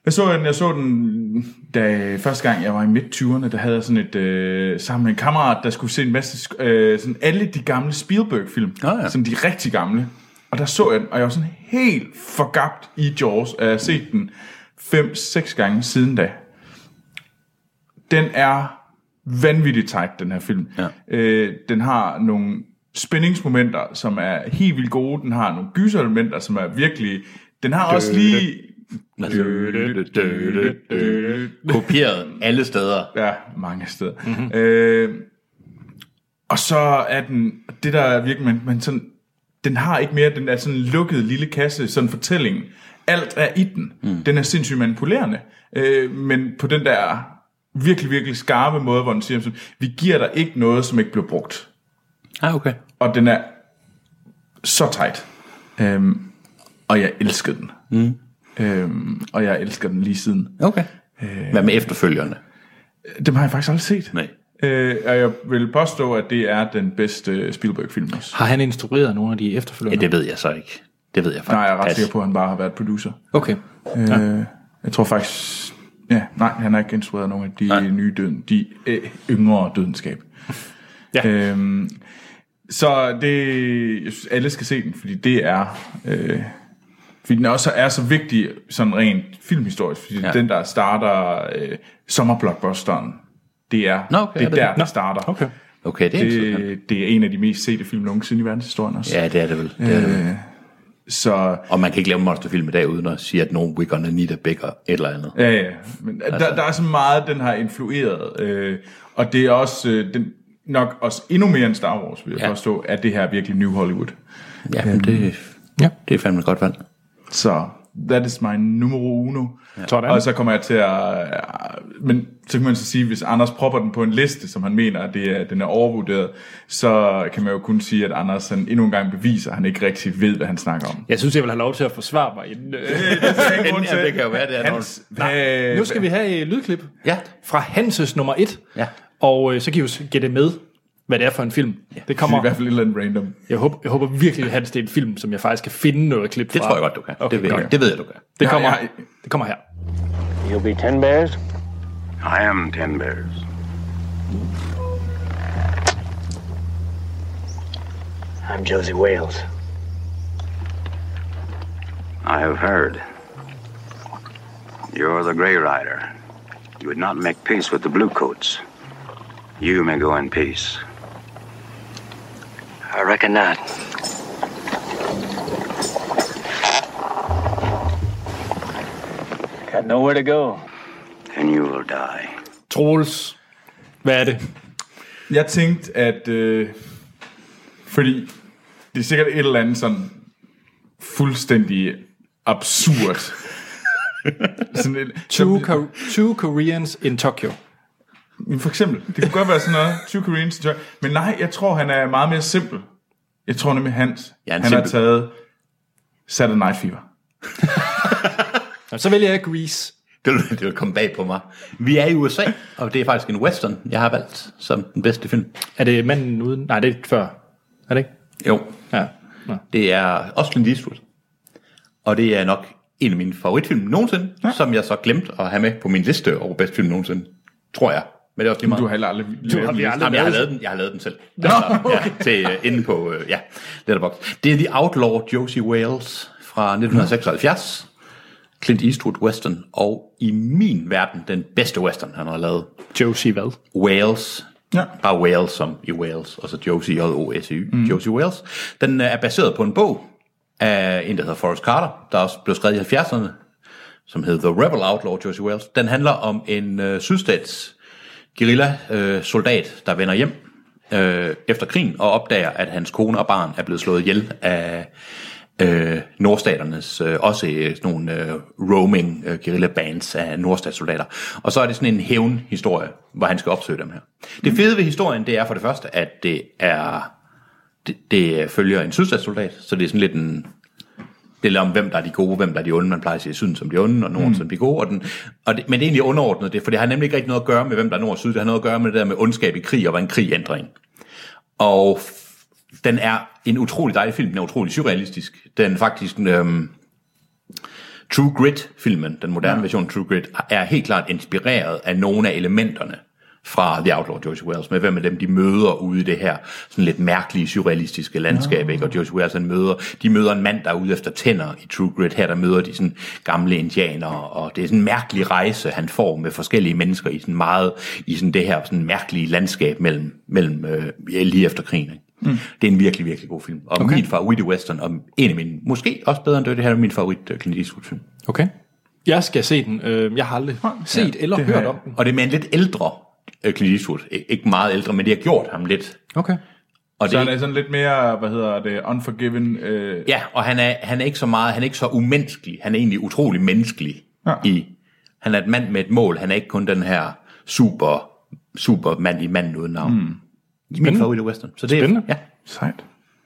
C: Jeg så den, jeg så den da første gang jeg var i midt-20'erne, der havde jeg sådan et, øh, sammen med en kammerat, der skulle se en masse, sk- øh, sådan alle de gamle Spielberg-film,
B: Ah, ja.
C: sådan de rigtig gamle. Og der så jeg den, og jeg var sådan helt forgabt i Jaws, og jeg har set den 5-6 gange siden da. Den er vanvittigt tight, den her film.
B: Ja.
C: Øh, den har nogle spændingsmomenter, som er helt vildt gode. Den har nogle gyserelementer, som er virkelig... Den har også lige...
B: Kopieret alle steder.
C: Ja, mange steder. Mm-hmm. Øh, og så er den... Det, der er virkelig... Man, man sådan, den har ikke mere den der sådan lukkede lille kasse, sådan fortælling. Alt er i den. Mm. Den er sindssygt manipulerende. Øh, men på den der virkelig, virkelig skarpe måde, hvor den siger, sådan, vi giver dig ikke noget, som ikke blev brugt.
B: Ah, okay.
C: Og den er så tight. Øhm, og jeg elskede den. Mm. Øhm, og jeg elsker den lige siden.
B: Okay. Hvad med efterfølgerne?
C: Dem har jeg faktisk aldrig set.
B: Nej.
C: Øh, og jeg vil påstå, at det er den bedste Spielberg-film også.
A: Har han instrueret nogle af de
B: Ja,
A: efterfølgende?
B: det ved jeg så ikke. Det ved jeg faktisk.
C: Nej, jeg er ret
B: Pas.
C: sikker på, at han bare har været producer.
A: Okay.
C: Øh, jeg tror faktisk... Ja, nej, han har ikke instrueret nogen af de
B: Nej.
C: nej. nye døden, de øh, yngre dødenskab.
A: Ja.
C: Øhm, så det, jeg synes, alle skal se den, fordi det er, øh, fordi den også er så vigtig, sådan rent filmhistorisk, fordi
B: Ja.
C: ja. den, der starter øh, sommerblockbusteren, det er,
B: Nå, okay,
C: det er
B: er det
C: der,
B: det?
C: den starter.
A: Okay.
B: Okay, det er det...
C: Det, det er en af de mest sete film nogensinde i verdenshistorien også.
B: Ja, det er det vel. Det er det vel.
C: Så
B: Og man kan ikke lave en monsterfilm i dag, uden at sige, at nogen we're gonna need a bigger, et eller andet.
C: Ja, ja. Men altså. der, der er så meget, den har influeret. Øh, og det er også øh, den, nok også endnu mere end Star Wars, vil jeg
B: Ja.
C: ja. forstå, at det her er virkelig New Hollywood.
B: Ja, men det, ja. det er fandme et godt valg.
C: Så that is my numero uno.
A: Sådan.
C: Og så kommer jeg til at... øh, Men så kan man så sige, hvis Anders propper den på en liste, som han mener, at det er, den er overvurderet, så kan man jo kun sige, at Anders han endnu en gang beviser, at han ikke rigtig ved, hvad han snakker om.
A: Jeg synes, jeg vil have lov til at forsvare mig inden. øh.
B: Ja, det kan jo være, det er
C: Hans,
A: Nu skal vi have et lydklip
B: Ja.
A: fra Hanses nummer 1.
B: Ja.
A: Og øh, så kan I jo s- gætte med, hvad det er for en film. Ja. Det
C: det er i
A: kommer.
C: hvert fald et eller andet random.
A: Jeg håber, jeg håber virkelig, Hans, det er en film, som jeg faktisk kan finde noget klip fra.
B: Det tror jeg godt, du kan.
A: Okay,
B: det, ved jeg.
A: godt.
B: det ved jeg, du kan.
A: Det kommer,
C: Ja, ja.
A: det kommer her.
I: You'll be ten bears?
H: I am Ten Bears.
I: I'm Josie Wales.
H: I have heard. You're the Grey Rider. You would not make peace with the Bluecoats. You may go in peace.
I: I reckon not. Got nowhere to go.
H: And you will die.
A: Troels, hvad er det?
C: Jeg tænkte, at... Øh, fordi det er sikkert et eller andet sådan fuldstændig absurd. sådan et,
A: Two, Ko- two Koreans in Tokyo.
C: Jamen, For eksempel, det kunne godt være sådan noget, two Koreans, to- men nej, jeg tror, han er meget mere simpel. Jeg tror nemlig, Hans,
B: Ja,
C: ja,
B: han
C: han,
B: er
C: han har
B: simpel.
C: taget Saturday Night Fever.
A: Nå, så vælger jeg Grease.
B: Det vil, det vil komme bag på mig. Vi er i USA, og det er faktisk en western, jeg har valgt som den bedste film.
A: Er det manden uden... Nej, det er før. Er det ikke?
B: Jo,
A: Ja.
B: det er også Clint Eastwood. Og det er nok en af mine favoritfilm nogensinde, ja. som jeg så glemte at have med på min liste over bedste film nogensinde. Tror jeg. Men det er også lige meget.
C: Du har heller aldrig du
A: har vi aldrig-
B: Jamen, jeg har
A: lavet-
B: lavet den, jeg har lavet den selv. Altså, ja, til, uh, inde på, uh, ja, Letterboxd. Det er The Outlaw Josie Wales fra 1976. Clint Eastwood Western, og i min verden, den bedste western, han har lavet.
A: Josie hvad?
B: Wales.
C: Ja.
B: Bare Wales som i Wales, og så Josie, J-O-S-E-Y, mm. Josie Wales. Den øh, er baseret på en bog af en, der hedder Forrest Carter, der også blev skrevet i 70'erne, som hedder The Rebel Outlaw, Josie Wales. Den handler om en øh, sydstats guerilla øh, soldat, der vender hjem øh, efter krigen og opdager, at hans kone og barn er blevet slået ihjel af øh, nordstaternes, øh, også øh, sådan nogle øh, roaming øh, guerrilla bands af nordstatssoldater. Og så er det sådan en hævnhistorie, hvor han skal opsøge dem her. Det fede ved historien, det er for det første, at det er det, det følger en sydstatssoldat, så det er sådan lidt en det er lidt om, hvem der er de gode, hvem der er de onde. Man plejer at sige syden som de onde, og norden mm. som de gode. Og den, og det, men det er egentlig underordnet det, for det har nemlig ikke rigtig noget at gøre med, hvem der er nord og syd. Det har noget at gøre med det der med ondskab i krig, og hvad en krig ændrer en. Og f- den er en utrolig dejlig film. Den er utrolig surrealistisk. Den er faktisk... Øhm, True Grit-filmen, den moderne ja. version af True Grit, er helt klart inspireret af nogle af elementerne fra The Outlaw Josie Wales, med hvem af dem de møder ude i det her sådan lidt mærkelige, surrealistiske landskab, ikke? og Josie Wales han møder, de møder en mand, der er ude efter tænder i True Grit, her der møder de sådan gamle indianere, og det er sådan en mærkelig rejse, han får med forskellige mennesker i sådan meget, i sådan det her sådan mærkelige landskab mellem, mellem øh, ja, lige efter krigen. Ikke? Mm. Det er en virkelig, virkelig god film. Og okay. min favorit i western, og en af mine, måske også bedre end det her, er min favorit øh, Clint Eastwood-film.
A: Okay. Jeg skal se den. Øh, Jeg har aldrig set eller
C: har
A: hørt
C: jeg.
A: om den.
B: Og det er med en lidt ældre øh, Clint Eastwood. I- Ikke meget ældre, men det har gjort ham lidt.
A: Okay.
B: Og
C: Så
B: det,
C: han er sådan lidt mere, hvad hedder det, unforgiven. Øh,
B: ja, og han er, han er ikke så meget, han er ikke så umenneskelig. Han er egentlig utrolig menneskelig. Ja. I, han er et mand med et mål. Han er ikke kun den her super, super mand i mand uden navn. Mm. Min favorit er western. Så det er,
A: Spændende.
B: Ja.
C: Sejt.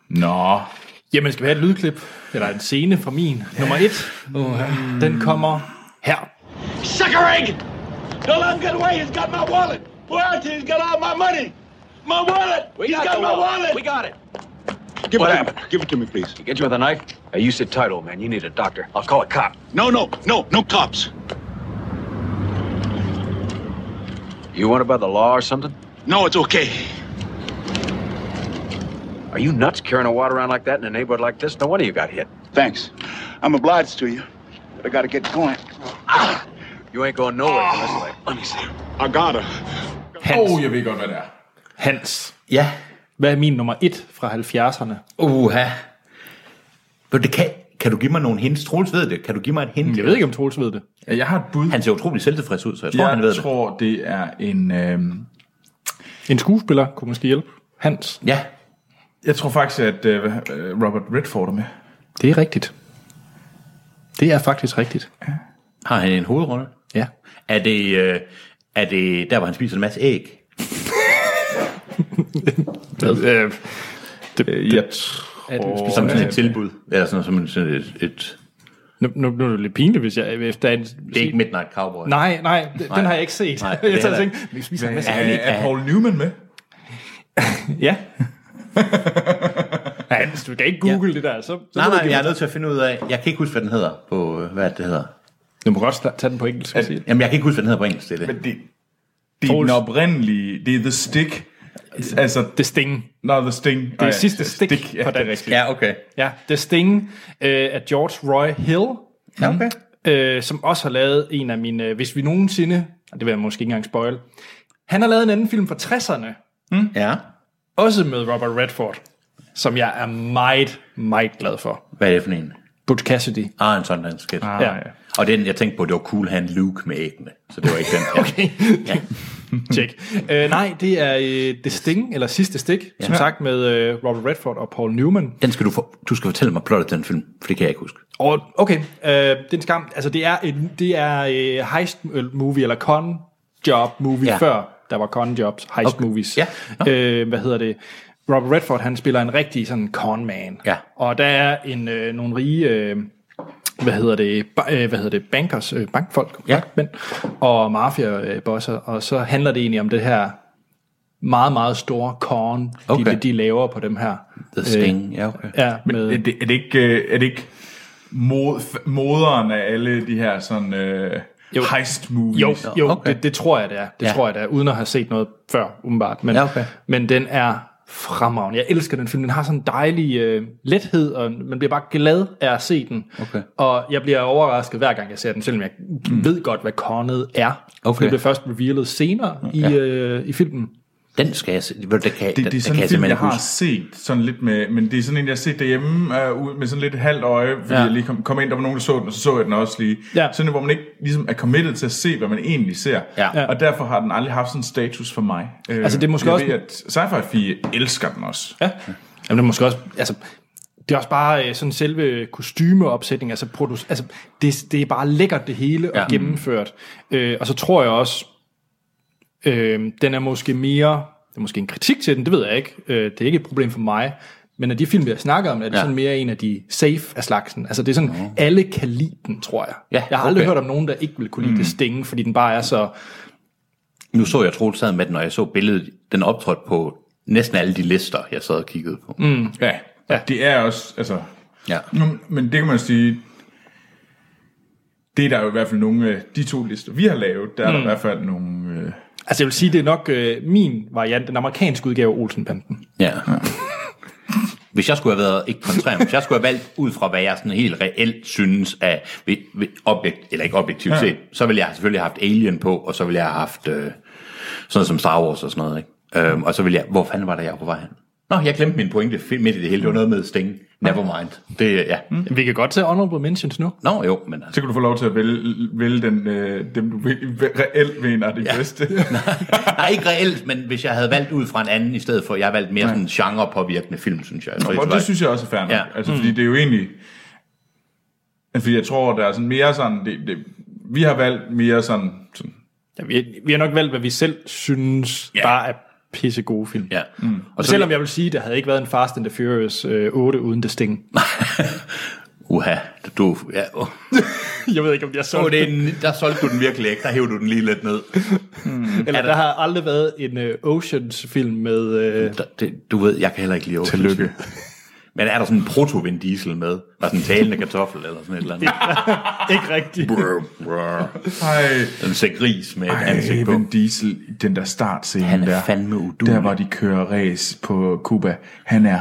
C: Nå,
A: Jamen, skal vi have et lydklip? Eller en scene fra min. Nummer et. Uh, den kommer her.
J: Sucker egg! The last got away. He's got my wallet. Royalty. He's got all my money. My wallet.
I: We
J: He's
I: got the
J: my
I: wallet.
J: wallet.
I: We got it.
J: Give
I: What
J: it to me.
I: happened?
J: Give it to me, please.
I: Get you with a knife? Hey, you sit tight, old man. You need a doctor. I'll call a cop.
J: No, no, no, no cops.
I: You want about the law or something?
J: No, it's okay.
I: Are you nuts carrying a wad around like that in a neighborhood like this? No wonder you got hit.
J: Thanks. I'm obliged to you, but I gotta get going.
I: You ain't going nowhere unless like.
J: Let me see. I gotta.
A: Hans.
C: Åh, oh, jeg ved godt, hvad det er.
A: Hans.
B: Ja.
A: Hvad er min nummer et fra 70'erne?
B: Uha. Men det kan, kan du give mig nogle hints? Troels ved det. Kan du give mig et hint?
A: Jeg ved ikke, om Troels ved det.
C: Ja, Jeg har et bud.
B: Han ser utrolig selvtilfreds ud, så jeg tror,
C: jeg
B: han ved det.
C: tror, det er en... Øhm,
A: En skuespiller kunne måske hjælpe. Hans.
B: Ja.
C: jeg tror faktisk, at øh, hvad- øh, Robert Redford er med.
A: Det er rigtigt. Det er faktisk rigtigt.
B: Har han en hovedrolle?
A: Ja.
B: Er det, øh, er det der, hvor han spiser en masse æg?
A: Øh, det,
C: Øh,
A: det,
C: Jeg tror...
A: er den spiser-
B: Som sådan et tilbud. Eller sådan, som sådan et, et...
A: nu, nu, nu er det lidt pinligt, hvis jeg... Efter en,
B: Det er ikke Midnight Cowboy.
A: Nej, nej, d- den har jeg ikke set.
B: Nej,
A: Nej,
B: det er
A: jeg tager
B: heller
A: tænkt, vi spiser en masse.
C: Er, er Paul Newman med?
A: Ja. Nej, hvis du kan ikke google ja. det der, så... så
B: Nej,
A: må du
B: nej,
A: give
B: jeg er
A: mig-
B: nødt til at finde ud af, jeg kan ikke huske, hvad den hedder på, øh, hvad er det, det hedder.
A: Du må godt sta- tage den på engelsk. At, sige.
B: Jamen, jeg kan ikke huske, hvad den hedder på engelsk, det er det.
C: Men det, det er den
A: Troels.
C: oprindelige... Det er The Stick. Altså,
A: Det Sting.
C: no, The Sting. Det
A: er sidste Stick
C: ja,
A: på
C: det er
A: dansk.
C: rigtigt.
B: Ja, okay.
A: Ja, The Sting øh, af George Roy Hill.
B: Ja, okay.
A: øh, som også har lavet en af mine, øh, hvis vi nogensinde, og det vil jeg måske ikke engang spoil, han har lavet en anden film fra 60'erne,
B: Ja.
A: også med Robert Redford, som jeg er meget, meget glad for.
B: Hvad er det for en?
A: Butch Cassidy.
B: Ah, en Sundance Kid. Ah,
A: ja.
B: Og den, jeg tænkte på, det var Cool Hand Luke med æggene. Så det var ikke den. okay.
A: Check. øh, nej, det er øh, The Sting, eller Sidste Stik, ja. som sagt med øh, Robert Redford og Paul Newman.
B: Den skal du, for, du skal fortælle mig plottet til den film, for det kan jeg ikke huske.
A: Og okay, øh, det er en skam. Altså, det er, et, det er øh, heist movie, eller con job movie
B: Ja.
A: ja. før. Der var con jobs, heist
B: Okay.
A: okay. movies.
B: Ja. Nå.
A: Øh, hvad hedder det? Robert Redford, han spiller en rigtig sådan con man.
B: Ja.
A: Og der er en, øh, nogle rige, øh, hvad hedder det, ba- øh, hvad hedder det, bankers, øh, bankfolk,
B: Ja.
A: bankmænd, og mafia-bosser. Og så handler det egentlig om det her meget, meget store corn,
B: Okay.
A: de, de laver på dem her.
B: The Sting, ja, okay.
A: Ja, med,
C: Er det, er det ikke, øh, er det ikke mod, f- moderen af alle de her sådan øh,
A: Jo.
C: heist movies?
A: Jo, jo
B: okay.
A: okay. det, det tror jeg, det er. Det
B: Ja.
A: ja. tror jeg, det er, uden at have set noget før, umiddelbart. Men,
B: Ja, okay.
A: men den er fremragende. Jeg elsker den film. Den har sådan en dejlig øh, lethed, og man bliver bare glad af at se den.
B: Okay.
A: Og jeg bliver overrasket hver gang, jeg ser den, selvom jeg mm. ved godt, hvad kornet er.
B: Okay.
A: For det bliver først revealet senere i,
B: Ja.
A: øh, i filmen.
B: Den skal jeg se. Det, det kan,
C: Det, det er
B: den,
C: sådan
B: kan
C: en
B: jeg
C: film,
B: simpelthen
C: jeg
B: ikke
C: har
B: huske.
C: set sådan lidt med, men det er sådan en, jeg har set derhjemme øh, ud med sådan lidt halvt øje, fordi
B: Ja.
C: ja. jeg lige kom, kom ind, der var nogen, der så den, og så så jeg den også lige.
A: Ja.
C: Sådan en, hvor man ikke ligesom er committed til at se, hvad man egentlig ser.
B: Ja. Ja.
C: Og derfor har den aldrig haft sådan en status for mig. Øh,
A: Altså, det er måske
C: jeg
A: også-
C: Ved, at sci-fi fie elsker den også.
A: Ja. Jamen, det er måske også, altså, det er også bare øh, sådan selve kostymeopsætning, altså, produce, altså det, det er bare lækkert det hele og
B: Ja.
A: ja. gennemført. Øh, og så tror jeg også, øh, den er måske mere, det er måske en kritik til den, det ved jeg ikke, øh, det er ikke et problem for mig, men af de film, vi har snakket om, er det
B: Ja.
A: ja. sådan mere en af de safe af slagsen. Altså det er sådan, alle kan lide den, tror jeg.
B: Ja,
A: jeg har aldrig
B: okay.
A: hørt om nogen, der ikke vil kunne lide mm. det stinge, fordi den bare er så...
B: Nu så jeg Troels sad med den, og jeg så billedet, den optrådte på næsten alle de lister, jeg sad og kiggede på. Mm.
C: Ja. ja. Det er også, altså,
B: Ja.
C: Nu, men det kan man sige, det er der jo i hvert fald nogle af de to lister, vi har lavet, der er
B: Mm.
C: der i hvert fald nogle... Øh,
A: Altså jeg vil sige, det er nok øh, min variant, den amerikanske udgave af Olsenbanden.
B: Ja. Hvis jeg skulle have været, ikke kontrær, men hvis jeg skulle have valgt ud fra, hvad jeg sådan helt reelt synes af, ved, ved objekt, eller ikke objektivt
C: Ja.
B: set, så ville jeg selvfølgelig have haft Alien på, og så ville jeg have haft øh, sådan som Star Wars og sådan noget, ikke? Øhm, og så ville jeg, hvor fanden var det, jeg var på vej hen? Nå, jeg glemte min pointe fi- midt i det hele, det var noget med Sting. Never mind. Det, ja.
C: Mm.
A: Vi kan godt tage honorable mentions nu.
B: Nå, jo, men altså.
C: så kan du få lov til at vælge, vælge den, øh, dem, du vil- reelt mener er det ja. bedste.
B: Nej, ikke reelt, men hvis jeg havde valgt ud fra en anden i stedet for, jeg har valgt mere sådan genre-påvirkende film, synes jeg. Så
C: Og
B: var-
C: det synes jeg også er fair nok.
B: Ja.
C: Ja. Altså, fordi det er jo egentlig... Fordi jeg tror, der er sådan mere sådan... Det, det, vi har valgt mere sådan... sådan
A: Ja, vi, vi har nok valgt, hvad vi selv synes,
C: Ja.
A: yeah. bare er pisse gode film.
B: Ja. Mm.
A: Og selvom jeg vil sige, der havde ikke været en Fast and the Furious øh, 8 uden det sting.
B: Uha, du... Ja, oh.
A: jeg ved ikke, om jeg så
B: oh, det er en, der solgte du den virkelig ikke. Der hævde du den lige lidt ned.
A: Eller der har aldrig været en øh, Oceans-film med... Øh,
B: Der, det, du ved, jeg kan heller ikke lide Ocean's. Tillykke. Men er der sådan en proto-Vin Diesel med? Der er sådan en talende kartoffel eller sådan et eller andet. Ah.
A: ikke rigtigt.
B: Brr, brr.
C: Ej.
B: Den ser gris med et ansigt
C: Ej,
B: på.
C: Vin Diesel, i den der startscene
B: Han er
C: der,
B: fandme uduelig.
C: der hvor de kører race på Cuba, han er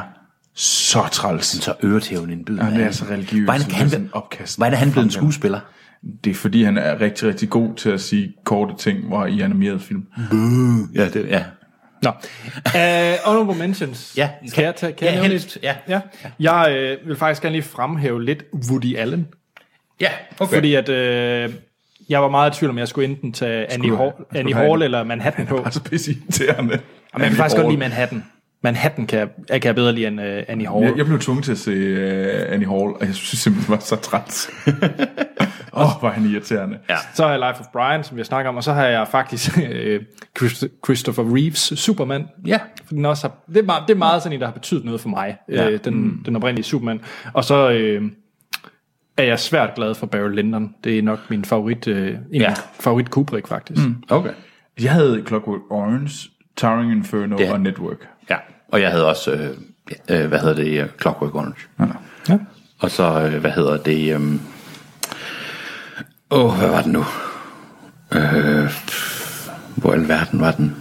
C: så træls.
B: Så øretæven indbyder.
C: Han er så religiøs.
B: Hvordan
C: som
B: kan han,
C: sådan en
B: være-
C: opkast.
B: hvordan er han blevet en skuespiller?
C: Det er fordi, han er rigtig, rigtig god til at sige korte ting, hvor i animeret film.
B: Ja, det, ja.
A: Nå. Uh, honorable mentions.
B: Ja.
A: Kan jeg, tage, kan
B: Ja,
A: jeg nævne
B: helst,
A: lidt?
B: ja.
A: ja. Jeg øh, vil faktisk gerne lige fremhæve lidt Woody Allen.
B: Ja, okay.
A: Fordi at... Øh, jeg var meget i tvivl, om jeg skulle enten tage Annie,
C: Skulle-
A: Hall,
C: skulle
A: Annie
C: have
A: Hall
C: en-
A: eller Manhattan på.
C: Altså pisse irriterende.
A: Jamen, jeg kan faktisk godt lide Manhattan. Manhattan kan jeg, jeg kan jeg bedre lide end øh, Annie Hall.
C: Jeg, jeg blev tvunget til at se uh, Annie Hall, og jeg synes simpelthen, det var så træt. Åh, oh, var han irriterende.
B: Ja.
A: Så har jeg Life of Brian, som vi snakker om, og så har jeg faktisk øh, Christ- Christopher Reeves Superman.
B: Ja.
A: For den også har, det, er meget, det er meget sådan en, der har betydet noget for mig, ja. øh, den, mm. den oprindelige Superman. Og så øh, er jeg svært glad for Barry Lyndon. Det er nok min favorit, øh, en ja.
B: Ja.
A: favorit Kubrick faktisk. Mm.
B: Okay.
C: Jeg havde Clockwork Orange, Towering Inferno
B: Ja.
C: og Network.
B: Ja, og jeg havde også, øh, øh, hvad hedder det, øh, Clockwork Orange.
A: Ja.
B: Og så, øh, hvad hedder det, øh, åh, hvad var det nu? Øh, hvor i alverden var den?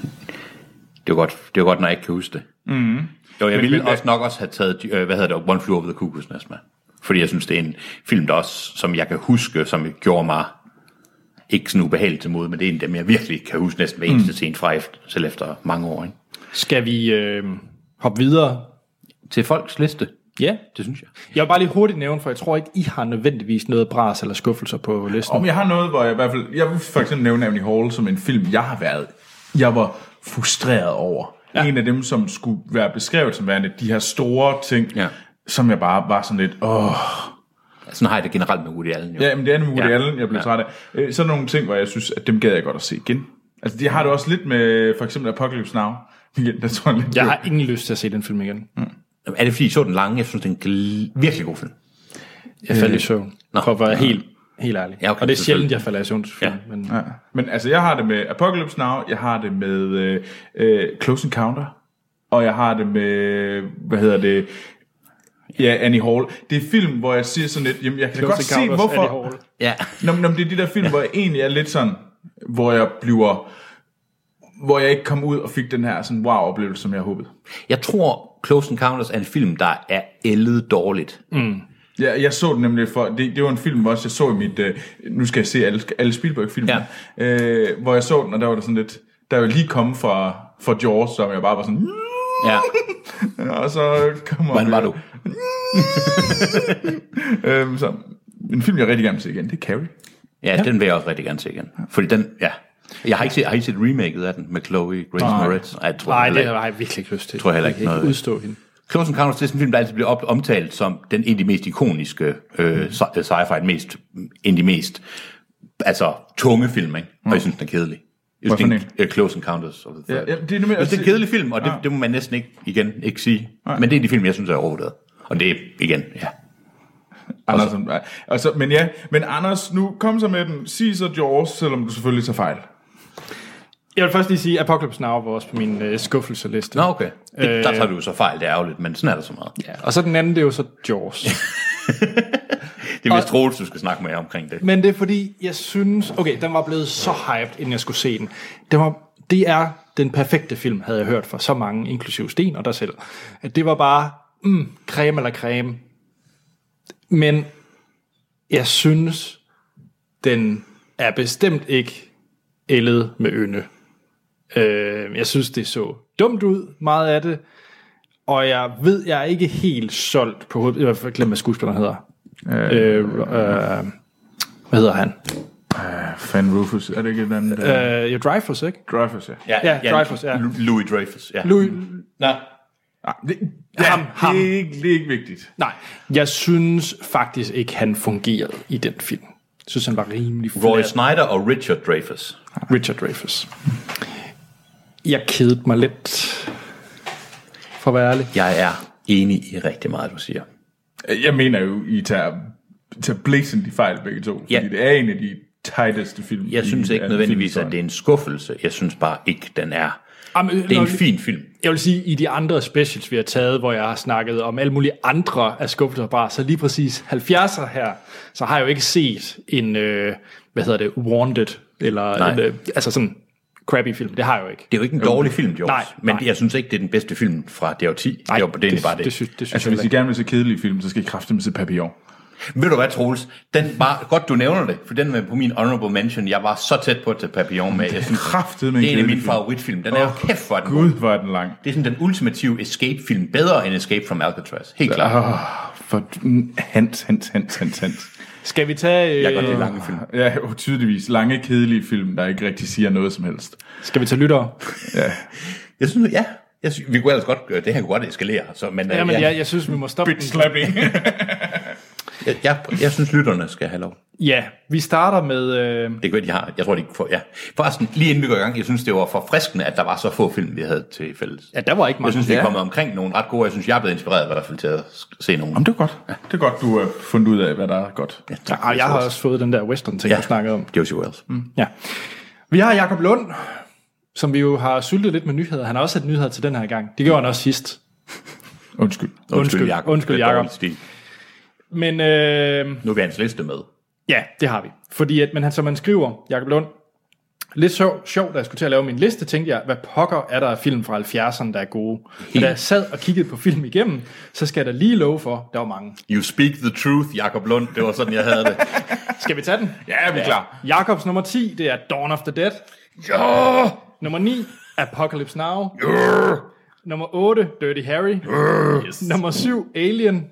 B: Det var godt, det var godt når jeg ikke kan huske det. Mm. Jo, jeg ville
C: men-
B: også nok også have taget, øh, hvad hedder det, One Flew Over the Cuckoo's Nest med. Fordi jeg synes, det er en film, der også, som jeg kan huske, som gjorde mig ikke sådan ubehageligt til mod, men det er en af dem, jeg virkelig kan huske næsten hver eneste mm. scene fra efter, selv efter mange år. Ikke?
A: Skal vi øh, hoppe videre?
B: Til folks liste,
A: Ja.
B: det synes jeg.
A: Jeg vil bare lige hurtigt nævne, for jeg tror ikke, I har nødvendigvis noget bras eller skuffelser på listen.
C: Om jeg har noget, hvor jeg i hvert fald... Jeg vil for eksempel nævne Annie Hall som en film, jeg har været... Jeg var frustreret over. Ja. En af dem, som skulle være beskrevet som værende de her store ting,
B: Ja.
C: som jeg bare var sådan lidt... Åh,
B: Sådan har jeg det generelt med Woody Allen. Jo.
C: Ja, men det er nemlig Woody
B: Ja.
C: ja. Allen, jeg blev ja. træt af. Øh, Sådan nogle ting, hvor jeg synes, at dem gad jeg godt at se igen. Altså, de har det også lidt med for eksempel Apocalypse Now. Igen, der tror jeg lidt.
A: Jeg har ingen lyst til at se den film igen.
B: Er det fordi, I så den lange? Jeg synes, det er en gl- virkelig god film. Jeg
A: faldt i
B: faldt i
A: søvn.
B: Øh, Nå.
A: For at være helt, helt ærlig.
B: Ja, okay,
A: og det er sjældent,
B: selvfølgelig.
A: jeg falder i søvn til film.
B: Ja.
A: Men,
C: Ja. Men altså, jeg har det med Apocalypse Now, jeg har det med øh, øh, Close Encounter, og jeg har det med, hvad hedder det, ja, Annie Hall. Det er film, hvor jeg siger sådan lidt, jamen, jeg kan da godt se, hvorfor...
B: Ja.
C: Nå, men nå, men det er de der film, hvor jeg egentlig er lidt sådan, hvor jeg bliver... Hvor jeg ikke kom ud og fik den her sådan wow-oplevelse, som jeg håbede.
B: Jeg tror, Close Encounters er en film, der er ældet dårligt. Mm.
C: Ja, jeg så den nemlig for, det, det var en film også, jeg så i mit, øh, nu skal jeg se alle, alle Spielberg-film,
B: Ja.
C: øh, hvor jeg så den, og der var der sådan lidt, der var lige kommet fra, fra Jaws, som jeg bare var sådan, "Mm,"
B: Ja.
C: og så kommer
B: Hvordan var du?
C: Øhm, så, en film, jeg rigtig gerne vil se igen, det er Carrie.
B: Ja, den vil jeg også rigtig gerne se igen. Fordi den, ja. Jeg har ikke set, har I set remaket af den med Chloe Grace
C: Nej.
B: Moretz? Ej, jeg tror,
A: Nej,
B: heller
A: det
B: ikke.
A: har jeg virkelig ikke lyst til.
B: Tror jeg heller ikke
A: jeg kan
B: noget.
A: ikke udstå hende.
B: Close Encounters, det er sådan en film, der altid bliver op- omtalt som den en af de mest ikoniske øh, sci- sci-fi, den mest, en af de mest altså, tunge film, ikke? og jeg synes, den er kedelig. Jeg synes,
C: Hvorfor
B: det er en, uh, Close Encounters of the Third.
C: Ja, ja, det er nemlig-
B: Jeg synes, det er en kedelig film, og det, det må man næsten ikke, igen, ikke sige. Men det er de film, jeg synes er overvurderet. Og det er, igen, ja.
C: Anders, nej, altså, men ja, men Anders, nu kom så med den, sig så Jaws, selvom du selvfølgelig tager fejl.
A: Jeg vil først lige sige, at Apocalypse Now var også på min øh, skuffelseliste.
B: Nå, okay. Det, der tager du så fejl, det er ærgerligt, men sådan er der så meget.
A: Ja. Og så den anden, det er jo så Jaws.
B: Det er vist Troels, du skal snakke med jer omkring det.
A: Øh, Men det er fordi, jeg synes... Okay, den var blevet så hyped, inden jeg skulle se den. Det, var, det er den perfekte film, havde jeg hørt fra så mange, inklusive Sten og dig selv. At det var bare, mm, creme eller creme. Men jeg synes, den er bestemt ikke ældet med ynde. Øh, jeg synes, det så dumt ud, meget af det. Og jeg ved, jeg er ikke helt solgt på hovedet. Jeg har glemt, hvad skuespilleren hedder. Øh, øh, hvad hedder han?
C: Ah, Fan Rufus, er det ikke et eller andet? Øh.
A: Øh, ja, Dreyfus, ikke?
C: Dreyfus, ja.
A: Ja, Dreyfus, ja.
B: Lu- Louis Dreyfus, ja.
A: Louis,
B: Nej.
C: Ah, det, ja, ham,
A: ham.
C: Det, er ikke, det er ikke vigtigt.
A: nej, jeg synes faktisk ikke, han fungerede i den film. Jeg synes, han var rimelig flad.
B: Roy Snyder og Richard Dreyfus.
A: Richard Dreyfus. Jeg kedede mig lidt. for at være ærlig.
B: Jeg er enig i rigtig meget, du siger.
C: Jeg mener jo, I tager, tager blæsende fejl begge to.
B: Ja.
C: Fordi det er en af de tighteste film.
B: Jeg synes ikke nødvendigvis, at det er en skuffelse. Jeg synes bare ikke, den er. Det er en fin film.
A: Jeg vil sige, i de andre specials, vi har taget, hvor jeg har snakket om alle mulige andre af skuffelser bare, så lige præcis 70'er her, så har jeg jo ikke set en, øh, hvad hedder det, Wanted, eller
B: Nej.
A: en, øh, altså sådan crappy film. Det har jeg jo ikke.
B: Det er jo ikke en dårlig film, George.
A: Nej,
B: men
A: nej.
B: jeg synes ikke, det er den bedste film fra det årti. Nej, det var det, er egentlig bare det.
A: Det synes, det synes
C: Altså,
A: jeg
C: hvis I
A: ikke.
C: gerne vil se kedelige film, så skal I kraftedeme se Papillon.
B: Ved du hvad, Troels? Den var, godt, du nævner det, for den var på min honorable mention. Jeg var så tæt på at tage Papillon med. Jeg synes,
C: Kraftedeme
B: det er en af
C: kedelig
B: mine
C: film.
B: favoritfilm. Den er
C: Åh,
B: oh, kæft for den.
C: Gud, hvor er den lang.
B: Det er sådan den ultimative escape-film. Bedre end Escape from Alcatraz. Helt klart.
C: Åh, for hans, hans, hans, hans, hans.
A: Skal vi tage,
B: Jeg kan godt lide
A: øh,
B: lange film.
C: Ja, jo, tydeligvis. Lange, kedelige film, der ikke rigtig siger noget som helst.
A: skal vi tage lyttere?
B: Jeg synes, ja. Jeg synes, vi kunne ellers godt gøre det her kunne godt eskalere. Så, men, øh,
A: Ja, men
B: ja,
A: jeg, jeg synes, vi må stoppe den.
C: slapping.
B: jeg, jeg, jeg, synes, lytterne skal have lov.
A: Ja, vi starter med... Øh,
B: Det kan være, de har. Jeg tror, de får, ja. Forresten, lige inden vi går i gang, jeg synes, det var forfriskende, at der var så få film, vi havde til fælles.
A: ja, der var ikke mange.
B: Jeg synes, vi er
A: ja.
B: kommet omkring nogle ret gode. Jeg synes, jeg er blevet inspireret i hvert fald til at sk- se nogle.
C: Jamen, det er godt. Det er godt, du har fundet ud af, hvad der er godt.
B: Ja, tak.
A: Ah, jeg har også fået den der western-ting, ja. jeg snakkede om.
B: Josie Wells. Mm.
A: Ja. Vi har Jakob Lund, som vi jo har syltet lidt med nyheder. Han har også et nyheder til den her gang. Det gjorde han også sidst.
C: Undskyld.
A: Undskyld, undskyld,
B: Det er
A: Jakob.
B: dårlig stil.
A: Men øh,
B: Nu er vi hans liste med.
A: ja, det har vi. Fordi, at, men han, som han skriver, Jakob Lund, lidt så sjovt, da jeg skulle til at lave min liste, tænkte jeg, hvad pokker er der af film fra 70'erne, der er gode? Men da jeg sad og kiggede på film igennem, så skal jeg da lige love for, der var mange.
B: You speak the truth, Jakob Lund. Det var sådan, jeg havde det.
A: Skal vi tage den?
C: Ja, vi er klar.
A: Jakobs nummer 10, det er Dawn of the Dead.
B: ja!
A: Nummer 9, Apocalypse Now. Nummer 8, Dirty Harry. Yes. Nummer 7, Alien.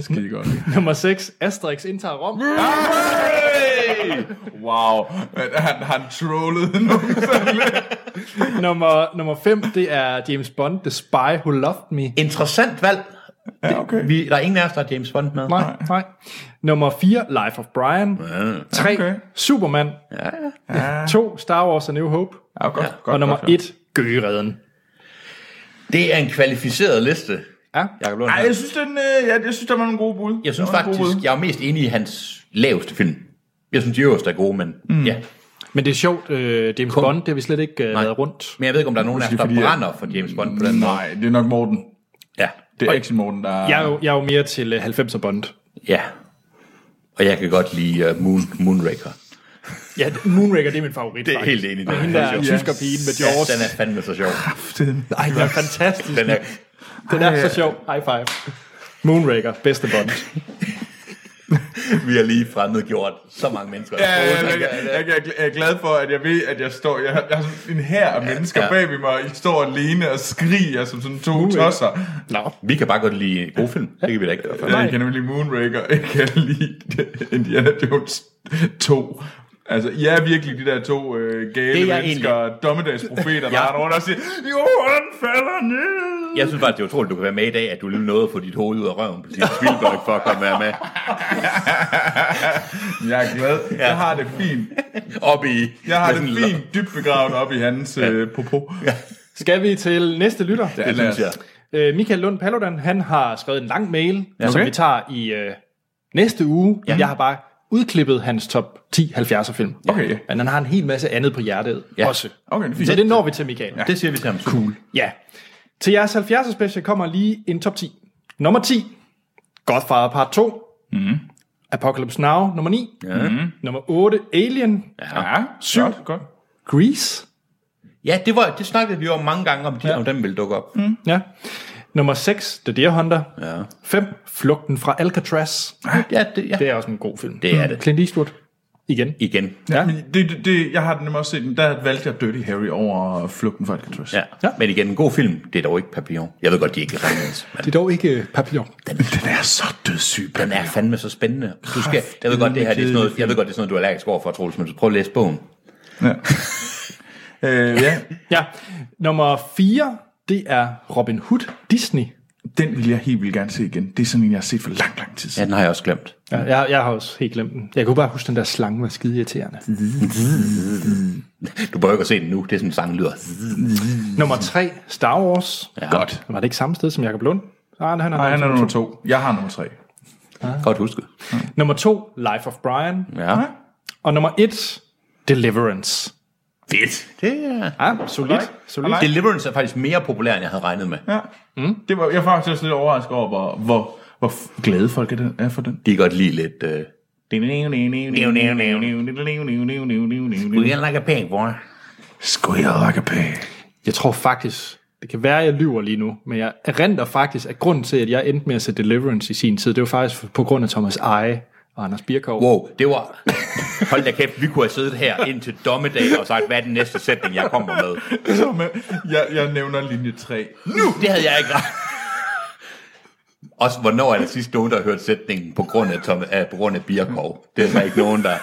C: Skide godt.
A: Nummer 6, Asterix indtager Rom.
C: Hey! Wow. Han, han trollede nu.
A: Nummer, nummer 5, det er James Bond, The Spy Who Loved Me.
B: Interessant valg.
C: Ja, okay.
B: Vi, der er ingen af os, der er James Bond med.
A: Nej, nej. Nummer 4, Life of Brian. 3,
C: Okay.
A: Superman.
B: Ja, ja.
A: 2, Star Wars A New Hope.
C: Ja, godt, ja. godt,
A: Og nummer
C: godt,
A: 1, Gøgereden.
B: Det er en kvalificeret liste.
A: Ja.
B: Jakob Lund.
C: Ej, jeg synes, den, øh, ja, jeg synes, der var nogle gode bud.
B: Jeg synes
C: Der var nogle
B: faktisk,
C: gode
B: jeg er mest enig i hans laveste film. Jeg synes, de øverste er gode, men mm. ja.
A: Men det er sjovt, øh, James Kun. Bond, det har vi slet ikke øh, været rundt.
B: Men jeg ved ikke, om der er nogen af os, der
C: fordi, at-
B: brænder for James Bond på
C: bud.
B: den måde.
C: Nej, det er nok Morten.
B: Ja.
C: Det er ikke Morten, der...
A: Jeg er jo, jeg er jo mere til øh, 90'er Bond.
B: ja. Og jeg kan godt lide uh, Moon, Moonraker.
A: Ja, Moonraker, det er min favorit,
B: Det er
A: faktisk.
B: helt enig. Den
A: Og hende der
B: sjov.
A: tysker pigen med
B: Ja,
A: George.
B: den er fandme så sjov.
A: Ej, den er fantastisk.
B: Den er,
A: Den er så sjov. High five. Moonraker, bedste Bond.
B: vi har lige fremmedgjort så mange mennesker.
C: Ja, ja, ja, jeg, jeg, jeg, jeg, jeg er glad for, at jeg ved, at jeg står... Jeg, har- jeg har sådan en her af mennesker
B: ja.
C: ja. bag ved mig, og I står alene og skriger som sådan to tosser.
A: Nå.
B: Vi kan bare godt lide gode film. Det kan vi da ikke. gøre for.
C: Jeg kan nemlig Moonraker, jeg kan lide Indiana Jones 2. Altså, I er virkelig de der to øh,
B: Det er
C: gale
B: jeg
C: mennesker, dommedagsprofeter, der er rundt og siger, Jorden falder ned.
B: Jeg synes faktisk, det er utroligt, du kan være med i dag, at du lige nåede at få dit hoved ud af røven på sin Spielberg for at komme være med.
C: Jeg er glad. Ja. Jeg har det fint.
B: Op i...
C: Jeg har
B: med
C: det
B: sådan-
C: fint dybt begravet op i hans øh, popo. Ja,
A: Skal vi til næste lytter?
B: Det synes jeg.
A: Øh, Michael Lund Paludan, han har skrevet en lang mail, okay. som
C: Okay.
A: vi tager i øh, næste uge. Ja. Jeg har bare udklippet hans top 10 70'er film.
C: Okay, ja.
A: Men han har en hel masse andet på hjertet ja. også.
C: Okay, det er fint.
A: Så det når vi til Michael. Ja.
B: Det siger vi til ham. Cool.
A: ja. Til jeres 70'er special kommer lige en top 10. Nummer 10, Godfather Part 2. Mm. Apocalypse Now, nummer 9.
B: Ja.
A: Mm. Nummer 8, Alien.
C: ja syv. Godt, godt.
A: Grease.
B: Ja, det, var, det snakkede vi jo om mange gange, om, de, ja. om den ville dukke op. Mm.
A: Ja. Nummer 6, The Deer Hunter.
B: Ja.
A: 5, Flugten fra Alcatraz.
B: Ja, det, ja.
A: Det er også en god film. Mhm.
B: Det er det.
A: Clint Eastwood. Igen.
B: Igen.
C: Ja. Men det, det, det, jeg har den nemlig også set, men der valgte jeg Dirty Harry over Flugten fra Alcatraz.
B: Ja.
A: Ja.
B: ja. Men igen, en god film. Det er dog ikke Papillon. Jeg ved godt, de ikke er anderledes, men
A: Det er dog ikke Papillon.
C: Den er så dødssyg.
B: den er fandme så spændende. Du skal, jeg ved godt, det her det er sådan noget, jeg ved godt, det er sådan noget, du er allergisk over for, Troels, men du prøv at læse bogen.
C: Ja. øh, ja.
A: Ja. Nummer 4, det er Robin Hood Disney.
C: Den vil jeg helt vildt gerne se igen. Det er sådan en, jeg har set for lang, lang tid siden.
B: Ja, den har jeg også glemt.
A: Ja, jeg, jeg har også helt glemt den. Jeg kunne bare huske, den der slange var skide irriterende.
B: Du behøver ikke at se den nu. Det er sådan en sang, lyder.
A: Nummer tre, Star Wars.
B: Ja.
C: Godt.
A: Var det ikke samme sted som Jakob Lund? Nej, han er,
C: Nej, han er nummer to. Jeg har nummer tre.
B: Godt husket.
A: Nummer to, Life of Brian.
B: Ja.
A: Og nummer et, Deliverance.
B: Fedt. Det er...
A: Ja, solid. solid.
B: Deliverance er faktisk mere populær, end jeg havde regnet med.
C: Ja. Mm. Det var, jeg var faktisk lidt overrasket over, hvor, hvor, hvor f- glade folk er, den, er for den.
B: De kan godt lide lidt... Uh, like a pig, boy.
C: Skulle jeg like a pig.
A: Jeg tror faktisk, det kan være, at jeg lyver lige nu, men jeg erindrer faktisk, at grunden til, at jeg endte med at se Deliverance i sin tid, det var faktisk på grund af Thomas Eje og Anders Birkov.
B: Wow, det var... Hold da kæft, vi kunne have siddet her indtil dommedag og sagt, hvad er den næste sætning, jeg kommer med?
C: Så med, jeg, jeg nævner linje 3.
B: Nu! Det havde jeg ikke ret. Også, hvornår er det sidst nogen, der har hørt sætningen på grund af, Tom, af, på grund af Birkov? Det er der ikke nogen, der...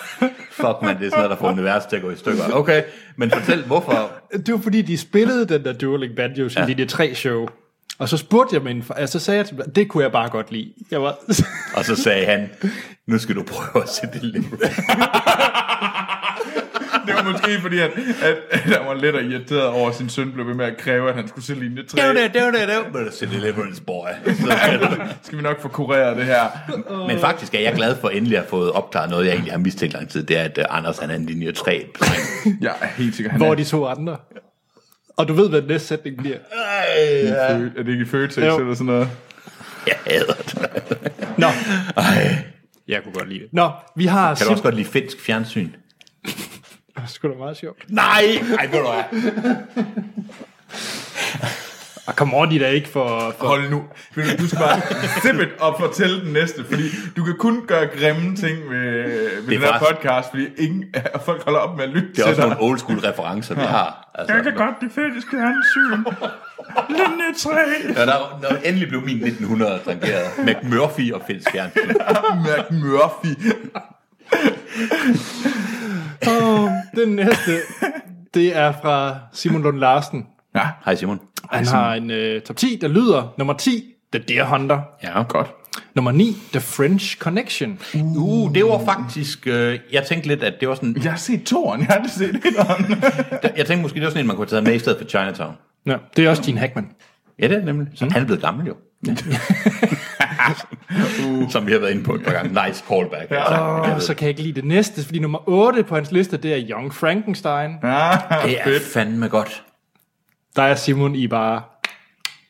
B: Fuck, man, det er sådan noget, der får universet til at gå i stykker. Okay, men fortæl, hvorfor...
A: Det var fordi, de spillede den der Dueling Banjos ja. i Linje 3-show. Og så spurgte jeg min far, altså sagde jeg til dem, det kunne jeg bare godt lide. Jeg var,
B: Og så sagde han, nu skal du prøve at se det lidt.
C: Det var måske fordi, at, at, at han var lidt irriteret over, at sin søn blev ved med at kræve, at han skulle se linje 3.
B: Det var det, det var det, det var det. Se Deliverance Boy. Så-
C: Skal vi nok få kureret det her?
B: Men faktisk er jeg glad for, at endelig har fået opklaret noget, jeg egentlig har mistænkt lang tid. Det er, at øh, Anders han er en linje 3.
C: Jeg er helt sikker, han
A: hvor
C: er,
A: er de to andre? Og du ved, hvad den næste sætning bliver.
C: i Fø- er det ikke i Føtex
A: Jo.
C: eller sådan noget?
B: Jeg hader det.
A: Nå. Jeg kunne godt lide det. Nå, vi har
B: Kan du også
A: simpelthen...
B: godt lide finsk fjernsyn?
A: Det skulle da meget sjovt.
B: Nej! Ej, ved du hvad?
A: Og Ah, come on, I da ikke for... for...
C: Hold nu. Ved du, Du skal bare zip it og fortælle den næste, fordi du kan kun gøre grimme ting ved, ved den her
B: faktisk-
C: podcast, fordi ingen, folk holder op med at lytte
B: Det er
C: til
B: også
C: dig.
B: nogle old school referencer, vi har. Altså,
C: godt det fælles fjernsyn. Linje
B: når,
C: 3.
B: der, når endelig blev min 1900 drengeret. McMurphy og finsk fjernsyn.
C: Mac Murphy.
A: Åh, den næste, det er fra Simon Lund Larsen.
C: Ja,
B: Hej Simon.
A: Han har en øh, top 10, der lyder nummer 10, The Deer Hunter.
B: Ja.
C: godt.
A: Nummer 9, The French Connection.
B: Uh, det var faktisk... Øh, jeg tænkte lidt, at det var sådan...
C: Jeg har set toren, jeg har aldrig set etteren.
B: Jeg tænkte måske, det var sådan en, man kunne tage med i stedet for Chinatown.
A: Ja, det er også Gene Hackman.
B: Ja, det er nemlig. Så han er blevet gammel jo. uh. Som vi har været inde på et par gange. Nice callback. altså. Ja.
A: Og så kan jeg ikke lide det næste, fordi nummer 8 på hans liste, det er Young Frankenstein.
B: Det er fandme godt.
A: Der er Simon i bare.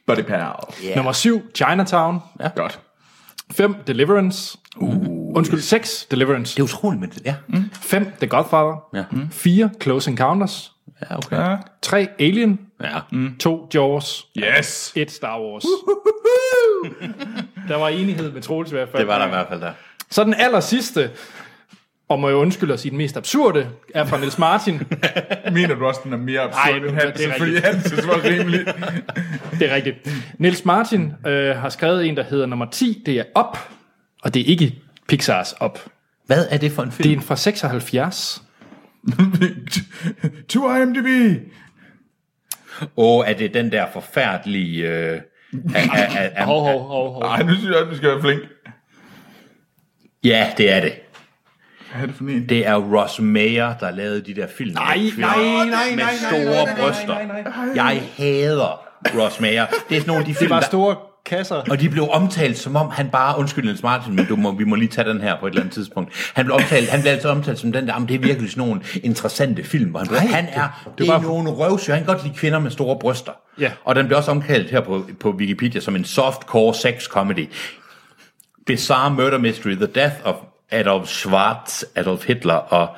C: Buddy pal.
A: Yeah. Nummer 7, Chinatown.
C: Godt.
A: 5, Deliverance. Uh. Undskyld, 6,
B: Det
A: Deliverance.
B: er utroligt, men det, ja.
A: 5, The Godfather.
B: Ja. Mm.
A: 4, Close Encounters.
B: ja Mm. okay.
A: 3, Alien.
B: Ja.
A: 2, Jaws.
C: Yes.
A: 1, Star Wars. der var enighed med Troels i hvert fald.
B: Det var der i hvert fald der.
A: Så den aller sidste, og må jeg undskylde at sige den mest absurde, er fra Niels Martin.
C: Mener du også, den er mere absurd
A: Ej,
C: end
A: det er
C: Hansen? Fordi Hansen var rimelig...
A: Det er rigtigt. Niels Martin øh, har skrevet en, der hedder nummer 10. Det er op, og det er ikke Pixars op.
B: Hvad er det for en film?
A: Det er en fra 76.
C: to IMDb.
B: Og er det den der forfærdelige... Øh, af, af, af, af,
A: Hov, hov, hov, hov.
C: Ej, nu synes jeg, at vi skal være flink.
B: ja, det er det.
C: Hvad er det for en?
B: Det er Ross Mayer, der lavede de der film. Nej,
A: nej,
B: nej, med store bryster. Jeg hader Ross Mayer. Det er sådan nogle af de film,
A: Det var
B: der-
A: store kasser.
B: Og de blev omtalt som om han bare, undskyld Niels Martin, men du må, vi må lige tage den her på et eller andet tidspunkt. Han blev, omtalt, han blev altid omtalt som den der, "Jamen, det er virkelig sådan nogle interessante film. Hvor han, blev, han er, det, det er
A: var-
B: nogle røvsyge. Han kan godt lide kvinder med store bryster.
A: Ja.
B: Og den blev også omkaldt her på, på Wikipedia som en softcore sex comedy. Bizarre Murder Mystery, The Death of Adolf Schwarz, Adolf Hitler og...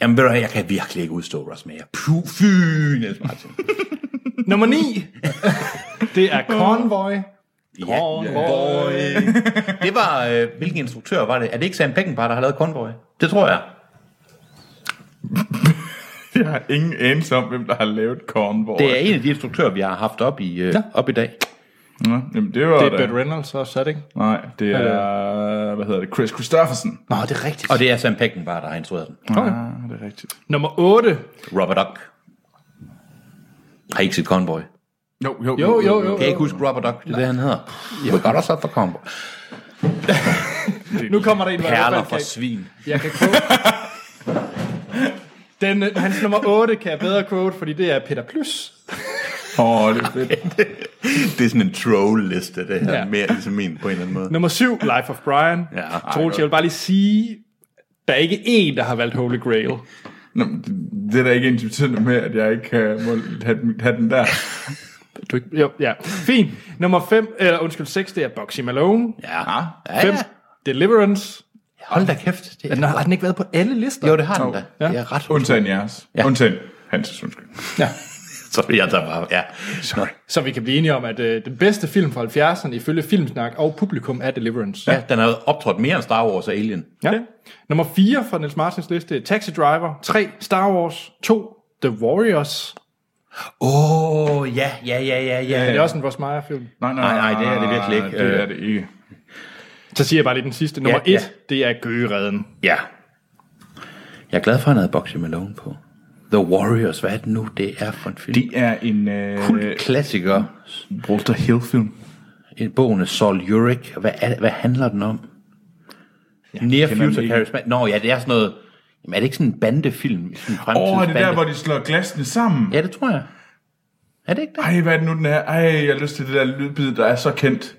B: Jamen ved du hvad, jeg kan virkelig ikke udstå Ross Mayer. Puh, Fy, Niels Martin.
A: Nummer 9. Det er Convoy.
B: Ja, Boy. Øh, Det var, øh, hvilken instruktør var det? Er det ikke Sam Peckinpah, der har lavet Convoy? Det tror jeg.
C: Jeg har ingen anelse om, hvem der har lavet Cornwall.
B: Det er en af de instruktører, vi har haft op i, øh, ja. op i dag.
C: Nå, jamen, det var
A: Det er
C: da-
A: Burt Reynolds også, er det ikke?
C: Nej, det er... Hvad hedder det? Chris Christofferson.
A: Nå, det er rigtigt.
B: Og det er Sam Peckinpah, der har instrueret den.
C: Okay. Ah, det er rigtigt.
A: Nummer 8.
B: Robert Duck. Har I ikke set Convoy?
C: Jo, jo,
A: Jo, jo, jo,
B: Kan jeg ikke
A: jo.
B: huske Rubber Duck? Det er det, han hedder. Jeg got us up for combo.
A: Nu kommer der en, hvor jeg i hvert
B: Perler
A: fald
B: for
A: kan-
B: svin.
A: Jeg kan quote. Den, øh, hans nummer 8 kan jeg bedre quote, fordi det er Peter Plus.
C: Åh, oh, det er fedt.
B: Det er sådan en troll-liste, det her.
A: Ja.
B: Mere ligesom min på en eller anden måde.
A: Nummer 7, Life of Brian.
B: Ja, ej,
A: Troels,
B: godt.
A: jeg vil bare lige sige, der er ikke én, der har valgt Holy Grail.
C: Nå, men det- det er da ikke intimidant med, at jeg ikke kan må have, den- have den der.
A: Du ikke, jo, ja. Fint. Nummer 5, eller undskyld, 6, det er Boxy Malone.
B: Ja. ja,
A: 5,
B: ja.
A: Deliverance.
B: Hold da kæft. Det
A: Den
B: er,
A: har, har den ikke været på alle lister?
B: jo, det har den da.
A: Ja.
B: Det er ret
C: Undtagen jeres. Ja. Undtagen Hans, undskyld.
A: Ja.
B: Så jeg tager bare, ja. Sorry.
A: Så vi kan blive enige om, at øh, den bedste film fra 70'erne ifølge Filmsnak og publikum er Deliverance.
B: Ja, den har optrådt mere end Star Wars og Alien.
A: Ja. Nummer 4 fra Niels Martins liste, Taxi Driver. 3, Star Wars. 2, The Warriors.
B: Åh, oh, ja, ja, ja, ja, ja.
A: Er det også en Ross Meyer film?
B: Nej, nej, det er det virkelig ikke.
C: Ah, Det er
B: Øh,
C: det ikke.
A: Så siger jeg bare lige den sidste. Nummer 1,
B: Ja,
A: ja,
B: ja.
A: det er Gøgeredden.
B: Ja. Jeg er glad for, at han havde Boxy Malone på. The Warriors, hvad er det nu, det er for en film?
C: Det er en øh,
B: Klassiker.
C: Walter Hill-film.
B: En bogen af Saul Urich. Hvad, er, hvad handler den om? Near
C: kender den
B: Future
C: ikke.
B: Charismatic. Nå ja, det er sådan noget... Jamen, er det ikke sådan en bandefilm? Sådan en
C: Åh, er det
B: fremtidsbande-
C: der, hvor de slår glasene sammen?
B: Ja, det tror jeg. Er det ikke det?
C: Ej, hvad er det nu, den er? Ej, jeg har lyst til det der lydbid, der er så kendt.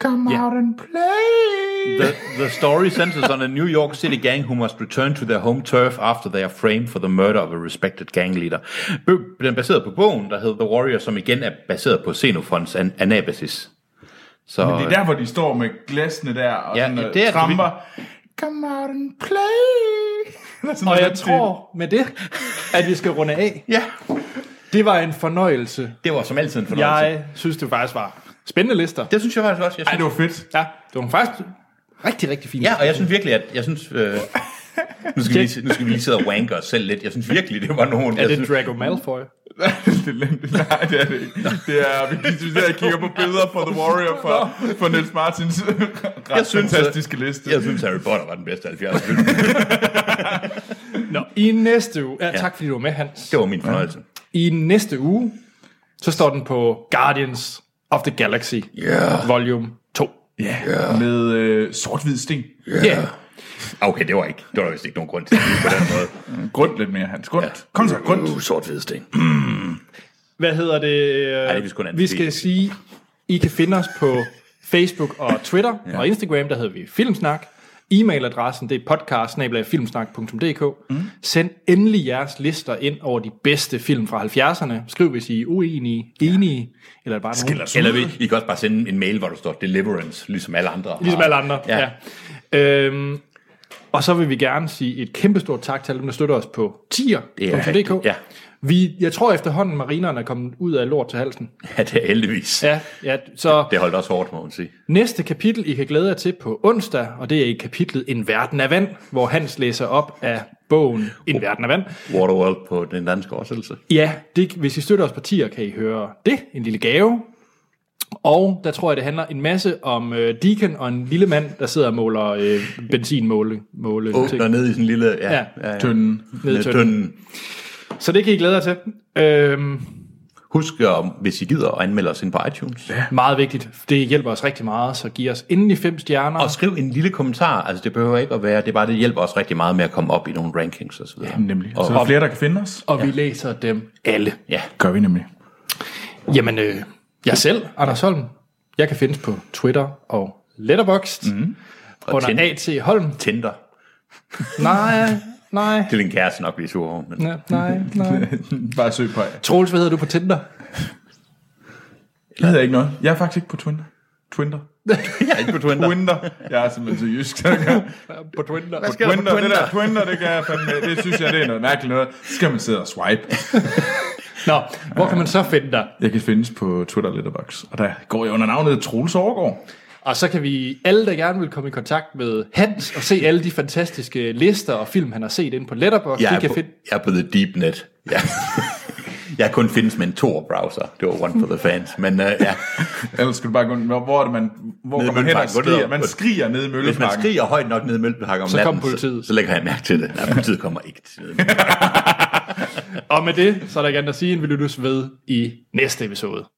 C: Come yeah. out and play!
B: The, the story centers on a New York City gang who must return to their home turf after they are framed for the murder of a respected gang leader. Bø- Den er baseret på bogen, der hedder The Warrior, som igen er baseret på Xenophons an- Anabasis. Så
C: Det er der, hvor de står med glasene der og
B: Ja,
C: ja, sådan,
B: ja,
C: øh,
B: det er
C: tramper. Come out and play! Eller sådan
A: Og
C: noget
A: jeg
C: den
A: tror med det, at vi skal runde af.
B: ja,
A: Det var en fornøjelse. Altså.
B: det var som altid en fornøjelse. Jeg...
A: Jeg synes, det faktisk var spændende lister.
B: Det synes jeg faktisk også. Jeg
C: stil. Ej,
B: synes,
C: det var fedt.
A: Ja, det var faktisk rigtig, rigtig fint.
B: ja, og jeg synes virkelig, at jeg synes... Øh, nu, skal vi lige, nu skal vi lige sidde og wanke os selv lidt. Jeg synes virkelig, det var nogen...
A: er
B: jeg
A: det
B: synes,
A: Draco Malfoy?
C: det er nemt. Nej, det er det ikke. Det er, vi sidder og kigger på billeder fra The Warrior fra, fra Niels Martins ret
B: synes,
C: jeg synes,
B: at-
C: fantastiske liste.
B: jeg synes, Harry Potter var den bedste 70'er film.
A: Nå, i næste uge... Ja, tak fordi du var med, Hans.
B: Det var min fornøjelse.
A: I næste uge, så står den på Guardians of the Galaxy,
B: Yeah.
A: volume 2.
C: yeah. Med øh, sort-hvid sten.
A: Ja. Yeah.
B: Okay, det var ikke... Det var der vist ikke nogen grund til at sige på den måde.
C: Grund lidt mere, Hans. Grund. Kom så, grund.
B: Uh, sort-hvid sten.
A: Hvad hedder det? Ej,
B: det er vist kun andet
A: vi skal
B: video.
A: sige, I kan finde os på Facebook og Twitter ja. og Instagram, der hedder vi Filmsnak. E-mailadressen, det er podcast-filmsnak.dk. Mm. Send endelig jeres lister ind over de bedste film fra 70'erne. Skriv, hvis I er uenige, enige, eller bare nogen.
B: Eller vi, I kan også bare sende en mail, hvor der står Deliverance, ligesom alle andre. har.
A: Ligesom alle andre.
B: Ja.
A: Ja. ja. Øhm, og så vil vi gerne sige et kæmpestort tak til alle dem, der støtter os på tier.dk.
B: rigtigt, ja.
A: Vi, jeg tror efterhånden, marinerne er kommet ud af lort til halsen.
B: Ja, det er heldigvis. Ja.
A: Ja, ja så
B: Det holdt også hårdt, må man sige.
A: Næste kapitel, I kan glæde jer til på onsdag, og det er i kapitlet En verden af vand, hvor Hans læser op af bogen En verden af vand.
B: Waterworld på den danske oversættelse.
A: Ja, det, hvis I støtter os partier, kan I høre det, en lille gave. Og der tror jeg, det handler en masse om øh, Deacon og en lille mand, der sidder og måler øh, benzinmåle. Måle,
B: Åh,
A: ting.
B: dernede i sådan en lille... Ja,
A: Ja,
B: ja, ja.
C: Tønden.
A: nede i
B: Nede i
A: tønden.
B: Tønden.
A: Så det kan I glæde jer til. Øhm,
B: Husk, om, hvis I gider, at anmelde os ind på iTunes. Ja.
A: meget vigtigt. Det hjælper os rigtig meget, så giv os endelig fem stjerner.
B: Og skriv en lille kommentar. Altså, det behøver ikke at være... Det er bare, det hjælper os rigtig meget med at komme op i nogle rankings og så videre.
C: Nemlig. Så er der flere, der kan finde os.
A: og vi læser dem alle.
B: Ja.
C: Gør vi nemlig.
A: Jamen, øh, jeg selv, Anders Holm, jeg kan findes på Twitter og Letterboxd mm. under
B: Tinder.
A: A.T. Holm.
B: Tinder.
A: Nej, nej,
B: Det vil en kæreste nok blive sur over, men...
A: nej, nej, nej.
C: Bare søg på.
A: Troels, hvad hedder du på Tinder?
C: Jeg hedder ikke noget. Jeg er faktisk ikke på Twitter. Twitter.
B: Jeg er ikke på Twitter.
C: Twitter. Jeg er simpelthen så jysk. Jeg kan-
A: På Twitter.
B: Skal der på
C: Twitter, det
B: Twitter?
C: der Twitter, det kan jeg fandme, det synes jeg, det er noget mærkeligt noget. Så skal man sidde og swipe.
A: Nå, hvor kan man så finde dig?
C: Jeg kan findes på Twitter Letterbox, og der går jeg under navnet Troels Overgaard.
A: Og så kan vi, alle der gerne vil komme i kontakt med Hans, og se alle de fantastiske lister og film, han har set inde på Letterboxd,
B: Jeg
A: de
B: er,
A: kan
B: på,
A: finde...
B: jeg er på The Deep Net. Ja. jeg kun findes med en Tor-browser. Det var one for the fans. Men uh, ja,
C: Ellers skal du bare gå ind, hvor hvor er det man, hvor
B: Nede i
C: går man hen og
B: Mølleparken. Gå ned og-
C: skriger? Man skriger nede i
B: hvis man
C: Mølleparken.
B: skriger højt nok ned i Mølleparken om
A: Så
B: natten,
A: kommer politiet.
B: Så, så lægger han mærke til det. Nej, politiet kommer ikke til det.
A: Og med det, så er der ikke andet at sige, end vi lyttes ved i næste episode.